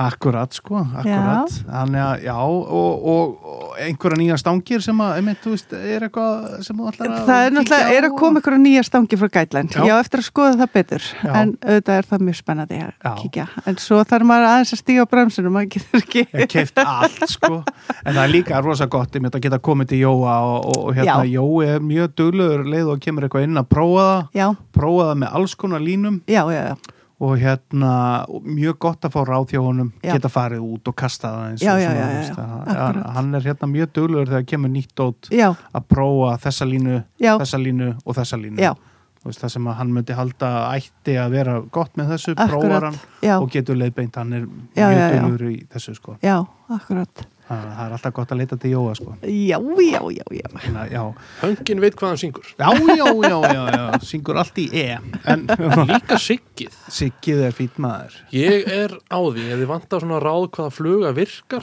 S2: akkurat, sko, akkurat, þannig að, já, og, og, og einhverja nýja stangir sem að, einmitt, þú veist, er eitthvað sem þú ætlar að
S4: Það er
S2: kíkja
S4: náttúrulega,
S2: á
S4: er að
S2: og-
S4: koma ykkur á nýja stangi frá gætlænd.
S2: Já.
S4: Já, eftir að skoða það betur,
S2: Já.
S4: en auðvitað er það mjög spennandi að
S2: Já.
S4: kíkja. En svo þarf maður aðeins að stíga á bremsunum, maður getur ekki.
S2: Ég hef keift allt sko En það er líka rosa gott einmitt að geta komið til Jóa og, og, og hérna
S4: Já.
S2: Jói er mjög duglegur leið og kemur eitthvað inn að prófa það
S4: Já,
S2: prófa það með alls konar línum
S4: já, já, já.
S2: og hérna og mjög gott að fá ráð hjá honum
S4: Já.
S2: geta farið út og kasta það eins
S4: Já,
S2: og
S4: já,
S2: svona,
S4: já, já,
S2: þú veist,
S4: já.
S2: að- að-
S4: Akkurat.
S2: Hann er hérna mjög duglegur þegar kemur nýtt út
S4: Já,
S2: að prófa þessa línu,
S4: Já.
S2: þessa línu og þessa línu
S4: já,
S2: Þú veist, það sem að hann myndi halda að ætti að vera gott með þessu, prófar
S4: akkurat.
S2: hann
S4: Já,
S2: og getur leiðbeint, hann er
S4: Já,
S2: mjög
S4: já, já.
S2: duglegur í þessu sko
S4: já, akkurat.
S2: Það það er alltaf gott að leita til Jóa sko.
S4: Já, já, já, já.
S2: Þannig að, Já,
S1: Höngin veit hvað hann syngur.
S2: já, já, já, já, já. syngur allt í E
S4: (laughs)
S2: en
S1: Líka siggið.
S2: Siggið er fýtt maður
S1: Ég er á því, ef þið vantar svona ráð hvaða fluga virkar,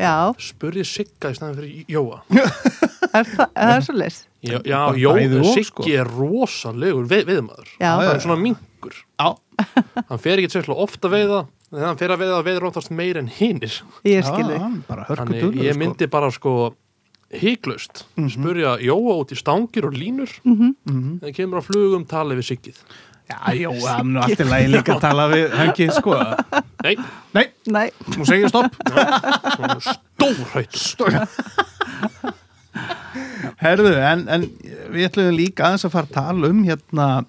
S4: Já,
S1: spurði Sigga í staðan fyrir Jóa.
S4: er það, er það svo leys?
S1: Já, já
S2: Bara
S1: Jóa,
S2: bæði og,
S1: Siggi
S2: sko.
S1: er rosalegur veið, veiðmaður.
S4: Já,
S2: Já,
S1: Hann
S2: já.
S1: er svona mingur.
S2: Já,
S1: Hann fer ekki sérslega ofta veiða, en þegar hann fer að veiða að veiður óttast meir en hinnir.
S4: ég skil þig.
S2: hann bara hörku
S1: Þannig
S2: dullur
S1: ég myndi bara sko híklaust
S2: Mhm.
S1: spurja Jóa út í stangir og línur
S2: Mm.
S1: en kemur á flugum tala við siggið.
S2: Já, já, það er nú allt í lagi líka að tala við hengi, sko
S1: Nei,
S2: Nei,
S4: Nei,
S2: nú segir ég stopp
S1: svona stórhætt.
S2: (laughs)
S1: Stór.
S2: Herðu, en, en við ætlum líka aðeins að fara að tala um hérna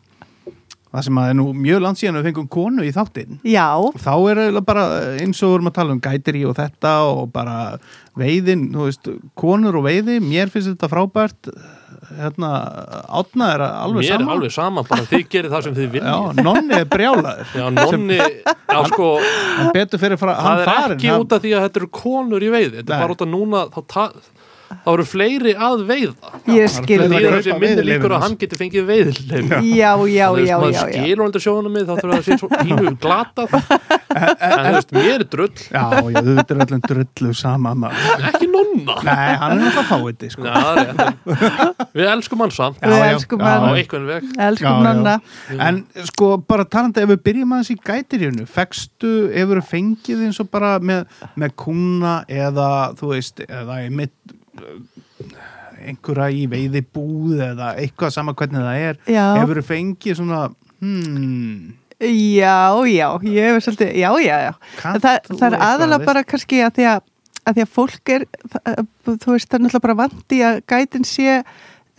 S2: það sem að er nú mjög langt síðan við fengum konu í þáttinn
S4: já,
S2: þá er eiginlega bara eins og við vorum að tala um gæteri og þetta og bara veiðin, þú veist, konur og veiði mér finnst þetta frábært hérna, átna er alveg
S1: Mér er
S2: sama
S1: alveg sama, bara þið gerir það sem þið viljið.
S2: Já, nonni er brjálaður
S1: Já, nonni, já sko,
S2: hann betur fyrir frá,
S1: það
S2: hann
S1: er
S2: farin
S1: ekki
S2: hann,
S1: út af því að þetta eru konur í veiði, þetta
S2: Nei.
S1: er bara út af núna, þá, ta- þá eru fleiri að veiða.
S4: ég
S1: Því
S4: skil
S2: Fleiri að
S1: það
S4: þig.
S1: er
S2: kaupa
S1: þessi minni
S2: veiðileyfin
S1: líkur að
S2: hans.
S1: hann geti fengið veiðilegum.
S4: Já, já, já, já,
S1: maður
S4: já.
S1: skilur undir sjóðunum mið, þá þurfa það að sé svo pínu
S4: (laughs)
S1: glatað. en þú veist, mér er drull,
S2: já, já, þú veitir öllum drullu sama maður.
S1: ekki nonna.
S4: sko.
S2: nei, hann er alltaf fáiði sko.
S1: Já, það er rétt. Við elskum hann samt
S4: Við
S2: já, já.
S4: elskum
S2: Já,
S1: á
S4: hann,
S1: einhvern veg.
S4: elskum nonna.
S2: En sko, bara talandi ef við byrjum aðeins í gætirjönu, fegstu ef við fengið eins og bara með, með kuna eða, þú veist, eða einmitt eh, einhverja í veiði búð eða eitthvað sama hvernig það er
S4: Já.
S2: ef við fengið svona hmm,
S4: Já, já, ég hefur svolítið, já, já, já.
S2: Kannt
S4: Það,
S2: þú
S4: það er
S2: eitthvað,
S4: aðalega
S2: veist?
S4: bara kannski að því að, að því að fólk er, það- þú veist, það er náttúrulega bara vandi að gætin sé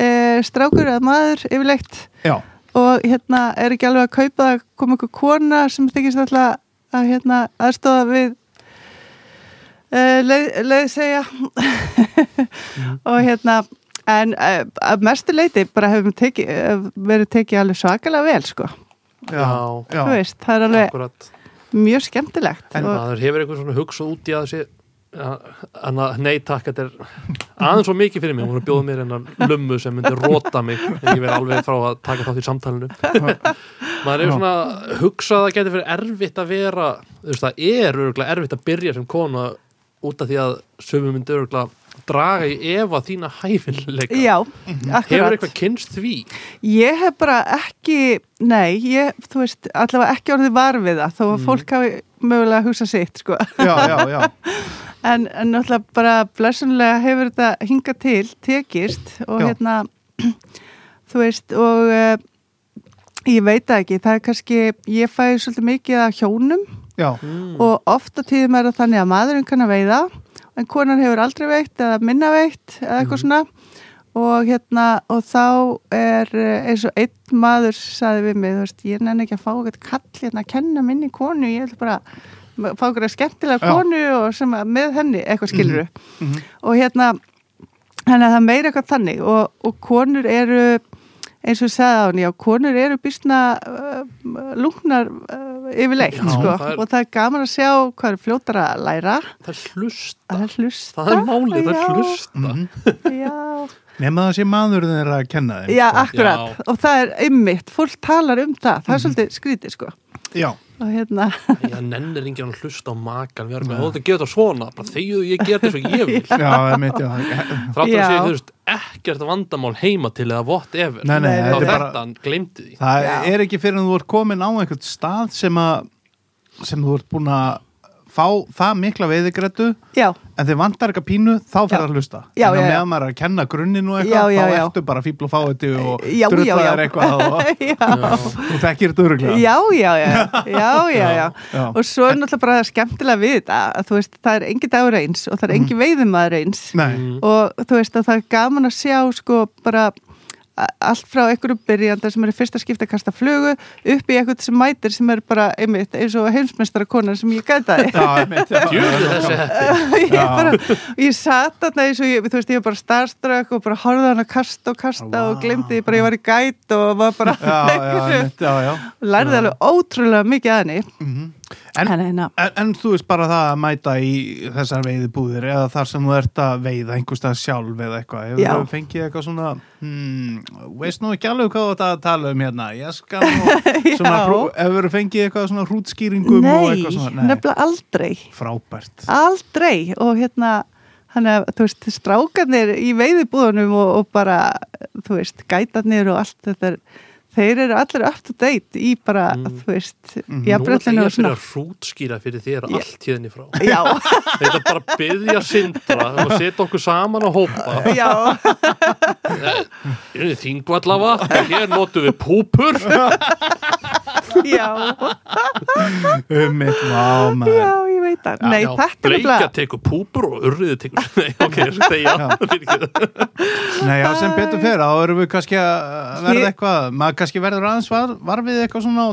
S4: e, strákur eða maður yfirleitt
S2: já,
S4: og hérna er ekki alveg að kaupa það kom einhver kona sem þykist alltaf að hérna aðstofa við e, leið, leið segja
S1: Mhm.
S4: og hérna en e, að mestu leiti bara hefum teki, eh, verið tekið alveg svakalega vel sko,
S2: já,
S1: Já.
S2: já.
S4: þú veist, það er alveg
S1: Akkurat.
S4: mjög skemmtilegt
S1: En
S4: og,
S1: maður hefur einhvern svona hugsað út í að þessi að nei takk, þetta er aðeins svo mikið fyrir mig, hún er að bjóða mér hennar lummu sem myndi róta mig en ég verði alveg frá að taka þátt í
S4: (laughs)
S1: samtalinu maður hefur svona hugsað að það geti verið erfitt að vera þú veist það er örgulega erfitt að byrja sem kona út af því að sömu myndi örgulega draga í efa þína hæfileika
S4: já,
S1: Mhm. hefur
S4: akkurat
S1: eitthvað kynst því
S4: ég hef bara ekki nei, ég, þú veist, allavega ekki orðið varfiða þó
S1: Mhm.
S4: að fólk hafi mögulega hugsað sitt sko.
S2: já, já, já,
S4: en, en náttúrulega bara blessunlega hefur þetta hingað (clears throat) til tekist og
S2: Já.
S4: hérna þú veist og uh, eh, Ég veit það ekki, það er kannski, ég fæ svolítið mikið af hjónum
S2: já,
S4: (laughs) og ofta tíðum er það þannig að maðurinn kann að veiða en konan hefur aldrei veitt eða minna veitt eða
S2: Mm.
S4: eitthvað svona og hérna og þá er eh, eins og einn maður saði við mig, þú veist, ég nenni ekki að fá eitthvað kall hérna að kenna minni konu ég vil bara fá eitthvað skemmtilega
S2: Já.
S4: konu og sem að með henni eitthvað skiluru
S2: Mhm.
S4: og hérna þannig að það er meira eitthvað þannig og, og konur eru eins og ég sagði á hann, já, konur eru býstna uh, lungnar uh, yfirleitt,
S1: Já,
S4: sko
S1: það er-
S4: og það er gaman að sjá hvað er fljótar að læra
S1: það er hlusta
S4: að hlusta
S1: það er málið, það er hlusta
S4: Mm.
S1: (laughs)
S4: já,
S2: Mhm. nema það sé maður þeirra að kenna þeim
S4: já,
S2: sko.
S4: akkurat
S1: Já. Mhm.
S4: og það er ymmit, fólk talar um það það er svolítið skrítið sko
S2: já,
S4: (laughs) og hérna,
S1: ég nennir enginn að hlusta á makan við erum með, þú ert að gera þetta svona bara þegar ég ger þetta svo ég vil
S2: (laughs) já, það er mitt já,
S1: þrátt að
S4: Já.
S1: sé, þú veist, ekkert vandamál heima til eða vott efer
S2: Nei, nei,
S1: þá
S2: þetta er
S1: þetta
S2: bara-
S1: glemdi því
S2: það
S4: Já.
S2: er ekki fyrir en þú ert komin á einhvert stað sem að sem þú ert búin að fá það mikla veiðigrættu
S4: já,
S2: en þeir vantar eitthvað pínu, þá
S4: Já.
S2: fer að hlusta en
S4: Já, já,
S2: að
S4: já.
S2: meðan maður er að kenna grunninn og
S4: Já,
S2: eitthvað
S4: já,
S2: þá
S4: já.
S2: ertu bara fíbl og fáiði og
S4: Já, já, já.
S2: drullaðar eitthvað
S4: (laughs)
S2: og
S4: já
S2: þú þekkir þetta öruglega
S4: já, já, já,
S1: (laughs)
S4: já, já, já.
S2: já.
S4: og svo er náttúrulega bara skemmtilega við þetta að þú veist, það er engi dagur eins og það
S1: Mhm.
S4: er engi veiðumadur eins
S2: Nei,
S4: og þú veist að það er gaman að sjá sko bara a- allt frá einhverju byrjanda sem er í fyrsta skipta að kasta flugu upp í einhvern sem mætir sem er bara einmitt eins og heimsmeistara konar sem ég
S2: (laughs)
S4: gætaði
S2: já, einmitt, já,
S1: Djöfull er þessi heppin.
S4: ég,
S2: Já.
S4: bara, ég satt þarna eins og ég, þú veist, ég var bara starströk og bara horfði á hann að kasta og kasta
S2: Vá.
S4: og glemdi bara ég var í gæt og var bara
S2: já, já, einmitt, já, já.
S4: lærði alveg ótrúlega mikið að henni
S2: En-
S4: en hérna,
S2: En, en þú veist bara það að mæta í þessar veiðibúðir eða þar sem þú ert að veiða einhverstað sjálf eða eitthvað, ef
S4: Já.
S2: þú fengið eitthvað svona hmm, veist nú ekki alveg hvað þú ert að tala um hérna, ég skal nú svona,
S4: (laughs) Já.
S2: hrú, ef þú fengið eitthvað svona hrútskýringum og eitthvað svona, nei,
S4: nefnilega aldrei
S2: frábært
S4: aldrei og hérna þannig að þú veist, strákarnir í veiðibúðunum og, og bara, þú veist gætarnir og allt þetta er, þeir eru allir up to date í bara þú veist, mm.
S1: Nú ætla ég
S4: jafnbröllinu og
S1: fyrir
S4: svona
S1: að hrútskýra fyrir þér
S4: Ég-
S1: allt hérna frá.
S4: já,
S1: (laughs) Þetta er bara að byggja sindra og setja okkur saman að hópa.
S4: já,
S1: Ég er þingvallafa, hér notum við púpur.
S4: já
S2: um mitt, vá maður
S4: já, ég veit það, nei,
S1: Já,
S4: þetta er
S1: Bleikja
S4: nefnilega
S1: tekur púpur og urriði tekur... (laughs) Nei, ok, ég skal tegja.
S2: Nei, já, sem betur fyrir, þá erum við kannski að verða
S4: Ég-
S2: eitthvað, maður kannski verður aðeins var, var við eitthvað svona á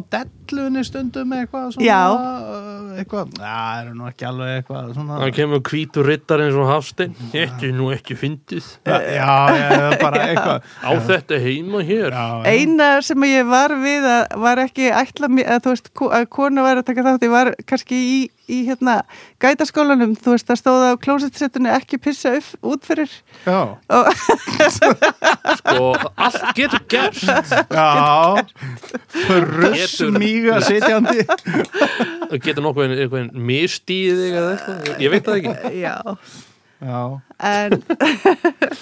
S2: dellunni stundum eitthvað svona,
S4: Já.
S2: uh, eitthvað, já, það eru nú ekki alveg eitthvað svona,
S1: Það kemur hvítur rittar eins og hafstein. Þetta er nú ekki fyndið.
S2: já,
S4: Eh.
S2: já, já,
S4: (laughs)
S2: bara eitthvað,
S1: Á þetta heima hér.
S2: já, já.
S4: eina sem ég var við að var ekki ætla mér, að þú veist ko- að konu var að taka þátt, ég var kannski í, í hérna, gætaskólanum þú veist, það stóð á klósetsetunni ekki pissa upp, út fyrir
S2: já.
S1: Sko, allt getur gerst.
S2: Já,
S1: Getur-
S2: rusmíga
S4: (laughs)
S2: sitjandi
S1: Það getur nokkuð einhvern mistýðið eða eitthvað. Ég veit það ekki.
S4: já
S2: Já,
S4: en, (laughs)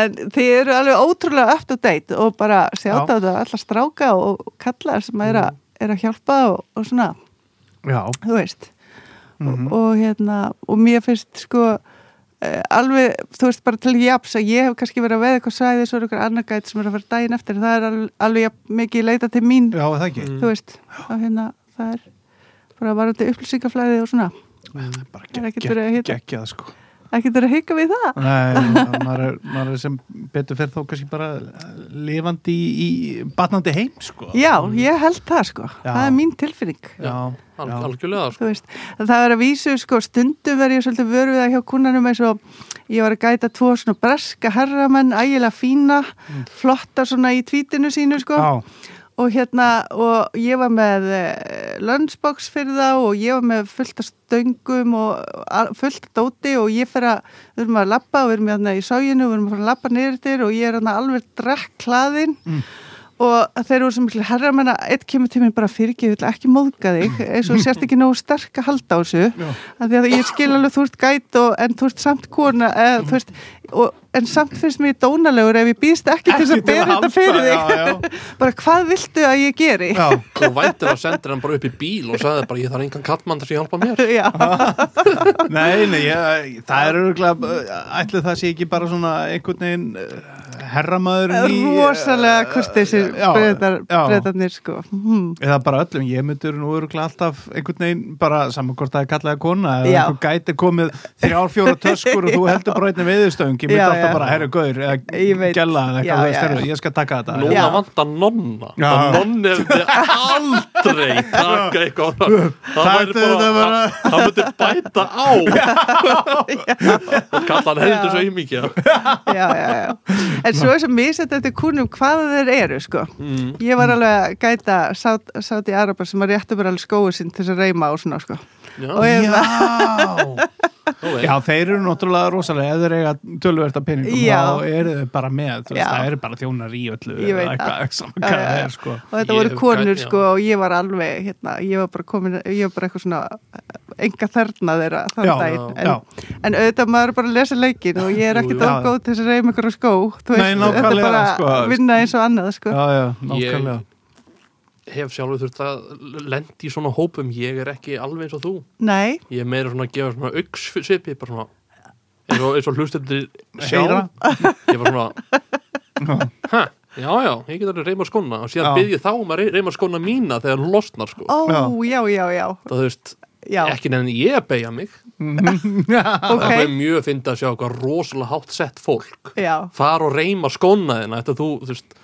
S4: en þið eru alveg ótrúlega up to date og bara sjáta á þetta alla stráka og kallar sem er,
S2: Mm.
S4: a, er að hjálpa og, og svona,
S2: já,
S4: þú veist
S2: Mhm.
S4: og, og hérna, og mér finnst sko eh, alveg, þú veist bara til jafs að ég hef kannski verið að veða eitthvað sæði svo er eitthvað annar gæt sem er að fara daginn eftir það er alveg, alveg jafn mikið leita til mín
S2: já, það ekki
S4: þú veist, og hérna það er bara varandi upplýsingaflæði og svona
S2: Bara
S4: Það Mm. er ekkert
S2: gegg-
S4: verið að
S2: gegg-
S4: hita.
S2: geggjað sko
S4: ekki þetta er að hika við það
S2: Nei, maður er, maður er sem betur fyrir þó kannski bara eh, lifandi í, í batnandi heim sko
S4: Já, ég held það sko,
S2: Já.
S4: það er mín tilfinning
S2: Já,
S1: Al
S2: já.
S1: algjörlega sko.
S4: þú veist, það er að vísu sko stundum verð ég svolítið vöruð að hjá kunnanum eins og ég var að gæta tvo svona breska herramenn, ægilega fína flotta svona í tvítinu sínu sko
S2: Mm. Já,
S4: og hérna, og ég var með eh, lunchbox fyrir þá og ég var með fullt af stöngum og a- fullt af dóti og ég fer að við erum að labba og við erum hérna í ságinu og við erum að fara að labba niður til og ég er hérna alveg drekklaðin mm. og þeir eru sem herra menna, eitt kemur til mér bara fyrirgeðu, ég vil ekki móðga þig eins og sérst ekki nógu sterk að halda á þessu
S2: Já.
S4: af því að ég skil alveg þú ert gæt og, en þú ert samt kona eða,
S2: Mm.
S4: þú veist, og, en samt finnst mér ég dónalegur ef ég býst ekki, til þess
S2: Ekki til
S4: að
S2: að
S4: bera þetta
S2: halda,
S4: fyrir þig
S2: já, já.
S4: bara hvað viltu að ég geri
S2: já,
S1: Þú væntir að sendir hann bara upp í bíl og sagði bara ég þarf engan kattmann til að hjálpa mér
S4: (laughs) Já,
S2: nei, nei, ég, það er örgulega, ætli það sé ekki bara svona einhvern veginn eh, herramaðurinn í
S4: rosalega
S2: eh,
S4: kurteisir
S2: já,
S4: breytar,
S2: já.
S4: breytarnir sko (laughs) hmm.
S2: eða bara öllum, ég myndur nú öruglega alltaf einhvern veginn, bara saman hvort það er kallaði kona eða
S4: Já.
S2: einhver gæti komið þrjár, fjóra töskur og
S4: (laughs)
S2: þú heldur bara einnig veiðustöng ég myndi
S4: Já,
S2: alltaf
S4: já.
S2: bara, herru, gaur
S4: Ég
S2: eða
S4: veit.
S2: gæla eða
S4: Já,
S2: eitthvað, þú veist,
S4: já,
S2: heyrðu,
S4: já.
S2: ég skal taka þetta
S1: Núna
S4: Já.
S1: vantar nonna
S2: Já.
S1: Það nonni hefði aldrei taka eitthvað Það,
S2: Það ætti
S1: það væri
S2: þetta
S1: bara,
S2: bara-
S1: það- það myndi bæta á
S2: (laughs)
S1: og kalla hann heldur svo ímikið
S4: já, já, já. en svo er sem misett eftir kúnum hvaða þeir eru sko
S2: Mm.
S4: ég var alveg að gæta sátt sát í Araba sem að réttu bara alveg skóið sinn til þess að reyma og svona sko
S1: Já.
S4: og ég var
S2: Já.
S1: Ok.
S2: já, þeir eru náttúrulega rosalega eða þeir eiga tölverta peningum
S4: Já.
S2: þá eru þau bara með, þú veist,
S4: Já.
S2: það eru bara þjónar í öllu
S4: Ég veit
S2: eða
S4: það.
S2: eitthvað, saman
S4: Já,
S2: hvað
S4: já,
S2: það
S4: já.
S2: er sko
S4: og þetta
S1: Ég
S4: voru
S1: hef
S4: konur
S1: gæ- já.
S4: sko og ég var alveg hérna, ég var bara komin, ég var bara eitthvað svona eh, enga þarna þeirra þann
S2: Já,
S4: daginn
S2: já,
S4: en, en auðvitað maður er bara að lesa leikin og ég er
S1: Jú,
S4: ekkert
S2: jú.
S4: ágóð til þess að reyma ykkur á skó
S2: Nei,
S4: þú veist, (laughs) þetta er
S2: nákvæmlega,
S4: bara
S2: sko.
S4: vinna eins og annað sko
S2: Já, já, nákvæmlega
S1: Ég hef sjálfur þurft að lendi í svona hópum Ég er ekki alveg eins og þú
S4: nei,
S1: Ég er meira svona að gefa svona auksvipi bara svona eins og, eins og hlustendur sjá
S2: (laughs) Heyra.
S1: Ég var svona Hæ, já, já, ég get alveg reyma skóna og síðan
S2: Já.
S1: byrð ég þá um að rey- reyma skóna mína þegar hún losnar sko
S4: ó, já, já, já
S1: Það þú veist,
S4: já,
S1: ekki nefn ég að beigja mig
S4: ok
S1: Það er mjög að finna að sjá hvað rosalega hátt sett fólk
S4: já,
S1: far og reyma skóna þina þetta þú, þú veist,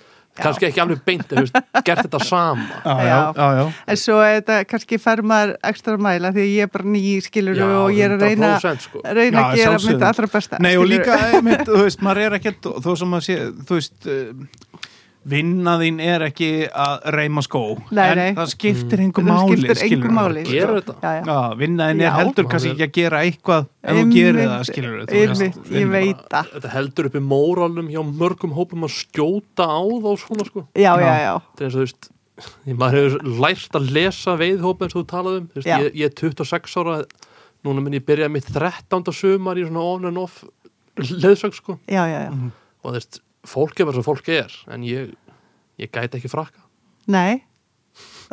S1: kannski ekki alveg beint en þú veist, gert þetta sama
S2: Já, já, já, já.
S4: En svo er þetta kannski fer maður ekstra mæla því að ég er bara ný skilur
S1: Já,
S4: og ég er að reyna,
S1: 100% sko.
S4: reyna að
S2: Já,
S4: gera
S2: sjálfsögðu.
S4: mitt allra besta.
S2: Nei og
S4: skilurðu.
S2: líka, einmitt, þú veist, maður er ekkert þó sem að sé, þú veist eh, vinna þín er ekki að reyma skó,
S4: Nei,
S2: en
S4: nei. Mm.
S2: það skiptir engu
S4: Það
S2: máli,
S4: skiptir engu
S2: skilurðu.
S4: máli. sko.
S1: Gera þetta.
S4: Já, já.
S2: Já, vinna þín er
S4: Já.
S2: heldur
S1: Maður
S2: kannski
S1: er-
S2: ekki að gera eitthvað ef þú gerir það, skilur þú
S4: Einmitt,
S2: veist.
S4: ég veit það.
S1: Þetta heldur uppi móralum hjá mörgum hópum að skjóta á þá svona sko
S4: Já, já, já.
S1: Þetta er eins og þú veist því maður hefur lært að lesa veiðhópa eins og þú talaði um, þú veist,
S4: Já.
S1: ég, ég er 26 ára núna minn ég byrjaði mitt 13. sumar í svona on and off leðsögn sko
S4: Já, já,
S2: Mm.
S4: já.
S1: og þú veist, fólk er bara svo fólk er en ég, ég gæti ekki frakka
S4: Nei,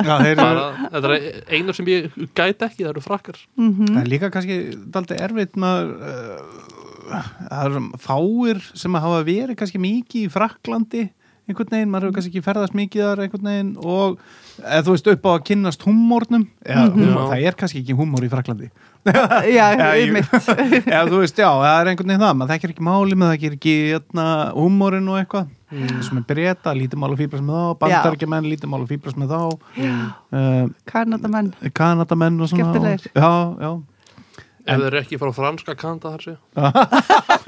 S2: Já, þeir eru,
S1: bara, þetta er eina sem ég gæti ekki, það eru frakkar
S4: Mm.
S2: það er líka kannski daldið erfitt maður eh, það eru fáir sem að hafa verið kannski mikið í Fraklandi einhvern veginn,
S4: Mm.
S2: maður hefur kannski ekki ferðast mikið þar einhvern veginn og eða þú veist upp á að kynnast humornum eða,
S4: Mhm.
S2: humor,
S1: Já.
S2: það er kannski ekki humor í Fraklandi
S4: já,
S2: (laughs) Já, ég-
S4: einmitt.
S2: (laughs) Já, þú veist, já, það er einhvern veginn það, maður þekkir ekki máli með það þekkir ekki hérna, húmórin og eitthvað
S4: Mm.
S2: sem er breyta, lítið mál og fýbrast með þá bandarkjamenn, lítið mál og fýbrast með þá uh,
S4: Kanadamenn.
S2: kanadamenn og svona og,
S4: Skemmtilegir.
S2: Já, já,
S1: ef þeir eru ekki frá franska kanta þar sé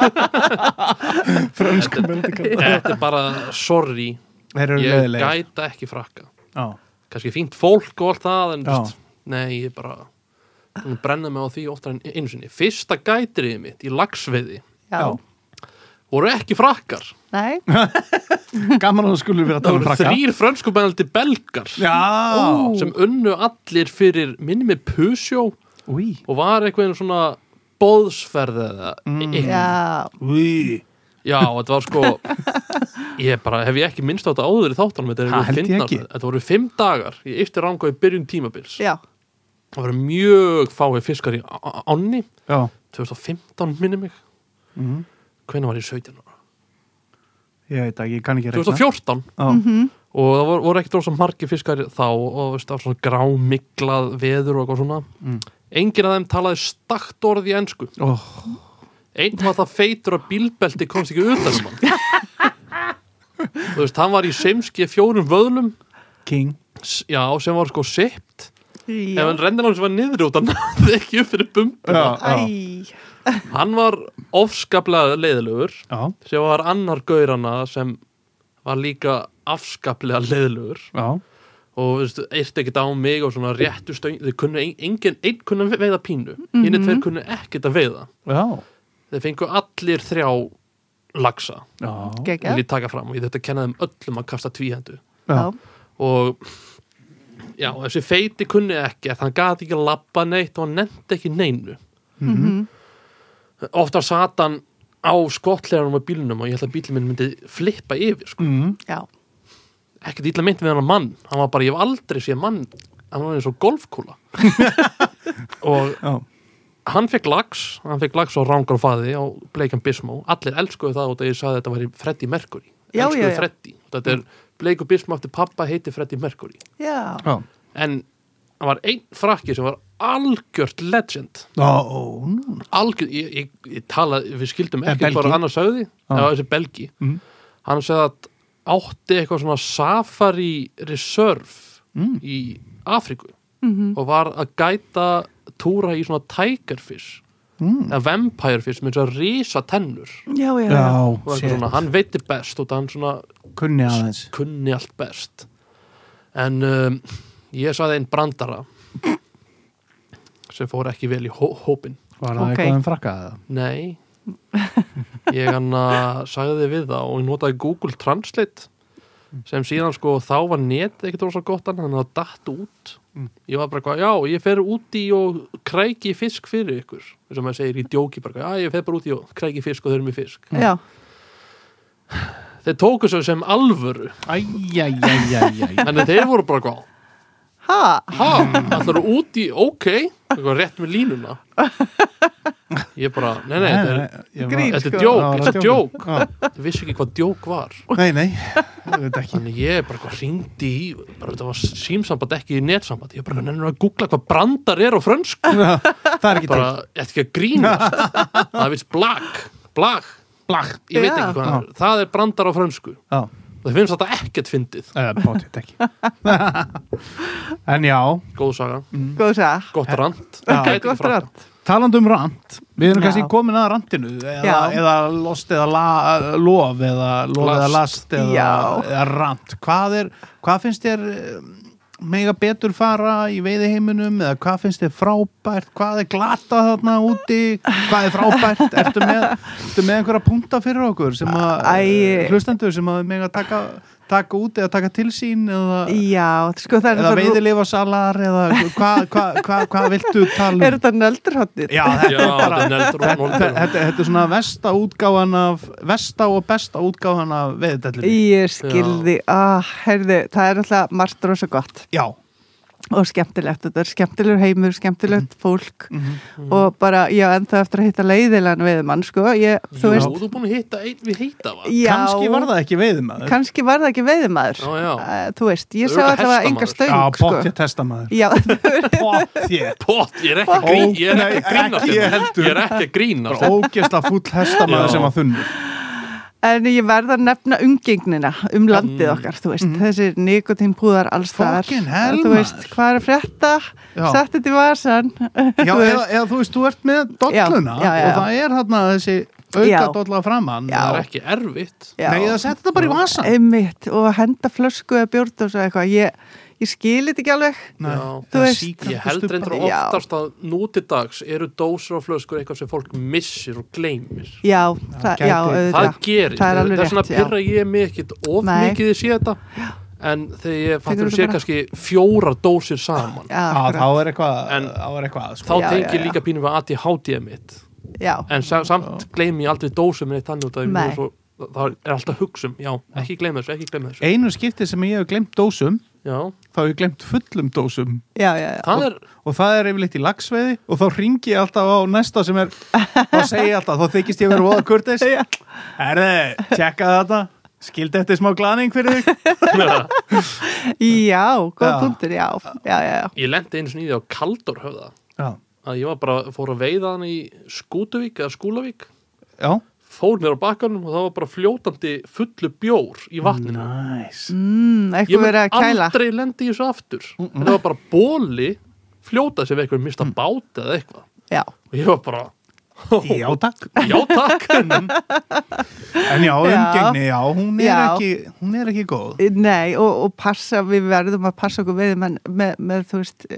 S2: frönsku meldingar
S1: þetta er bara, sorry
S2: Þeir eru
S1: ég
S2: leðilega
S1: gæti ekki frakka
S2: Já,
S1: kannski fínt fólk og allt það en
S2: Já.
S1: just, nei, ég bara hún brenna mig á því oftar en einu sinni fyrsta gætriðið mitt í lagsveiði
S4: Já.
S2: Já.
S1: voru ekki frakkar
S4: Nei,
S2: gaman að þú skulur vera að
S1: það
S2: tala um
S1: voru
S2: frakka
S1: þrýr frönskubældi belgar
S2: Já,
S4: Ó.
S1: sem unnu allir fyrir minni með pusjó
S2: úi
S1: og var eitthvað einu svona bóðsferð eða mm.
S4: já,
S2: Úi,
S1: já, þetta var sko ég bara, hef ég ekki minnst á þetta áður í þáttanum þetta,
S2: Ha,
S1: er
S2: held ég
S1: fyndnar.
S2: ekki.
S1: þetta voru fimm dagar í eftir ranga í byrjun tímabils
S4: já,
S1: það voru mjög fáið fiskar í á- á- ánni
S2: já
S1: 2015 minni mig
S2: Mhm.
S1: hvenær var ég 17 ára?
S2: Ég veit ekki, ég kann ekki rekna
S1: 2014
S2: Já,
S4: Mhm.
S1: og það voru, voru ekkert rosa margir fiskar þá og veist, það var svona grámiklað veður og eitthvað svona
S2: Mm.
S1: enginn af þeim talaði stakt orð í ensku
S2: Ó,
S1: einn var það feitur að bílbelti komst ekki utan um hann þú veist, hann var í seimski fjórum vöðlum
S2: King
S1: s- já, sem var sko sipt ef
S4: já.
S1: hann rendir hann sem var niður (laughs) út hann náði ekki upp fyrir bumbu
S2: Já, já,
S4: Æ,
S1: hann var ofskaplega leiðilegur
S2: já,
S1: sem var annar gaurana sem var líka afskaplega leiðilegur
S2: já
S1: og veistu, eirt ekkert á mig og svona réttu stöng þau kunnu ein- engin, einn kunnu að veiða pínu mm -hmm. tveir kunnu ekkert að veiða
S2: Já,
S1: þeir fengu allir þrjá lagsa,
S2: já,
S1: vil
S4: geggjað.
S1: ég taka fram og ég þetta kenna þeim öllum að kasta tvíhendu
S4: Já,
S1: og já, þessi feiti kunni ekki hann gati ekki að labba neitt og hann nefndi ekki neinu ofta sat hann á skottlegarum á bílnum og ég held að bílum minn myndi flippa yfir sko.
S2: mm,
S4: já,
S1: ekkert illa meint við hann mann hann var
S4: (laughs)
S1: bara, ég hef aldrei séð mann hann var eins og golfkúla og
S2: já
S1: hann fekk lags, hann fekk lags á rángarfaði á Bleikan Bismó, allir elskuðu það og ég sagði að þetta væri Freddy Mercury
S4: Já,
S1: elskuðu
S4: já, já.
S1: Freddy, þetta er Bleiku Bismó eftir pappa heiti Freddy Mercury
S4: já,
S2: Já.
S1: en hann var einn frakki sem var algjört legend
S2: Ó, nú.
S1: algjör, ég, ég, ég talaði, við skildum
S2: Er
S1: ekki
S2: Belgi?
S1: bara annars sögði,
S2: Ah.
S1: það var þessi Belgi
S2: Mhm.
S1: hann segði að átti eitthvað svona safari reserve
S2: Mm.
S1: í Afríku
S4: mhm,
S1: og var að gæta túra í svona tigerfish
S2: Mm.
S1: eða vampirefish með svona risa tennur
S4: já, já, já.
S2: Já,
S1: og eitthvað
S2: shit.
S1: svona, hann veitir best og hann svona
S2: kunni aðeins.
S1: kunni allt best en um, ég saði einn
S2: (laughs)
S1: brandara sem fór ekki vel í hó hópin
S2: Var það
S4: Ok.
S2: eitthvað um frakkaða það?
S1: Nei Ég hann að sagði við það og ég notaði Google Translate sem síðan sko þá var net ekkert rosa gott annað en það datt út ég var bara eitthvað, já, ég fer úti og kræki fisk fyrir ykkur sem maður segir í djóki bara, eitthvað, já, ég fer bara úti og kræki fisk og þau eru með fisk
S4: já.
S1: þeir tóku svo sem alvöru
S2: Æjæjæjæjæj.
S1: þannig að þeir voru bara eitthvað
S4: ha,
S1: ha, allar eru úti, ok eitthvað rétt með línuna ég bara, nei, nei, þetta er,
S4: Grín,
S1: þetta
S4: sko.
S1: er djók, þetta er djók
S2: um- Já.
S1: þau vissu ekki hvað djók var
S2: Nei, nei, ég veit
S1: (laughs)
S2: ekki.
S1: Þannig ég bara eitthvað hringdi í, bara þetta var símsamband ekki í netsamband, ég bara nennur að googla hvað brandar er á frönsku,
S2: Það er ekki
S1: bara eftir ekki að grínast, það er vits blag, blag,
S2: Blag.
S1: ég veit
S4: Já.
S1: ekki hvað það er, það er brandar á frönsku,
S2: Já,
S1: það finnst þetta ekkert fyndið,
S2: eða bótið ekki. (laughs) En já,
S1: góð saga,
S2: Mm.
S4: góð sæð
S1: gott rand,
S2: Já.
S4: gott rátt
S2: talandu um rant, við erum
S4: Já.
S2: kannski komin að rantinu, eða,
S4: Já.
S2: eða lost eða la, lof, eða lof eða
S1: Last.
S2: last, eða,
S4: Já.
S2: eða rant. Hvað, er, hvað finnst þér um, mega betur fara í veiðiheiminum, eða hvað finnst þér frábært, hvað er glata þarna úti, hvað er frábært, ertu með, ertu með einhverja punta fyrir okkur sem að, eh,
S4: Æ.
S2: hlustendur sem að mega taka, taka úti eða taka til sín, eða...
S4: já, sko það er
S2: eða
S4: það rú-
S2: veiðilifasalar eða hvað hva, hva, hva viltu tala
S4: er
S2: um?
S4: þetta nöldurhóttir
S2: Já, þetta
S1: Já,
S2: er bara
S1: þetta er neldur og
S2: þetta,
S1: nóldur,
S2: þetta, þetta er svona vesta útgáfan af vesta og besta útgáfan af veiðdellinu
S4: ég skilði, ah, herðu það er alltaf margt rosa gott
S2: Já,
S4: og skemmtilegt, þetta er skemmtilegur heimur skemmtilegt fólk
S2: Mhm.
S4: og bara, já, ennþá eftir að hitta leiðilegan við mann, sko, ég, þú
S1: þú
S4: veist
S1: veist, þú er búin að hitta einn við heita var,
S4: já,
S2: kannski var það ekki veiðimaður
S4: kannski var það ekki veiðimaður
S1: Já, já.
S4: Eh, þú veist, ég
S1: Örugglega
S4: sá alltaf enga
S1: hestamaður.
S4: stöng
S2: Já,
S4: sko.
S2: bóttið testamaður
S4: já,
S2: Bóttið
S1: pott, ég er ekki að
S2: Ó,
S1: grín- ég er
S2: nei,
S1: ekki að grínast,
S2: ekki ég
S1: hérna.
S2: heldur.
S1: ég er ekki að grínast,
S2: Ógesla fúll hestamaður
S1: Já.
S2: sem var þunni
S4: en ég verð að nefna umgengnina um landið okkar, þú veist þessir nikotínpúðar alls þar
S2: Mm. Fucking hell,
S4: þú veist,
S2: maður.
S4: hvað er að frétta
S2: Já.
S4: sett þetta í vasan
S2: Já, eða, eða þú veist, þú ert með dolluna
S4: Já, já, já.
S2: og það er þarna þessi auka
S4: Já.
S2: dolla framann
S4: Já.
S1: það er ekki erfitt,
S4: Já.
S2: Nei, það setja þetta bara í vasan
S4: einmitt og henda flösku eða bjórn og svo eitthvað, ég, ég skil þetta ekki alveg
S2: Nei,
S1: Já.
S2: það
S4: Þú veist-
S2: sígarettustubbar.
S1: Ég held reyndar
S4: Já.
S1: oftast að nútidags eru dósur og flöskur eitthvað sem fólk missir og gleymir.
S4: já,
S2: gæti-
S4: það, já,
S1: Það
S4: auðvitað
S1: gerir.
S4: það er alveg
S1: Þess vegna
S4: rétt, já.
S1: pyrra ég mig ekkit of
S4: Nei.
S1: mikið í sé þetta en þegar ég fattur
S4: þetta
S1: að sé
S4: bara-
S1: kannski fjórar dósir saman
S4: já,
S2: Já,
S4: akkurat.
S2: þá er eitthvað,
S1: En-
S2: þá er eitthvað sko.
S1: þá
S4: Já,
S1: tengi
S4: já,
S1: ég
S4: já.
S1: líka pínum við ADHD-ið mitt
S4: já,
S1: en sa samt gleymi ég aldrei dósum minni þannig út að ég
S4: Nei.
S1: er svo, það er alltaf hugsum já, ekki gleyma þessu, ekki gleyma þessu
S2: einu skipti sem ég hef glemt dósum
S1: já,
S2: þá hef ég glemt fullum dósum
S4: já, já, já.
S1: það er,
S2: og það er yfirleitt í lagsveiði og þá ringi ég alltaf á næsta sem er þá segi ég alltaf, þá þykist ég verið voða kurteis herði, tjekka þetta skildi þetta smá glaning fyrir þig
S4: já góð
S2: Já.
S4: punktur, já, já, já, já.
S1: (laughs) ég lendi einu sinni í því á Kaldorhöfða
S2: já,
S1: að ég var bara, fór að veiða hann í Skútuvík eða Skúlavík
S2: já
S1: fór mér á bakkanum og það var bara fljótandi fullu bjór í vatninu
S2: nice.
S4: Mm,
S1: ég
S4: eitthvað
S1: mun
S4: verið að kæla
S1: aldrei lendi í þessu aftur mm það var bara bóli fljótað sem eitthvað mista mm. bát eða eitthvað
S4: já,
S1: og ég var bara,
S2: já, takk
S1: já takk
S2: en já, umgengni, já, hún er,
S4: Já.
S2: Ekki, hún er ekki góð
S4: nei, og, og passa við verðum að passa okkur við menn, með, með, þú veist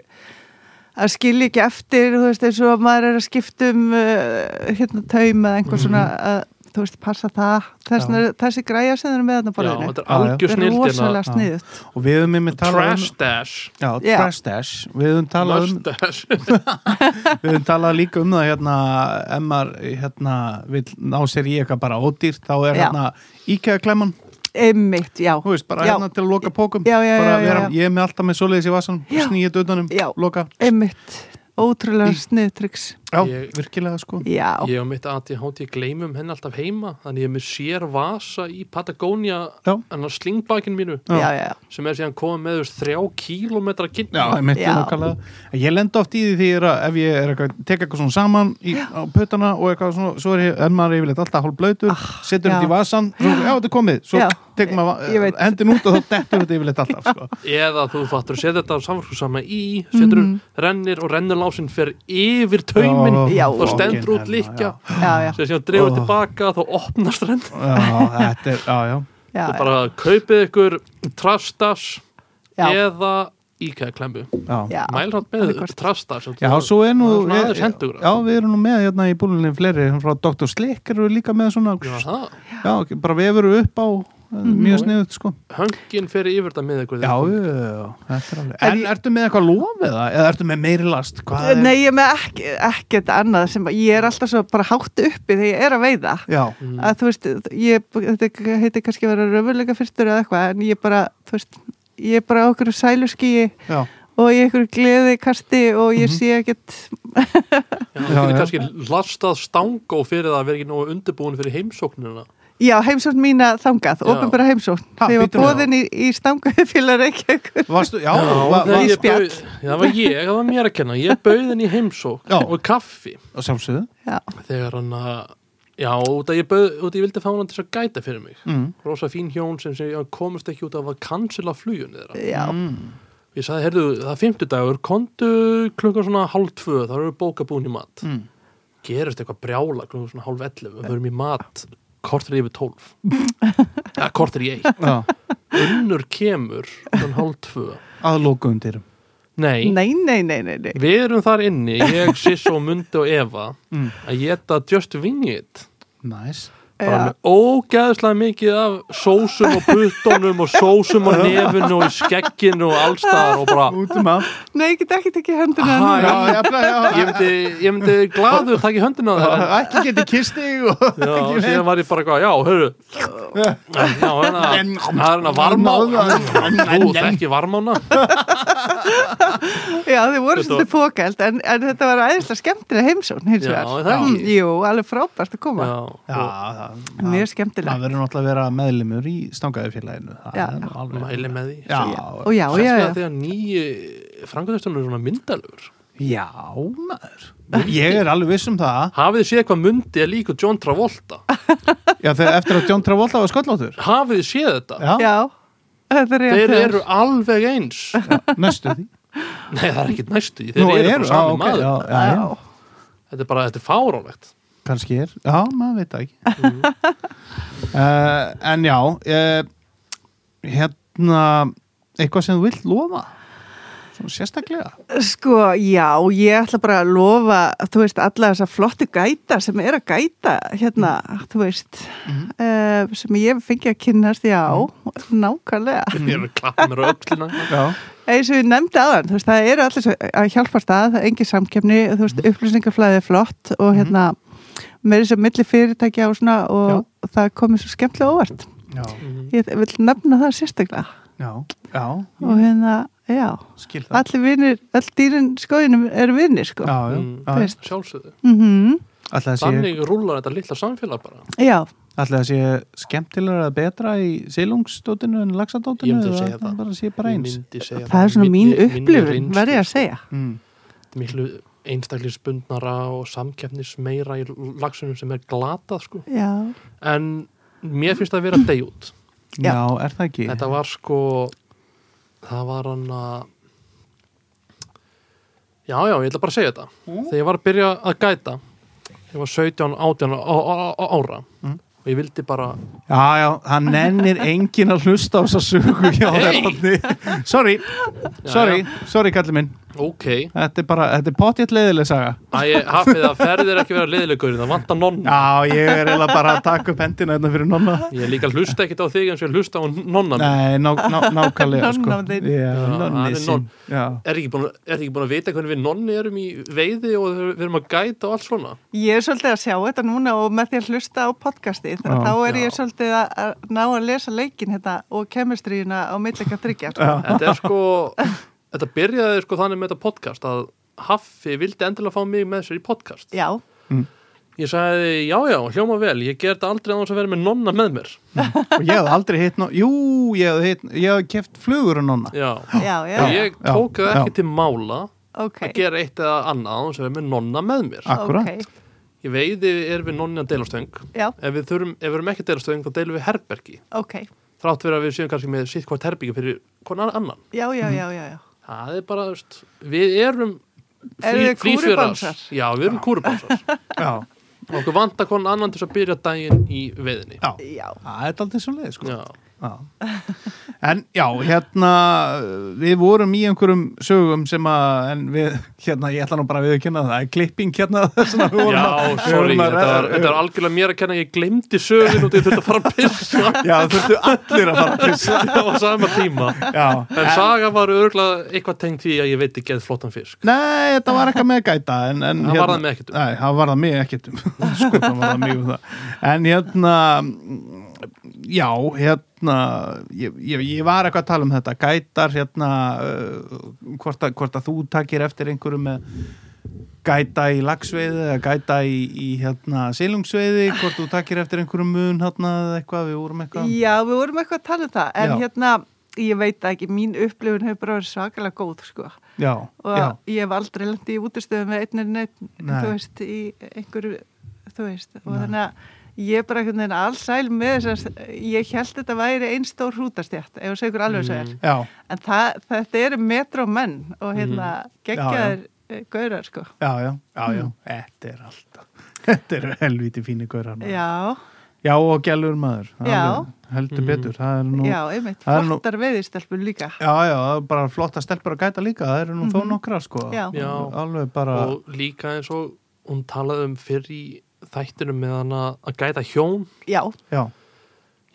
S4: að skilja ekki eftir, þú veist, eins og að maður er að skipta um uh, hérna taum eða einhver svona, uh, þú veist, passa það,
S2: Já.
S4: þessi, þessi græja sem þeir eru með þarna
S1: já,
S4: borðinu
S1: þetta er hérna.
S2: Já, já.
S1: algjör
S4: er rosalega
S1: snildina
S2: Já.
S4: sniðut
S2: og við höfum einmitt talað um
S1: trash dash
S2: já,
S4: Já.
S2: trash dash, við höfum talað um
S1: Lush dash
S2: Við höfum talað líka um það hérna ef maður hérna vil ná sér í eitthvað bara ódýrt þá er
S4: Já.
S2: hérna íkæða klemman
S4: Einmitt, já.
S2: þú veist bara
S4: Já.
S2: hérna til að loka pókum
S4: Já, já,
S2: bara
S4: já, já, já.
S2: ég er með alltaf með svoleiðis í vasanum
S4: Já.
S2: snýið utanum,
S4: Já.
S2: loka
S4: Einmitt. ótrúlega snið triks
S2: Já,
S1: Ég-
S2: virkilega sko
S4: já,
S1: Ég á mitt ADHD gleymum henni alltaf heima þannig ég er með sér vasa í Patagonia
S2: Já.
S1: en á slingbakin mínu
S4: já, já, já.
S1: sem er síðan komið með þú veist þrjá kílómetra kynna
S2: Já, ég myndi
S4: Já.
S2: nákvæmlega Ég lenda oft í því því er að ef ég er eitthvað, tek eitthvað svona saman í, á pötana og eitthvað svona, svo er ég, en maður er yfirleitt alltaf hálf blöytur, setur þetta
S4: Ah, já.
S2: í vasan svo, já, þetta er komið, svo
S4: Já.
S2: tekur
S4: Ég
S2: maður
S4: veit.
S2: hendin út og þá dettur þetta yfirleitt alltaf sko.
S1: eða þú fattur að setja þetta samfélsku sama í setur
S2: Mhm.
S1: mm rennir og rennurlásin fer yfir taumin
S4: Já.
S1: þá stendur út
S2: Fucking
S1: líkja
S4: já, já,
S1: sem síðan dregur
S2: Oh.
S1: tilbaka þá opnast renn
S2: Já, þetta er, já, já
S4: já,
S1: Þið bara kaupið ykkur trastas
S4: já, já,
S1: eða íkæðklemmu
S2: Já,
S4: já.
S1: mælrátt
S4: annað
S1: með
S4: hvort.
S1: trastas sem
S2: já
S1: þú-
S2: svo er nú
S1: það er svona
S2: er-
S1: aðeins hendugra.
S2: Já, við erum nú með hérna í búlinni fleiri, hérna frá Dr. Slick eru líka með svona,
S1: Já,
S2: já,
S1: það.
S2: bara vefur upp á eh,
S4: Mhm.
S2: mjög sniðut sko
S1: höngin fer yfir þetta með
S2: Já,
S1: ykkur
S2: já, já, þetta er alveg
S4: Er
S2: En
S4: ég-
S2: ertu með eitthvað lofið það? Eða ertu með meiri last? Hvað er-
S4: Nei, ég er með ekki, ekkert annað sem ég er alltaf svo bara hátt uppi þegar ég er að veiða
S2: Já,
S1: Mm.
S4: að þú veist, ég, þetta heiti kannski að vera raunveruleika fyrstur eða eitthvað en ég bara, þú veist, ég er bara á okkur sæluskíi
S2: já,
S4: og ég ykkur gleði kasti og
S1: Mhm.
S4: ég sé ekkert
S2: Já,
S1: Já,
S2: já.
S1: þú getur kannski lastað stangó fyrir það að vera ekki nógu undirbúin fyrir heimsóknina
S4: Já, heimsókn mína þangað,
S1: Já.
S4: ofinbara heimsókn
S2: Ha,
S4: þegar ég
S2: býtum
S4: var
S2: við
S4: boðin í, í stanguðfélag Reykjavíkur
S2: varstu, já,
S1: Já,
S2: já, var,
S1: þegar
S2: var,
S1: ég
S4: spjall.
S1: bauð- það var ég, það var mér að kenna ég bauð henni í heimsókn
S2: Já.
S1: og kaffi
S2: var sjálfsögðu
S4: Já,
S1: þegar hann að já, út að ég, bauð, út að ég vildi fá hann til þess að gæta fyrir mig
S2: mm.
S1: rosa fín hjón sem, sem ég komist ekki út af að cancela flugun þeirra
S4: já,
S2: mm,
S1: ég sagði, heyrðu, það er fimmtudagur kontu klukkan svona hálf tvö þá eru bóka búin í mat
S2: Mm.
S1: gerist eitthvað brjála klukkan svona hálf ellefu við verum í mat kortir yfir tólf ja, kortir í eitt
S2: Já,
S1: unnur kemur klukkan hálf tvö
S2: að lóka undir
S1: nei,
S4: nei, nei, nei, nei, nei.
S1: Við erum þar inni, ég, Siss og Mundi og Eva
S2: Mm.
S1: að geta Just Wing It
S2: Næs
S1: bara
S4: Já.
S1: með ógeðslega mikið af sósum og puttónum og sósum og nefinu og í skegginu og allstaðar og bara
S2: Út um að
S4: Nei, ég get ekki tekið höndina
S1: Aha,
S4: núna.
S2: Já, já, já,
S1: ég myndi, ég myndi gladur taka í höndina á
S2: já
S1: þeirra
S2: Ekki geti kist þig og
S1: Já,
S2: ekki
S1: síðan var ég bara eitthvað, já, hörru Já, hérna, það er hérna varmá Þú þekki varmána
S4: Já, þið voru
S1: Þetta
S4: svolítið fókælt en, en þetta var aðeinslega skemmtilega heimsón hins
S1: Já,
S4: vegar.
S1: er það ekki?
S4: Mm, Jú, alveg frábært að koma
S1: Já,
S2: Já,
S1: og
S2: það-
S4: Mjög
S2: það
S4: skemmtilega
S2: verður náttúrulega að vera meðlimur í stangaðufélaginu Það
S4: Já,
S2: er nú
S4: já.
S2: alveg-
S1: mæli með því
S2: Já,
S4: Og já, já,
S1: Sérstaklega
S4: já,
S1: þegar nýju frangaðastunum er svona myndalur
S2: já, maður Ég er alveg viss um það
S1: Hafið þið séð hvað Mundi er líka John Travolta?
S2: Já, þegar eftir að John Travolta var sköllóttur
S1: Hafið þið séð þetta?
S2: Já,
S4: já Þetta er rétt
S1: Þeir
S4: hjá þér.
S1: eru alveg eins
S2: næstu því
S1: Nei, það er ekkert næstu því.
S2: Nú,
S1: (laughs) Þeir eru
S2: eru-
S1: bara sami
S2: já, ok,
S1: maður
S2: já, já, já.
S4: Já,
S1: Þetta er bara, þetta er fárálegt
S2: kannski er, já, maður veit það ekki (laughs) uh, en já uh, hérna eitthvað sem þú vilt lofa svona sérstaklega
S4: Sko, já, ég ætla bara að lofa, þú veist, alla þessa flottu gæta sem er að gæta hérna, þú veist, mm sem ég fengi að kynnast, já, nákvæmlega.
S1: Þeir eru klappa mér á öxlina
S2: (laughs) já,
S4: eins og við nefndi aðan, þú veist, það eru allir svo- að hjálpa stað, það er engin samkefni þú veist, upplýsingaflæði er flott og hérna, meiri sem milli fyrirtækja og svona og það komið svo skemmtilega óvart.
S2: já,
S4: Ég vil nefna það sérstaklega
S2: já, já,
S4: og hérna, já,
S2: skil það
S4: allir vinir, all dýrin skóðinum eru vinir, sko.
S2: já, já,
S1: Mm.
S2: já.
S4: Veist.
S1: Sjálfsögðu
S4: Mm
S2: Ætli það sé,
S1: Þannig rúlar þetta litla samfélag bara
S4: Já,
S2: ætli það sé skemmtilega eða betra í silungsdótinu en laxadótinu
S1: Ég myndi
S2: eða
S1: segja það.
S2: bara sé bara
S1: Ég
S2: eins
S1: myndi segja
S4: það er svona mín
S1: Minni- minni
S4: upplifun,
S1: reynslu.
S4: verði ég að segja.
S2: mm.
S1: Þetta er Miklu einstaklisbundnara og samkeppnis meira í lagsunum sem er glatað sko
S4: Já,
S1: En mér finnst það að vera degjút
S2: já.
S4: Já.
S2: er það ekki
S1: Þetta var sko Það var hann að Já, já, ég ætla bara að segja þetta Þegar ég var að byrja að gæta Ég var 17, 18 á- á- á- ára
S2: Mm.
S1: Og ég vildi bara
S2: já, já, það nennir engin að hlusta á þess að sögu hjá
S1: Hey.
S2: hey. sorry, sorry sorry kallið minn
S1: Ok,
S2: Þetta er bara, þetta er potjætt leiðileg saga.
S1: Æ, hafið að ferðir ekki vera leiðilegur Það vantar nonna
S2: Já, ég er eiginlega bara að taka upp hendina hérna fyrir nonna.
S1: Ég líka hlusta ekkit á þig eins og ég hlusta á nonna mín.
S2: Nei, ná, ná, nákvæmlega, sko.
S4: Nonnan þinn.
S2: Já,
S1: Já, hann
S2: nonni
S1: er
S2: sinn.
S1: nonn.
S2: Já.
S1: Er ekki, búin, að- er ekki búin að vita hvernig við nonni erum í veiði og við erum að gæta og allt svona
S4: Ég er svolítið að sjá þetta núna og með því að hlusta á podcasti þannig að
S2: Já.
S4: þá er ég
S1: Já.
S4: svolítið að- að ná að lesa leikin hérna og kemistríuna á millega tryggja. Sko.
S1: Þetta er sko Þetta byrjaði sko þannig með þetta podcast að Haffi vildi endilega fá mig með sér í podcast
S4: já,
S1: Ég sagði, já, já, hljóma vel, ég ger þetta aldrei annars að vera með nonna með mér.
S2: og ég hafði aldrei hitt no... jú, ég hafði hitt ég hafði keft flugur en nonna
S1: Já.
S4: já, já,
S1: Og ég
S2: já,
S1: tók það
S2: já.
S1: ekki til mála
S4: ok,
S1: að gera eitt eða annað annars að vera með nonna með mér.
S2: akkurat,
S4: ok,
S1: Ég veiði er við nonni að deila stöng.
S4: já,
S1: Ef við, þurfum, ef við erum ekki að deila stöng, þá deilum við herbergi.
S4: ok,
S1: Þrátt fyrir að við séum kannski með sitt hvort herbergi fyrir konar annan.
S4: já, já, já, já, já.
S1: Það er bara, veist, við erum
S4: Eru
S1: frí-
S4: þið
S1: frísverar.
S4: kúrubansar?
S1: Já, við erum
S4: (laughs)
S1: kúrubansar.
S2: já,
S1: Okkur vantar konar annan til þess að byrja daginn í veiðinni.
S2: já
S4: já,
S2: það er aldrei svo leið sko
S1: Já.
S2: Já. En já, hérna við vorum í einhverjum sögum sem að, en við, hérna ég ætla nú bara að viðurkenna það, það er klipping hérna (laughs) þess að við vorum að-
S1: Já,
S2: við
S1: sorry,
S2: vorum að-
S1: þetta var,
S2: eh.
S1: þetta var algjörlega mér að kenna ég glemdi sögun og ég þurfti að fara að pissa
S2: Já, þurftu allir að fara að pissa
S1: það var sama tíma
S2: Já,
S1: en saga var örgulega eitthvað tengt því að ég veit ekki að flottan fisk
S2: Nei, þetta var eitthvað með gæta en, en,
S1: Það varðaði mig ekkert um.
S2: Nei, það var það mig ekkert um Sko, það var það mig um það En hérna Já, hérna ég, ég, ég var eitthvað að tala um þetta Gætar, hérna uh, hvort, að, hvort að þú takir eftir einhverju með gæta í lagsveiði eða gæta í, í hérna silungsveiði, hvort þú takir eftir einhverju mun hérna eða eitthvað, við vorum eitthvað
S4: Sko. já, við vorum eitthvað að tala um það, en
S2: Já.
S4: hérna, ég veit það ekki, mín upplifun hefur bara verið svakalega góð, sko,
S2: Já,
S4: og
S2: já,
S4: ég hef aldrei lendi í útistöðum með einn er neitt,
S2: Nei.
S4: þú veist, í einhverju, þú veist, og þannig að ég er bara einhvern veginn allsæl með þess að ég held þetta væri einn stór hrútastjætt, ef þú segur alveg svo er,
S2: já,
S4: en það, þetta eru metro menn
S2: Mm.
S4: og hérna geggjaðir eh, gaurar, sko.
S2: já, já, já, já. Þetta er alltaf Þetta er helviti fíni gaurar maður.
S4: Já,
S2: Já og gælur maður Það er
S4: Já.
S2: alveg- Heldur
S1: Mm.
S2: betur Það er nú
S4: já, einmitt,
S2: það er nú-
S4: flottar veiðistelpur líka.
S2: Já, já, það er bara flotta stelpur að gæta líka Það eru nú þó nokkra sko
S4: Mhm. Já.
S1: Já.
S2: Alveg bara
S1: og líka eins og hún talaði um fyrr í þættinum með hana að gæta hjón
S4: Já,
S2: Já,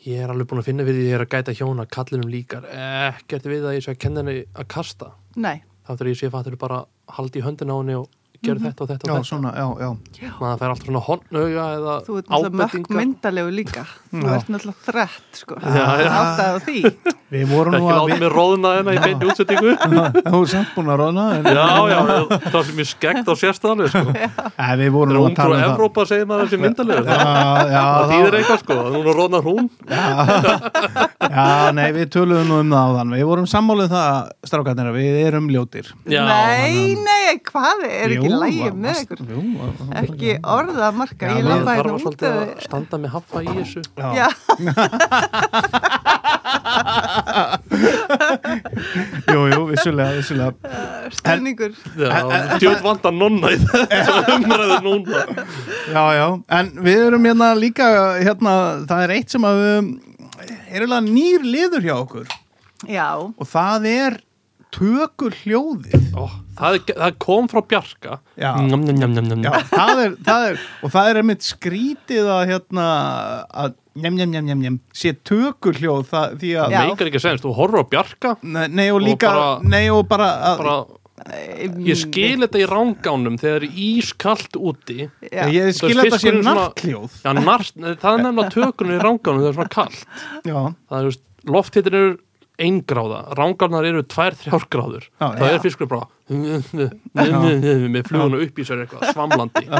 S1: ég er alveg búin að finna fyrir því að ég er að gæta hjón að kallinum líkar ekkert við að ég sé að kenna henni að kasta
S4: nei,
S1: þá þurfir ég sé fattur bara haldi í höndin á henni og
S4: Mhm.
S1: gera þetta og þetta
S2: já, sko.
S1: og þetta
S2: svona, já, já
S1: maður fær alltaf svona honnauga eða
S4: þú ert náttúrulega
S1: ábendingar
S4: mökkmyndalegu líka. Þú
S2: Já.
S4: ert náttúrulega þrætt, sko.
S1: Já, já.
S4: Áttaðu því.
S2: Við vorum nú
S1: ekki
S2: að
S1: láta mig róðna hérna í beinni
S2: (laughs)
S1: útsettingu
S2: Þú er samt búin að róna
S1: (laughs)
S2: en,
S1: já, já, það sem ég skeggt á sérstæðanlega sko.
S2: Nei, Við vorum nú
S1: þegar hún
S2: að tala
S1: frá
S2: um það
S1: Evrópa segir maður þessi myndalegur
S2: Já, já,
S1: (laughs)
S2: þá-
S1: það þýðir eitthvað sko, að núna rónar hún
S2: já, nei, við töluðum nú um það áðan Við vorum sammálið það, strákarnir að Við erum ljótir
S1: Já,
S4: nei, nei, hvað er ekki
S2: Jú,
S4: lægið
S2: var-
S4: með ykkur?
S2: Jú, var-
S4: Ekki orða marka,
S2: Já,
S4: ég
S2: maður
S1: það
S4: labba
S1: þarf
S4: hérna
S1: að
S4: út
S1: svolítið að
S4: af-
S1: standa með haffa í þessu
S4: Já,
S2: Jú, jú, vissulega, vissulega
S4: stöðningur.
S1: djóð vanda nonna í þessu (laughs) umræðu núna
S2: Já, já, en við erum hérna líka hérna, það er eitt sem að við erum alveg nýr liður hjá okkur
S4: Já,
S2: og það er tökur hljóðið
S1: Ó, það, er- það kom frá Bjarka
S2: Já.
S1: njam, njam, njam, njam,
S2: Já,
S1: njam.
S2: það er, það er, og það er einmitt skrítið að hérna að njem, njem, njem, njem, njem, sé tökur hljóð það, því að,
S4: Já.
S1: meikar ekki að segja, þú horfur á Bjarka
S2: nei, nei og
S1: Og
S2: líka
S1: bara-
S2: nei og bara, að,
S1: bara,
S4: ég
S1: ég skil þetta í ránganum þegar það er ískalt úti
S2: ég skil
S1: Þú
S4: Já,
S2: að
S1: veist,
S2: þetta sé
S1: fiskurinn svona-
S2: narthljóð
S1: Já, nart, það er nefnilega tökunum í ránganum þegar það er svona kalt
S2: Já,
S1: það er, þú veist, lofthittin eru ein gráða, rángarnar eru tvær, þrjár gráður
S2: Já,
S1: það
S4: já.
S1: er fiskur bara "Hm, með fluguna upp í sér eitthvað, svamlandi
S2: já.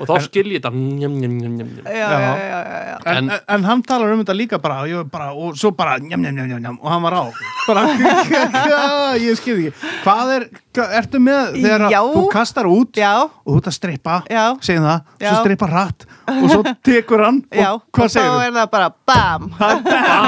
S1: og þá skil ég þetta "Hm, njum, njum, njum, njum, njum.
S4: Já, já, já, já, já.
S2: En,
S1: En-
S2: en, en hann talar um þetta líka bara, og ég var bara og svo bara njam, njam, njam, njam, njam, og hann var á bara, (laughs) ég skil ekki hvað er, hvað, ertu með þegar að
S4: Já.
S2: þú kastar út
S4: Já,
S2: og þú ert að strippa,
S4: Já.
S2: segjum það svo
S4: Já.
S2: strippa hratt og svo tekur hann
S4: já.
S2: og hvað segir
S4: þá
S2: þú?
S4: er það bara bam.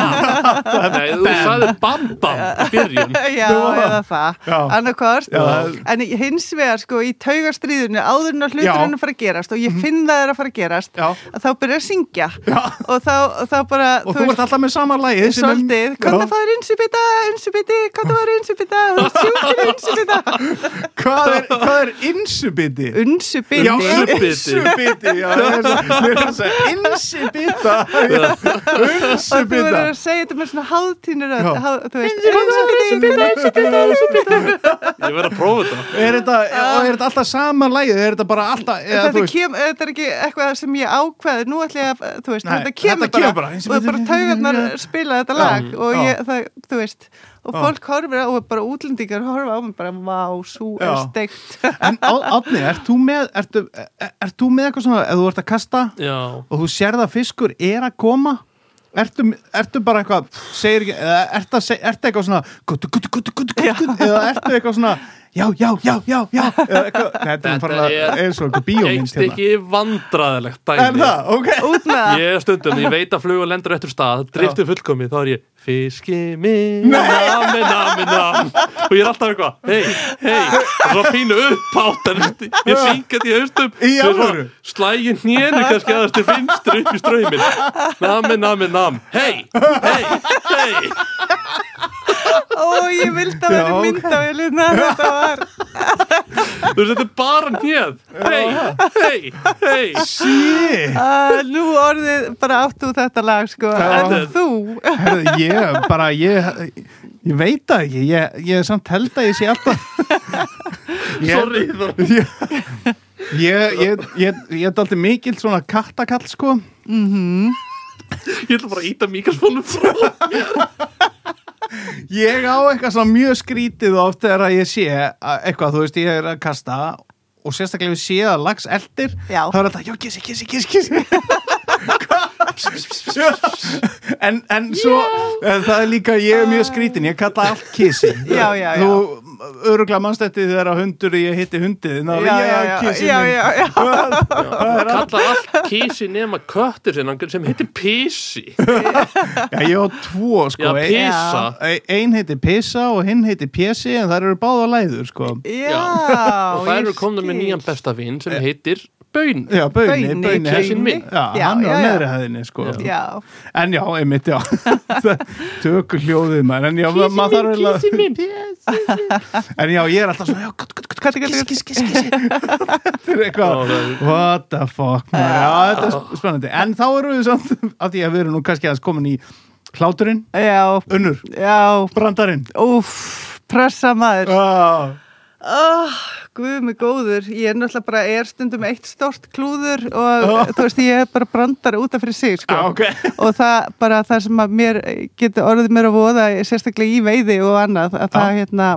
S1: Nei, þú sagði bam bam í byrjun
S4: (laughs) Já,
S2: Nú.
S4: eða það.
S2: Já.
S4: Annarkvort.
S2: Já.
S4: En hins vegar, sko, í taugastriðinu, áður en að hlutur
S2: Já. Mhm.
S4: hann að fara að gerast og ég finn það er að fara að gerast,
S2: Já.
S4: að þá byrja að syngja. Og þá, þá bara,
S2: og þú ert alltaf með sama lagi
S4: Svolítið, hvað það fæður insubita, insubiti, hvað það fæður insubita, sjúkir insubita.
S2: (laughs) hvað er, hvað er insubiti?
S4: Unsubiti.
S2: Já,
S1: Unsubiti.
S2: unsubiti já, ég er svo- ég er svo-
S4: (laughs)
S2: Insubita
S4: Og þú verður
S2: Unsubita
S4: að segja þetta með svona háðtínur
S2: Já.
S4: Þú veist, insubita, insubita, insubita
S1: ég verð að prófa þetta
S2: Er þetta, og er þetta alltaf sama lagið? Er þetta bara alltaf eða,
S4: Þetta
S2: þú veist-
S4: kem, þetta er ekki eitthvað sem ég ákveði nú ætla ég að, þú veist,
S2: Nei,
S4: þetta kemur
S2: þetta kemur bara, eins og-
S4: og bara taugarnar spila þetta lag og
S2: já.
S4: ég, það, þú veist og
S2: Já.
S4: fólk horfir á, og bara útlendingar horfa á mig bara, vá, svo er
S2: Já.
S4: steikt
S2: En Átni, ert þú með ertu, er, er þú með eitthvað svona, ef þú ert að kasta
S1: Já,
S2: og þú sér það fiskur er að koma Ertu, ertu bara eitthvað, segir ekki, eða ertu, að seg, ertu eitthvað svona, gutu, gutu, gutu, gutu, gutu, gutu, eða ertu eitthvað svona, já, já, já, já, já, eða eitthvað, Nei, þetta er
S1: Þetta
S2: bara
S1: er-
S2: eins og eitthvað
S1: eitt
S2: bíómynd hérna.
S1: stykki vandræðilegt
S2: Er
S1: dæmi
S2: það, ok.
S4: út með það
S1: Ég er stundum, ég veit að flugur lendur eftir stað driftu fullkomi, þá er ég Fiski minn, nami, nami, nam og ég er alltaf eitthvað, hei, hei og svo pínu upphátt en ég syngi þetta í haustum
S2: Í
S1: Svo er
S2: alvöru?
S1: svona slægi hnénu kannski aðeins til finnstri upp í ströymin nami, nami, nam, hei, hei, hei
S4: Ó, ég vildi að
S2: Já,
S4: vera
S2: ok.
S4: myndavélina þetta var,
S1: þú veist, þetta er bara hnéð hei, hei, hei
S2: Shit.
S4: að nú orðið bara áttu þetta lag, sko
S2: Já.
S4: en þú,
S2: Herðu, ég, bara, ég, ég veit það ekki, ég, ég samt held að ég sé alltaf. Ég-
S1: sorry, Þór.
S2: ég, ég, ég, ég, ég er alltaf mikill svona kattakall sko
S1: ég ætla bara að íta mikrofónum frá
S2: ég á eitthvað svona mjög skrítið oft þegar að ég sé að- eitthvað þú veist ég er að kasta og sérstaklega ef ég sé að lags eldir
S4: Já.
S2: þá er alltaf já kissi kissi kissi kissi en, en svo en það er líka ég er mjög skrítin ég kalla allt kissi
S4: Ah. (laughs) Já, já, já.
S2: þú öruglega mannstætti þegar að hundur ég hitti hundið ná,
S4: já, já, já,
S2: kissi
S4: já,
S2: minn.
S4: já, já.
S1: Það
S4: (laughs)
S1: kalla allt kísi nema köttur sinna sem heitir Písi
S2: Já, ég á tvo sko
S1: Já,
S2: Ein-
S1: Pisa
S2: Ein- Ein heitir Pisa og hinn heitir Pési en þær eru báða læður sko
S4: Já,
S1: og það eru
S4: ég
S1: komna með
S4: skil.
S1: nýjan besta vinn sem heitir Böun
S2: Já, Bauni,
S4: Bauni,
S2: Bauni
S1: Késinn minn.
S2: Já,
S4: Já,
S2: hann
S4: já,
S2: er á
S4: já.
S2: neðri hæðinni sko
S4: Já,
S2: En já, einmitt, já Tökur hljóðið maður En já, maður þarf að
S1: Kísi minn
S2: (laughs) En já, ég er alltaf svona já, gat, gat, gat, gat, Kiss, kiss, kiss, kiss Þetta er
S1: Já,
S2: eitthvað
S1: það er-
S2: What the fuck maður Já, þetta er sp- spennandi En þá eru við samt Af því að við erum nú kannski aðeins komin í Hláturinn,
S4: já,
S2: unnur,
S4: já,
S2: brandarinn
S4: úff, pressa maður.
S2: Já,
S4: Oh, Guð mig góður, ég er náttúrulega bara er stundum eitt stort klúður og þú veist ég er bara brandar út af fyrir sig sko.
S2: Ah, ok
S4: og það bara það sem að mér getur orðið mér að voða sérstaklega í veiði og annað að það hérna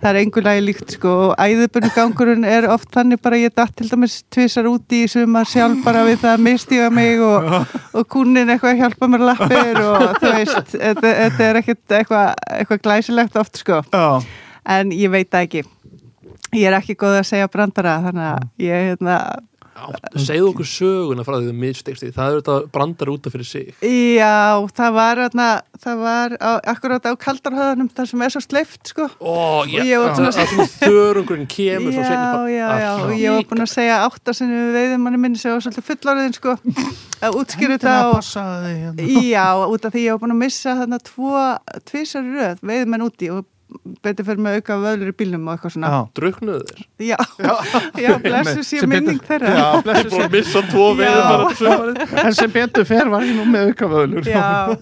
S4: það er engulega líkt sko og æðibunugangurinn er oft þannig bara ég datt til dæmis tvisar úti í sumar sjálf bara við það að mistíga mig og, og kúnin eitthvað að hjálpa mér lappir og þú veist, þetta, þetta er ekkert eitthvað, eitthvað glæsilegt oft sko
S2: Já,
S4: en ég veit það ekki ég er ekki góð að segja brandara þannig að ég hérna
S1: segðu okkur söguna frá því þú mistekst því það eru þetta brandar út af fyrir sig
S4: já, það var hérna, það var á, akkurát á kaldarhöðunum þar sem er svo sleift sko
S1: ó,
S4: Og ég var búin
S1: það
S4: að-
S1: er svona þörungurinn kemur svo seinni
S4: já,
S1: part.
S4: já, já,
S1: Ah,
S4: og ég var búin að segja áttasinni við veiðumanni minni sem var svolítið fullorðin sko að útskýra þetta
S2: Endilega
S4: og
S2: passaðu þig hérna.
S4: Já, út af því ég var búin að missa þarna tvo, tvisar röð, veiðum menn úti og betur fyrir með auka vöðlur í bílnum og eitthvað svona.
S2: Já.
S1: druknuðu þér
S4: Já, já, blessu sér
S2: Sem betur-
S4: minning þeirra.
S2: Já,
S1: ég
S4: (laughs)
S2: blessu
S1: búin
S2: sér.
S1: að missa tvo
S4: Já.
S1: veiðum bara þetta sumarið
S2: En sem betur fer var ég nú með aukavöðlur.
S4: já,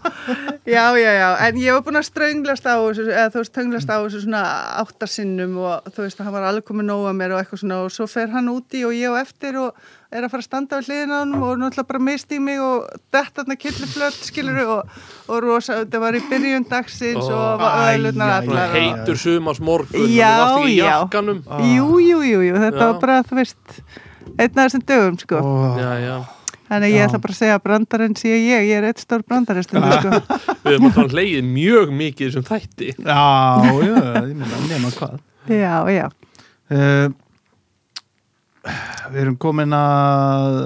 S4: já, já, já, en ég var búin að strönglast á þessu, eða þú veist, strönglast
S2: Mm.
S4: á þessu svona áttasinnum og þú veist, hann var alveg komið nóg að mér og eitthvað svona og svo fer hann úti og ég á eftir og er að fara að standa við hliðin á hann og náttúrulega bara misti mig og detta þarna killiflöld, skilur og, og rosa, þetta var í byrjun dagsins
S1: Ó,
S4: og var
S2: æ, æ,
S4: öðlurnar
S1: svona
S4: allar. og-
S1: heitur sumars morgun
S4: Já,
S1: já
S4: já,
S1: jakkanum
S4: jú, jú, jú, jú, þetta
S1: Já.
S4: var bara, þú veist, einn af þessum dögum, sko.
S1: já, já
S4: Þannig að ég ætla bara að segja að brandarinn sé ég, ég er eitt stór
S2: (laughs)
S4: brandarinn stundu, sko.
S1: við erum að tala leið mjög mikið sem þætti
S2: Já, já, ég meina, nema hvað.
S4: Já, já.
S2: Uh, við erum komin að,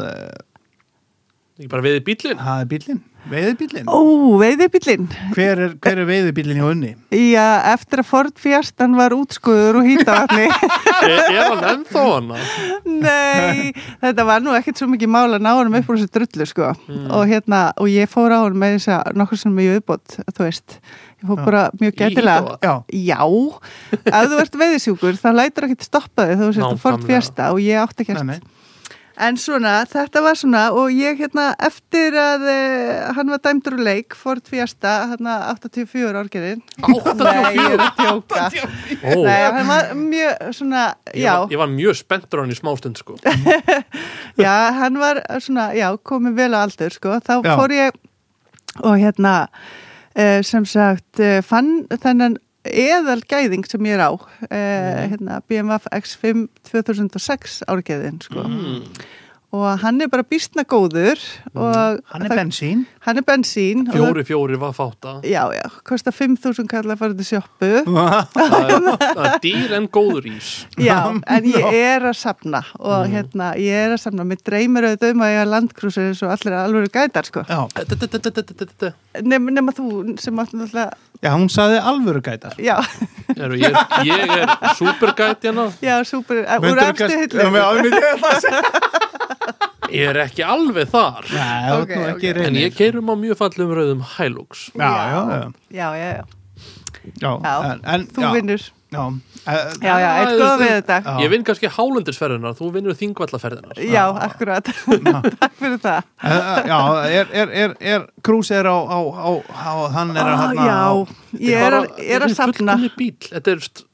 S1: ekki bara veiði bílinn
S2: það er bílinn, veiðibílinn.
S4: Ó, veiðibillinn.
S2: Hver er, hver er veiðibílinn hjá unni?
S4: Já, eftir að Ford Fiestan var útskuður og hýtavatni.
S1: er, er hann ennþá hana?
S4: (laughs) Nei, þetta var nú ekkert svo mikið mál að ná honum upp úr þessu drullu, sko. Og hérna, og ég fór á honum með þess að nokkur sem mjög uppbót, þú veist. Ég fór bara mjög
S1: Í
S4: gætilega.
S1: hitavatn?
S2: Já,
S4: Já, ef þú ert veiðisjúkur, það lætur ekkert stoppa þig þegar þú sért að Ford
S1: Nákvæmlega.
S4: Fiesta og ég
S2: nei,
S4: átti ekkert.
S2: nei.
S4: En svona, þetta var svona og ég hérna eftir að uh, hann var dæmdur úr leik Ford Fiesta, hérna 84 orgerinn. 84? Nei, ég er að tjóka.
S1: Ó,
S4: Nei,
S1: ég,
S4: hann var mjög svona, já,
S1: var, ég var mjög spenntur á hann í smástund sko.
S4: já, hann var svona, já, komið vel á aldur, sko. Þá
S2: Já.
S4: fór ég og hérna, uh, sem sagt, uh, fann þennan eðal gæðing sem ég er á, uh, hérna, BMF X5 2006 árgeðin, sko.
S1: Mm.
S4: Og hann er bara býstna góður og
S2: Hann er
S4: það-
S2: bensín.
S4: (laughs) Hann er bensín og-
S1: Fjóri fjóri var fáta
S4: Já, já, kostar 5.000 kallar að fara til
S2: (laughs)
S4: sjoppu
S1: (laughs) Það er- það er dýr en góður ís
S4: Já, en ég er að safna og
S2: Mm.
S4: hérna, ég er að safna Mér dreymir auðvitað um að ég er landkrúsir eins og allir alveg gætar, sko
S2: Já,
S1: D-d-d-d-d-d-d-d-d.
S4: Nefn, Nefna þú sem átt náttúrulega
S2: já, hún saði alvöru gætar.
S4: Já,
S1: Eru, Ég er- ég er supergæt hérna
S4: já, súper eh, Úr
S2: Myndirðu
S4: efstu
S2: kannski- Já,
S4: hillu
S2: með ánýtt
S4: (laughs)
S2: ég það að segja.
S1: Ég er ekki alveg þar
S2: Nei, það
S4: Ok,
S2: er nú ekki
S4: ok.
S2: reynir.
S1: En ég keirum á mjög fallum rauðum Hilux
S2: Já, já, já.
S4: Já, já, já,
S2: Já,
S4: Já,
S2: en, en,
S4: þú
S2: já,
S4: vinnur
S2: Já, eh,
S4: Já, já,
S1: Ah,
S4: eitt
S1: þú-
S4: góð
S1: þú-
S4: við þetta
S2: Já.
S1: Ég vinn kannski hálendisferðinar, þú vinnur þingvallaferðinar
S4: Já,
S2: (laughs)
S4: akkurat (laughs) Takk fyrir það
S2: Eh, eh, Já, er, er, er, er Krús er á, á, á, á hann er að
S4: Ó,
S2: hann
S4: Ah, Já, ég er, að- ég er að safna
S1: Þetta er fullkomni bíl, þetta er st-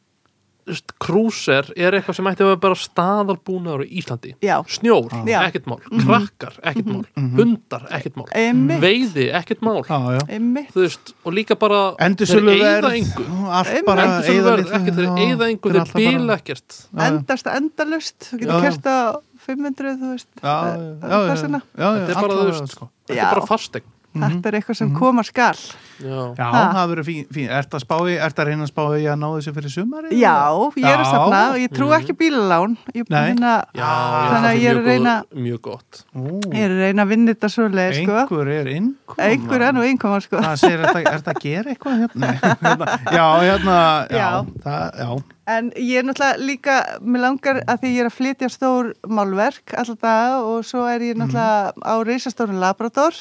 S1: st- Cruiser er eitthvað sem ætti að vera bara staðalbúnaður í Íslandi
S4: Já.
S1: Snjór,
S4: Já.
S1: ekkert mál, krakkar, ekkert mál Hundar, ekkert mál
S4: Einmitt.
S1: Veiði, ekkert mál
S2: Já, já.
S4: Einmitt
S1: Þú veist, og líka bara
S2: Endursölu
S1: Þeir
S2: verð.
S1: eyða engu
S2: Allt
S4: Einmitt.
S2: bara eyða
S1: Endursöluverð,
S2: litlu,
S1: ekkert, þeir
S2: já,
S1: eyða engu,
S2: þetta er
S1: þeir
S2: alltaf bara-
S1: bíla ekkert
S2: já.
S4: endast endalust þú
S2: Já, já.
S4: getur kert á 500 þú veist
S2: Já, já, já,
S4: eh,
S2: Mhm. já,
S4: þessuna.
S2: já, já,
S1: Þetta er bara,
S2: allavega,
S1: þú veist,
S2: sko.
S1: þetta
S4: Já.
S1: er bara fastegn
S4: þetta er eitthvað sem koma skal
S1: Já,
S2: Já,
S4: Ha.
S2: það verður fín, fín. Ert að spái, ert að reyna að spái að ná þessu fyrir sumari?
S4: já, ég
S2: Já.
S4: er að
S2: Mhm.
S4: safna og ég trú ekki á bílalán ég er búin
S2: Nei.
S4: hérna
S1: já
S4: Þannig að ég er að
S1: mjög góð-
S4: reyna-
S1: Mjög gott
S2: Ú,
S4: ég er að reyna að vinna þetta svoleið sko
S2: einhver er inn.
S4: einhver enn og einkoma sko
S2: Það segir, ert að, ert að gera eitthvað hérna? (laughs) Nei, hérna já, hérna, já,
S4: Já.
S2: það, já.
S4: en ég er náttúrulega líka mér langar að því ég er að flytja stór málverk alltaf dag og svo er
S2: Mhm.
S4: ég náttúrulega á reisastórun Labrador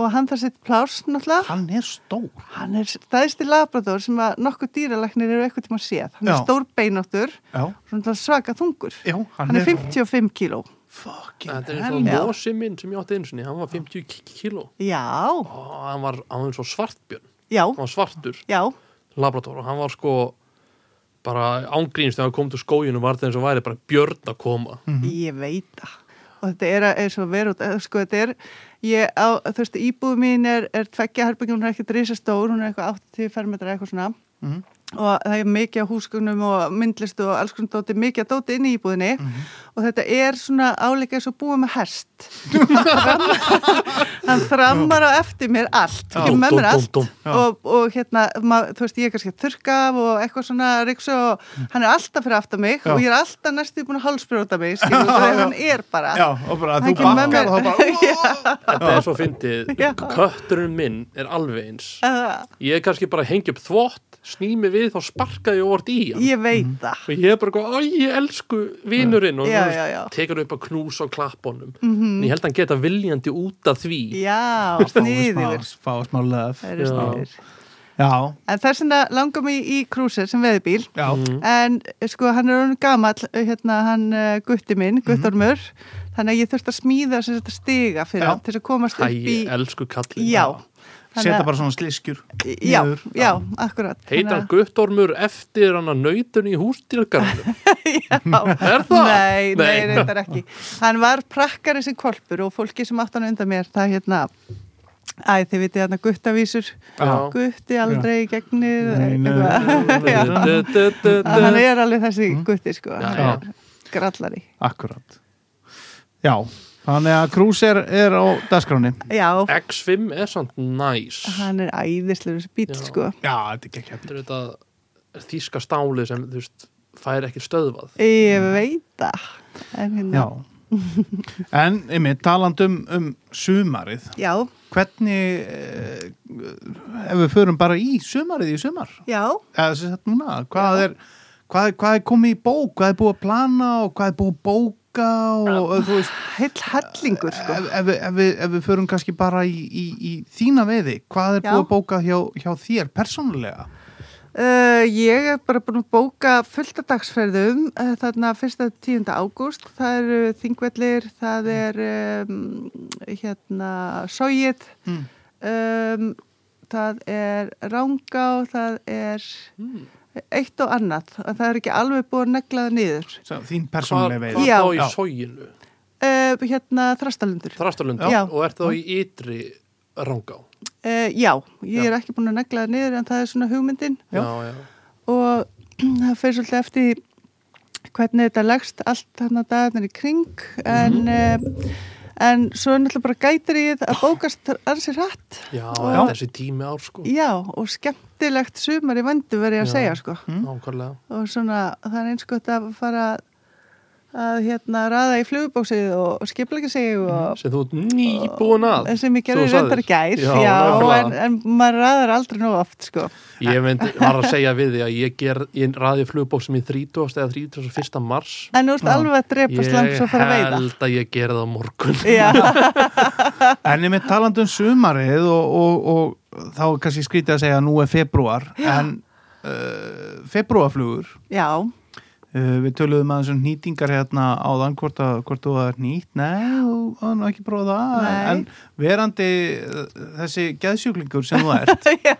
S4: og hann þar sitt pláss náttúrulega
S2: Hann er stór.
S4: hann er stæðsti Labrador sem að nokkuð dýralæknir eru eitthvað tíma séð hann er
S2: Já.
S4: stór beinóttur
S2: Já,
S4: svona svaka þungur
S2: já, hann,
S4: hann er 55 kíló
S1: Þetta
S2: Fucking
S1: er
S2: hell.
S1: eins
S4: hell.
S1: og mosi minn sem ég átti einu sinni, hann var 50 kíló
S4: já,
S1: og hann var, hann var eins og svartbjörn,
S4: já,
S1: hann var svartur,
S4: já
S1: labrador og hann var sko bara ángríns þegar hann kom til skóginu var það eins og væri bara björn að koma.
S2: Mhm.
S4: ég veit það og þetta er að- eins og vera út eh, sko þetta er, ég á, þú veist íbúð mín er, er tveggja herbyggjum, hún er ekkert risastór hún er eitthvað 80 fermetra eitthvað svona
S2: Mhm.
S4: og það er mikið á húsgögnum og myndlist og alls konar dóti, mikið að dóti inn í íbúðinni
S2: Mhm.
S4: og þetta er svona áleika eins og búið með hest (laughs) hann þrammar á eftir mér allt,
S1: Já.
S4: ekki með mér
S1: Dúm, dúm,
S4: allt
S1: dúm,
S2: dúm.
S4: og, og hérna, mað, þú veist, ég er kannski að þurrka af og eitthvað svona riksu og hann er alltaf fyrir aftar mig
S2: Já.
S4: og ég er alltaf næstu búin að hálsbrjóta
S2: (laughs)
S4: mig, skilur, þegar hann er bara
S2: Já, og bara
S4: Hann
S2: þú
S4: kemur með
S2: bakkar og
S4: mér.
S2: þá
S4: (laughs)
S2: bara,
S1: Þetta er svo fyndið,
S4: Já.
S1: kötturinn minn er alveg eins.
S4: Uh,
S1: Ég er kannski bara að hengja upp þvott, snými við þá sparka ég orð í hann.
S4: ég veit
S2: Mhm.
S4: það
S1: Og ég er bara eitthvað, að ég elsku vinurinn og þú
S4: Já,
S1: veist,
S4: já, Mhm. já.
S1: tekur upp að knús á klappunum. En ég held að hann geta viljandi út af því.
S4: já, sniðir
S2: (laughs) fá smá- fá smá löf.
S4: það eru
S1: Já.
S4: sniðir
S2: Já,
S4: en þess vegna langar mig í krúsir sem veðibíl
S2: já,
S1: Mhm.
S4: en eh, sko hann er honum gamall eh, hérna hann uh, gutti
S2: Mhm.
S4: minn, guttormur þannig að ég þurfti að smíða sem þetta stiga fyrir
S2: Já.
S4: hann til þess að komast
S1: Æ,
S4: upp í
S1: elsku kallin.
S4: já,
S2: setja bara svona sliskjur.
S4: já,
S2: niður.
S4: já, akkurat
S1: Heita hann
S4: Þannig
S1: Guttormur eftir hann að nautun í
S4: (laughs)
S1: hústýrgarnum?
S2: (laughs)
S4: að-
S1: Er það?
S4: Nei,
S1: Nei.
S4: nei, reyndar ekki Hann var prakkari sem kolpur og fólki sem átt hann undan mér það hérna Æ, þið vitið hérna guttavísur
S1: Já.
S4: Gutti aldrei í gegnir
S2: Nei, nei. Mm.
S4: eitthvað. (laughs) Já. Að Hann er alveg þessi gutti sko
S1: Já,
S4: Grallari
S2: Akkurat. Já, þannig að Krús er, er á dagskráni.
S4: Já,
S1: X5 er samt næs.
S4: hann er æðislega þessi bíl
S1: Já.
S4: sko
S2: Já, þetta er ekki ekki.
S1: Þetta er þetta þýska stáli sem, þú veist, fær ekki stöðvað.
S4: Ég veit það En hérna,
S2: Já. (laughs) En, yfir, taland um, um sumarið,
S4: já,
S2: hvernig, eh, ef við förum bara í sumarið í sumar,
S4: já,
S2: eða sem sagt núna, hvað er, hvað, hvað er komið í bók, hvað er búið að plana og hvað er búið að bóka og, og þú veist,
S4: heill hellingur
S2: ef,
S1: Eh,
S4: sko
S2: ef, við- ef, við, ef við förum kannski bara í, í, í þína veiði, hvað er
S4: Já.
S2: búið að bóka hjá, hjá þér persónulega?
S4: Uh, ég er bara búin að bóka fullt af dagsferðum uh, þarna 1. 10. ágúst, það eru Þingvellir, það
S2: Mm.
S4: er um, hérna Sóið,
S2: Mm.
S4: um, það er Rángá, það er
S2: Mm.
S4: eitt og annað, en það er ekki alveg búið að negla það niður.
S2: Svo, þín
S1: Hvað
S2: persónulega
S1: hvað
S2: veið
S4: Já.
S1: þá í
S2: Já.
S1: sóginu?
S4: Uh, hérna Þrastalundur,
S1: Þrastarlundur?
S4: Já.
S1: Og ert þá í ytri rangá?
S4: uh, já, ég er ekki búin að negla það niður en það er svona hugmyndin.
S2: Já.
S1: já.
S4: og (clears throat) það fyrir svolítið eftir því hvernig þetta leggst allt þannig að dagarnir í kring en,
S1: Mhm.
S4: mm en svo er náttúrulega bara gætir í það að bókast ansi hratt
S1: Já,
S4: Já.
S1: þessi tími ár sko.
S4: já og skemmtilegt sumar í vandu verið að
S1: Já.
S4: segja sko
S1: Nákvæmlega.
S4: og svona það er eins gott að fara að- að hérna raða í flugubóksið og, og skiplega sig og
S1: Sem þú ert nýbúin Mhm. að.
S4: en sem ég
S1: Svo
S4: gerði
S1: sagðir.
S4: reyndar í gær já,
S1: nákvæmlega.
S4: en, en maður raðar aldrei nóg oft sko
S1: Ég myndi, var að segja við því að ég, ger, ég ræði flugbóksum í 30. eða 31. mars
S4: en þú ert alveg að drepa slangs og fara að veiða
S1: held að ég gera það á morgun
S4: Já,
S2: En ég með talandi um sumarið og, og, og þá er kannski skrítið að segja að nú er februar en uh, februarflugur
S4: já,
S2: uh, við töluðum aðeins um nýtingar hérna áðan hvort, að, hvort þú er nýtt nei, þú var nú ekki prófa það
S4: Nei.
S2: en verandi uh, þessi geðsjúklingur sem þú (laughs)
S4: (laughs)
S2: ert
S4: já.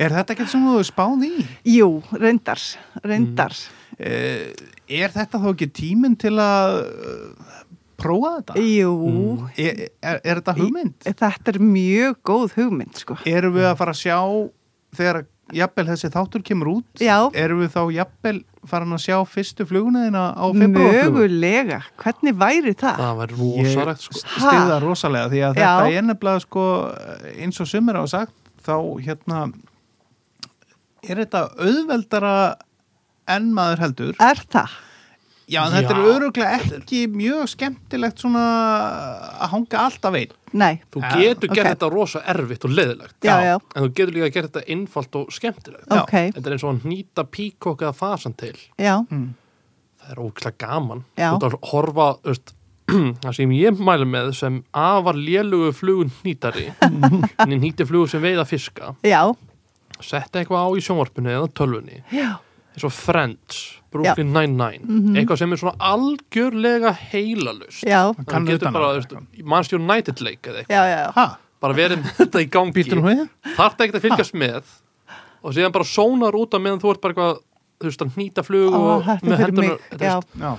S2: er þetta ekkert sem þú hefur spáð í?
S4: Jú, reyndar, reyndar.
S2: Uh, er þetta þá ekki tíminn til að uh, prófa þetta?
S4: Jú,
S2: Er, er, er þetta hugmynd?
S4: þetta er mjög góð hugmynd, sko.
S2: erum við að fara að sjá þegar jafnvel þessi þáttur kemur út
S4: Já.
S2: erum við þá jafnvel farin að sjá fyrstu fluguna þína á februarflugu
S4: Mögulega, hvernig væri það?
S1: Það var rosalegt sko
S4: Ha?
S2: stiða rosalega því að
S4: Já.
S2: þetta er nefnilega sko eins og sumir á sagt þá hérna er þetta auðveldara en maður heldur
S4: Er það?
S2: já en þetta
S1: Já.
S2: er öruglega ekki mjög skemmtilegt svona að hanga alltaf einn
S4: Nei,
S1: Þú
S2: Já,
S1: getur
S4: ok.
S1: gert þetta rosa erfitt og leðilegt
S4: Já, já.
S1: En þú getur líka gert þetta einfalt og skemmtilegt
S2: Já.
S4: ok,
S1: Þetta er eins og að nýta píkokk eða fasan til
S4: já,
S1: Það er óklæð gaman
S4: Já.
S1: Þú ert að horfa, veist, (clears throat) það sem ég mælu með sem afar lélugu flugun nýtari
S4: (laughs)
S1: en nýtti flugur sem veiða fiska
S4: já,
S1: Setta eitthvað á í sjónvarpinu eða tölvunni
S4: já,
S1: eins og Friends, Brooklyn Nine-Nine eitthvað sem er svona algjörlega heilalust
S4: Mhm. já,
S1: Hann
S2: Kann
S1: getur
S2: utan
S1: bara,
S2: að-
S1: þú veist, Manchester United leik eða eitthvað,
S4: já, já.
S2: ha,
S1: bara verið með (laughs) þetta í gangi
S2: býttu nú við
S1: þarf ekkert að fylgjast með og síðan bara sónar út af meðan þú ert bara eitthvað þú veist, að hnýta flug
S4: Ó,
S1: og
S4: þetta
S1: með
S4: fyrir
S1: hendunar-
S4: mig,
S1: þetta
S4: já,
S1: er-
S2: já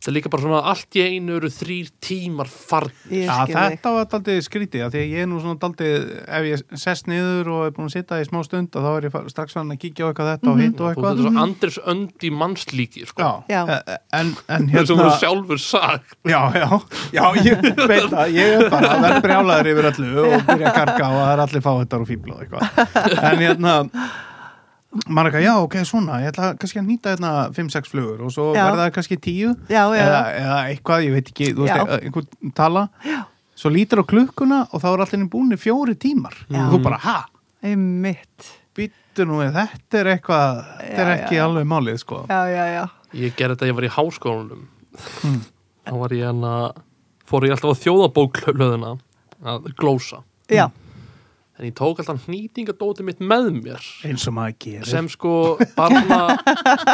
S1: þetta er líka bara svona allt í einu eru þrýr tímar farn
S4: ég
S2: Já,
S4: skil þig.
S2: þetta var daldið skrítið af því að ég er nú svona daldið, ef ég sest niður og er búin að sitja í smá stund að þá er ég fa- strax fann að kíkja á eitthvað þetta og hitt og
S1: þú veist,
S2: eitthvað Mhm.
S1: svo Anders öndi mannslíki sko.
S2: Já,
S4: Mhm. Já.
S2: e- en, en
S1: það sem
S2: hérna
S1: þú sjálfur sagt
S2: Já, já, já,
S4: (laughs)
S2: ég veit það ég er bara að verð brjálaður yfir öllu og byrja að karka og það er allir fáhettar og fíbl og eitthvað en hérna maður er ekki, já, ok, svona ég ætla kannski að nýta hérna 5-6 flugur og svo
S4: Já.
S2: verða það kannski 10
S4: Já, já,
S2: eða, eða eitthvað, ég veit ekki, þú
S4: Já.
S2: veist, eh, einhvern tala já. svo lítur á klukkuna og þá er allir búinni fjóri tímar
S4: Já.
S2: og þú bara, ha,
S4: einmitt,
S2: býttu nú við, þetta er eitthvað þetta er
S4: Já,
S2: ekki
S4: já.
S2: alveg málið, sko
S4: já, já, já,
S1: Ég gerði þetta að ég var í háskólanum
S2: Hmm.
S1: þá var ég hann að fór ég alltaf á þjóðabóklöðuna að glósa
S4: já,
S1: en ég tók alltaf hnýtingadótið mitt með mér
S2: eins og maður gerir
S1: sem sko barna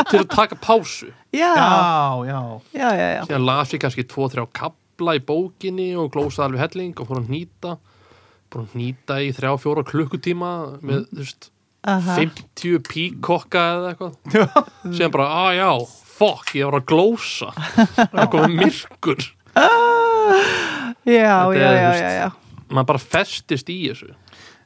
S1: til að taka pásu
S4: já,
S2: Já, já,
S4: já, já, já,
S1: síðan las ég kannski 2-3 kabla í bókinni og glósaði alveg helling og fór að hnýta fór að hnýta í 3-4 klukkutíma með þú veist
S4: aha,
S1: 50 píkokka eða eitthvað síðan bara, að já, fokk, ég var að glósa það komið myrkur
S4: já,
S1: Þetta
S4: já,
S1: er,
S4: já,
S1: þú
S4: já, já.
S1: maður bara festist í þessu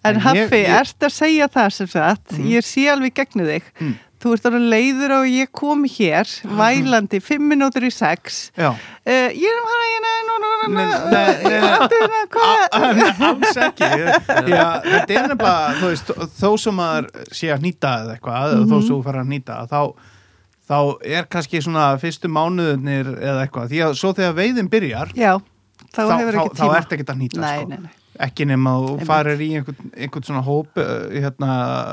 S4: En
S2: En ég- Mm.
S4: Haffi,
S2: ég-
S4: ert að segja það sem sagt, ég sé alveg gegnu þig.
S2: Mm.
S4: Þú ert alveg leiður á að ég kom hér, vælandi, fimm minútur í sex.
S2: já.
S4: Uh, ég er um hana, ég er nú, nú, nú, nú,
S2: Nei, nei, nei, nei.
S4: nú, nú,
S2: Nei,
S4: hvað?
S2: Ah, alls ekki
S4: (laughs)
S2: já, þetta er nefnilega þú veist, þó sem maður sé að nýta eða eitthvað, þó
S4: Mhm.
S2: sem þú fara að nýta þá, þá er kannski svona fyrstu mánuðunir eða eitthvað því að svo þegar veiðin byrjar
S4: Já, þá hefur ekki
S2: þá
S4: tíma.
S2: ertu ekkert að nýta
S4: Nei,
S2: sko.
S4: nei, nei.
S2: ekki nema að þú
S4: Einmitt.
S2: farir í einhvern, einhvern svona hóp uh, hérna,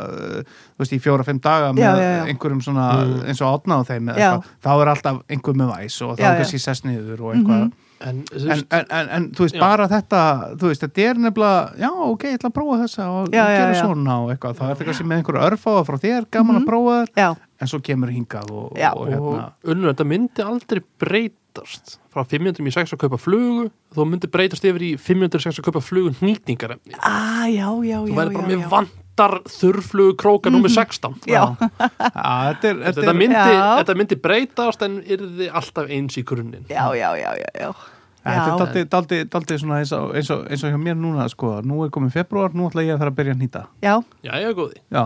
S2: uh, þú veist, í fjóra-fimm daga með
S4: Já, já, já.
S2: einhverjum svona eins og átna á þeim eða
S4: Já.
S2: eitthvað, þá er alltaf einhver með væs og þá
S4: Já, Mhm.
S2: er
S4: já.
S2: kannski sess niður og eitthvað
S1: en, þú
S2: en,
S1: veist,
S2: en, en, en þú veist,
S1: Já.
S2: bara þetta þú veist, þetta er nefnilega já, ok, ég ætla að prófa þessa og
S4: Já, já,
S2: gera
S4: já.
S2: svona og eitthvað, þá er þetta kannski með einhverju örfáða frá þér, gaman
S4: Mhm.
S2: að prófa þér
S4: já,
S2: en svo kemur hingað og,
S4: Já.
S2: og
S1: og
S2: hérna
S1: unnur, þetta myndi aldrei breytast frá 506 að kaupa flugu þó myndi breytast yfir í 506 að kaupa flugu nýtningarefni
S4: ah, já, já,
S1: þú væri
S4: já, já,
S1: bara
S4: já,
S1: með vantar þurrflugu króka mm
S4: Mhm.
S1: 16
S4: já,
S2: að, þetta, er,
S1: þetta,
S2: þetta, er,
S1: myndi,
S4: Já.
S1: þetta myndi breytast en yrði alltaf eins í grunninn
S4: já, já, já, já, já.
S2: þetta er
S4: Já.
S2: daldið, daldið, daldið svona eins og, eins, og, eins og hjá mér núna sko, nú er komið februar, nú ætla ég að fara að byrja að nýta
S4: Já,
S1: já, já, góði
S2: já,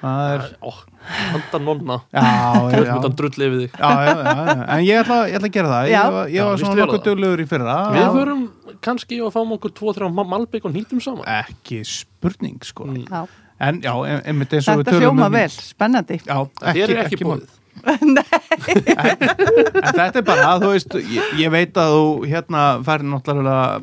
S2: það er
S1: Ó, handa nonna, (laughs)
S2: já, já,
S1: þú myndan drull yfir þig
S2: já, já, já, já. en ég ætla, ég ætla að gera það
S4: Já.
S2: ég, var- ég
S1: Já,
S2: var
S1: víst
S2: svona
S1: vel á
S2: nokkuð
S1: það.
S2: dölugur í fyrra
S1: við förum kannski og fáum okkur 2-3 malbygg og nýtum saman
S2: ekki spurning sko
S1: Mm.
S4: já.
S2: en já, em- einmitt eins og við
S4: þetta
S2: tölum
S4: hljóma
S2: um-
S4: vel, spennandi
S2: Já,
S1: þér er ekki, ekki
S2: mál.
S1: bóðið
S2: En þetta er bara, þú veist, ég, ég veit að þú hérna færi náttúrulega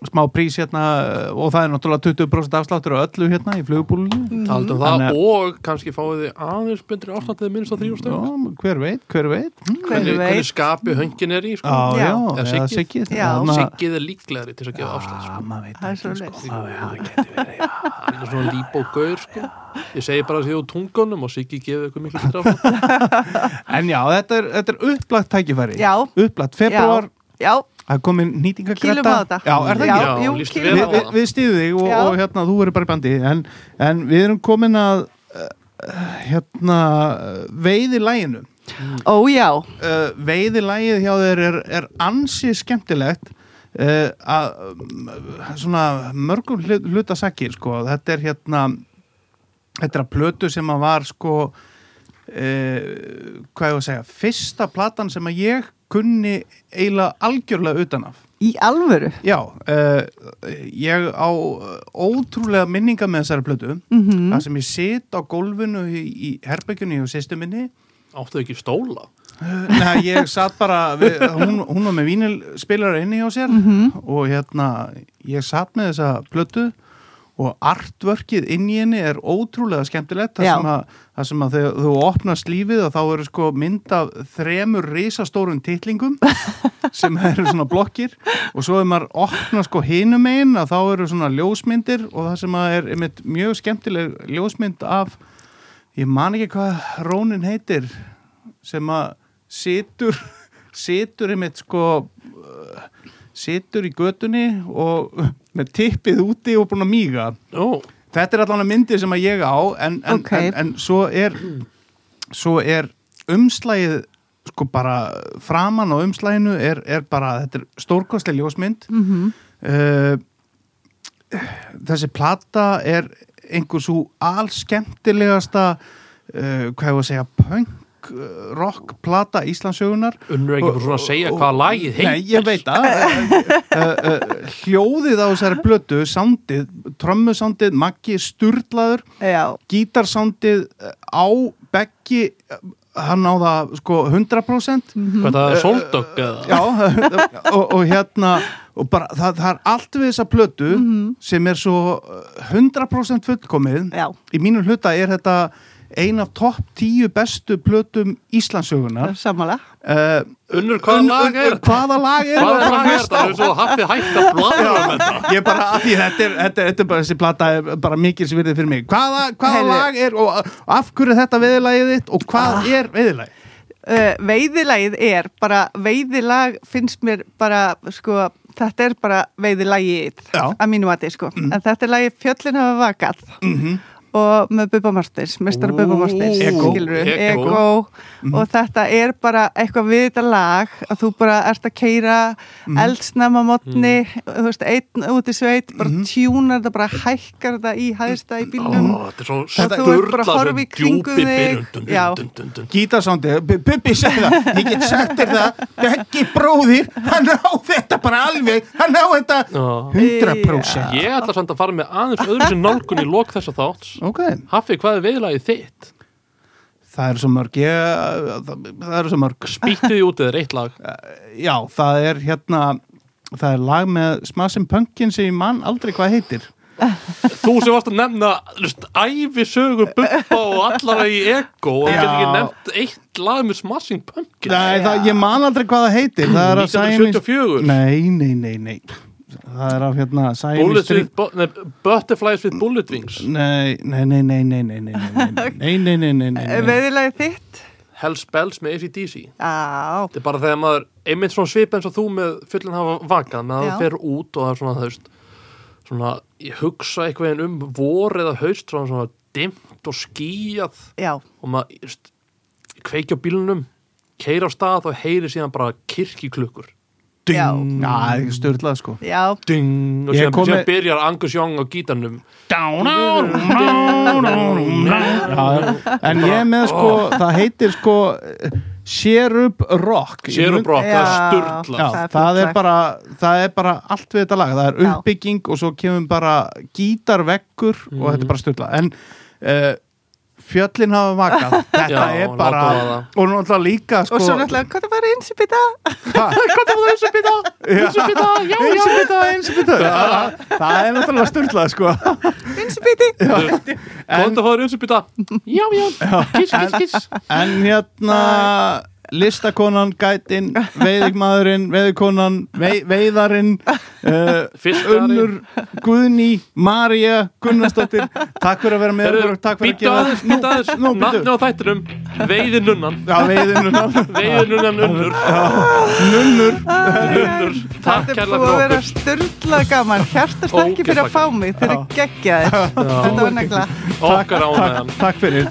S2: smá prís hérna eh, og það er náttúrulega 20% afsláttur á öllu hérna í eh, flugbúlunni.
S1: Taldum Mm-hmm. um það
S2: Þannig að-
S1: Mhm. Ah, og kannski fáið þið aðeins bendri ástandið minnst á
S2: Já,
S1: þrjústöng
S2: hver veit, hver veit. Hm?
S4: Hver
S1: hvernig, hvernig
S4: veit,
S1: skapi höngin er í sko.
S2: Já,
S4: Já.
S2: já,
S1: Eða
S2: eða
S1: Siggið.
S2: siggið.
S4: Já.
S2: þarna-
S1: Siggið er líklegri til að gefa afslátt
S2: Já,
S1: sko.
S2: maður veit
S4: það er svo
S2: ekki, sko.
S4: leys
S2: Já, já, það getur verið, já.
S1: Hann er svona líbógaur sko. Ég segi bara því á tungunum og Siggi gefið ykkur miklu betra afslátt
S2: En já, þetta er, þetta er upplagt tækifæri.
S4: Já.
S2: Upplagt februar,
S4: Já,
S2: það er komin nýtingagretta.
S4: kýlum á þetta
S2: Já, er það ekki?
S1: Já,
S4: jú,
S1: líst
S4: kýlum
S1: vel
S4: á
S1: á
S4: þetta
S1: það.
S2: við, við stíðu þig og,
S4: Já.
S2: og hérna, þú verður bara í bandi en, en við erum komin að uh, hérna veiði læginu
S4: Ó já,
S2: uh, veiði lægið hjá þér er, er ansi skemmtilegt uh, að um, svona mörgum hlut, hluta sakir sko, þetta er hérna þetta er að plötu sem að var sko uh, hvað ég að segja, fyrsta platan sem að ég kunni eiginlega algjörlega utan af
S4: í alvöru
S2: Já, uh, ég á eh, ótrúlega minninga með þessari plötu
S4: Mhm.
S2: það sem ég sit á gólfinu í, í herbergjunni og sýstu minni
S1: Áttu ekki stóla
S2: Nei, ég satt bara við, hún, hún var með vínilspilara inni hjá sér og hérna ég satt með þessa plötu og artverkið inn í henni er ótrúlega skemmtilegt það
S4: Já.
S2: sem að, það sem að þegar þú opnast lífið og þá eru sko mynd af þremur risastórum titlingum sem eru svona blokkir og svo ef maður opnar sko hinum einn að þá eru svona ljósmyndir og það sem að er einmitt mjög skemmtileg ljósmynd af ég man ekki hvað Rónin heitir sem að situr (laughs) situr einmitt sko uh, situr í götunni og uh, með tippið úti og búin að míga
S1: Ó,
S2: þetta er allan að myndi sem að ég á en, en,
S4: Ok.
S2: en, en svo er svo er umslægið sko bara framan á umslæginu er, er bara, þetta er stórkostlega ljósmynd mm þessi plata er einhver svo allskemmtilegasta uh, hvað ég var að segja punk uh, rock plata Íslandsögunar
S1: unnur ekki bara svona að segja hvaða lagið heit
S2: Nei, ég veit að uh, uh, hljóðið á þessari blötu soundið, trömmusándið Maggi Sturlaður
S4: Já,
S2: gítarsándið eh, á beggi eh, hann á það sko 100%
S1: Hvað það er sóldögg eða
S2: já, (laughs) og, og hérna og bara, það, það er allt við þessa plötu sem er svo eh, 100% fullkomið
S4: Já.
S2: í mínum hluta er þetta ein af topp 10 bestu plötum Íslandsögunar
S4: sammála
S2: uh,
S1: Unnur, hvaða lag er þetta?
S2: hvaða lag er
S1: Hvaða
S2: þetta?
S1: lag er þetta? Það er svo að hafið hægt að blara um þetta
S2: ég bara, af því þetta er, þetta, þetta er bara þessi plata er bara mikil sem verðið fyrir mig hvaða, hvaða
S4: Heyrðu.
S2: lag er og af hverju er þetta veðilagið þitt og hvað er veðilagið
S4: uh, Veiðilagið er bara, veiðilag finnst mér bara, sko Þetta er bara veiðilagið
S2: Já. Mm.
S4: að mínu mati, sko En þetta er lagið Fjöllin hafa vakað -hmm.
S2: Mhm.
S4: Og með Bubba Martins, mestara Bubba Martins
S2: Ego.
S4: skilurðu,
S1: Ego.
S4: Ego
S2: Mhm.
S4: Og þetta er bara eitthvað við þetta lag Að þú bara ert að keira
S2: Mhm.
S4: eldsnemma mótni Þú veist, einn út í sveit Bara
S2: Mhm.
S4: tjúnar þetta, bara hækkar þetta í hæðsta í bílnum
S1: Ó, Þetta er svo
S4: Og Mm. þú ert bara að
S1: sturla
S4: horfa
S1: sem
S4: í kringum
S1: djúpi
S4: þig.
S1: byrjun Dun,
S4: Já.
S1: dun, dun, dun, dun.
S2: gítarsándi, Bubi segir það ég get sagt þér það, Beggi bróðir hann á þetta bara alveg hann á þetta
S1: Já.
S2: 100%
S1: Ég ætla samt að fara með aðeins öðru sem nálgun í lok þessa þátts
S2: ok,
S1: Hafi, hvað er veðlagið þitt?
S2: það er svo mörg ég, það, það er svo mörg
S1: Spýttu því út eða er eitt lag
S2: já, það er hérna það er lag með Smassin Punkin sem ég man aldrei hvað heitir
S1: þú sem varst að nefna lust, ævisögur bubba og allara í ego og þú
S2: Já.
S1: getur ekki nefnt eitt lag með Smashing Pumpkins
S2: Nei, það, ég man aldrei hvað það heitir Það er að Sæmi
S1: 1974
S2: Nei, nei, nei, nei Það er af hérna Sæmi
S1: Bullet with bu- nei, Butterflies with Bullet Wings
S2: Nei, nei, nei, nei, nei, nei, nei, (laughs) nei, nei, nei, nei, nei, nei, nei, nei.
S4: Veðilagið Eh, þitt?
S1: Hell's Bells með ACDC
S4: Já,
S1: Þetta er bara þegar maður, einmitt svona svipa eins og þú með fullin hafa vakað, með að
S4: Já.
S1: það fer út og það er svona, þú veist, svona, ég hugsa eitthvað einn um vor eða haust, svona, svona dimmt og skýjað
S4: já,
S1: og maður, þú veist, kveikja á bílunum, keira á stað og heyri síðan bara kirkjuklukkur.
S4: Já.
S2: Ding. Næ, það er ekki styrlað sko
S4: já,
S1: Ding, og
S2: Ég
S1: síðan,
S2: kom
S1: síðan
S2: með-
S1: byrjar Angus Young á gítarnum.
S2: Down, down, down, down, down. Já, En ég er með sko, það heitir sko eh, Cherub Rock Ég
S1: Sérum
S2: mun-
S1: brokk, það er
S4: Já.
S1: sturla.
S2: Já,
S4: Það er
S2: það, er
S4: flott lag.
S2: bara, það er bara allt við þetta lag, það er
S4: Já.
S2: uppbygging og svo kemur bara gítarveggur og þetta er bara styrla en uh, fjöllin hafa vakað þetta
S1: Já,
S2: er bara
S1: látum það.
S2: og náttúrulega líka sko,
S4: og svo náttúrulega, hvað er bara eins í bita?
S2: hvað er það eins og býta? eins og býta, já, já eins og býta, eins og býta það er náttúrulega styrla sko.
S4: Eins í
S1: (laughs)
S4: biti? (laughs)
S2: en,
S1: Góðan að fáður eins og býta. Já, já, kiss, kiss, kiss.
S2: en hérna listakonan, gætin, veiðikmaðurinn veiðikonan, vei, veiðarinn uh, Unnur,
S1: Fiskari.
S2: Guðni, Marja, Gunnarsdóttir Takk fyrir að vera með okkur og Takk fyrir að
S1: Býta aðeins,
S2: Nú,
S1: býta aðeins,
S2: nú,
S1: nafni
S2: býtu
S1: á þættinum, veiði nunnan.
S2: Já, veiðinu
S1: Veiðir nunnan unnur
S2: (laughs) Nunnur
S1: Unnur Takk
S4: Þetta er
S1: kærlega
S4: búið að
S1: fyrir
S4: vera
S1: okkur
S4: styrla gaman, hjartast ekki fyrir að fá mig, þeir eru geggjaðir. Þetta var negla.
S1: (laughs) Okkar
S2: Takk,
S1: ánæðan
S2: takk fyrir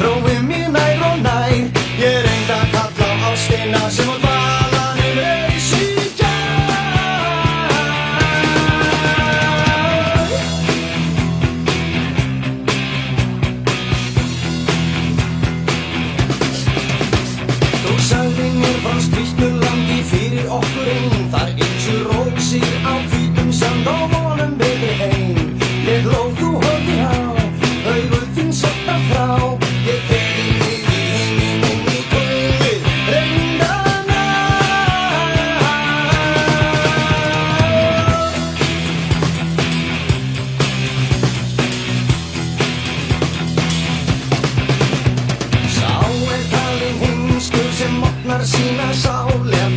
S6: prófið mér nær og nær Ég reynd að kalla á ástina sem á dvalanum eis í gær Þú sagði mér frá skrýtnulandi fyrir okkur einn Þar einsur róksir á hvítum sand og vonum betri heim Ég hlóð þú hóði á, augur þín sötta frá Ég þeirri mig í heiminum í guðið reyndanar Sá er talin heimskur sem opnar sína sál Ef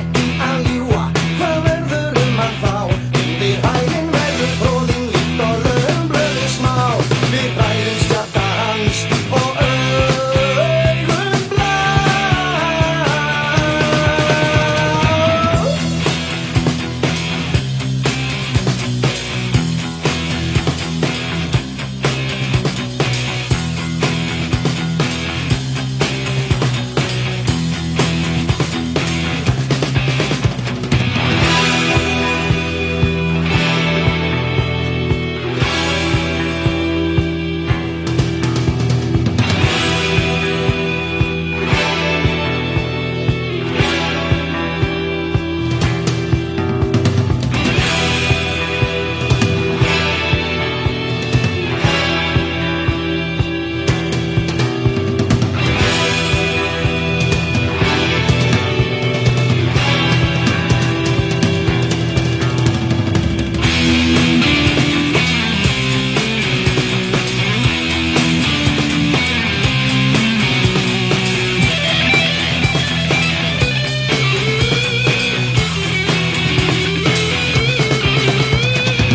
S6: ekki að ljúa, hvað verður um hann þá? Undir hæginn verður fróðinn líkt og lögum blöðu smá Við bræðum stjarta hans og augun blá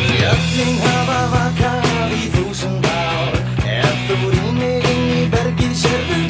S6: Fjöllin hafa vakað í þúsund ár Ef þú rýmir inn í bergið sérðu um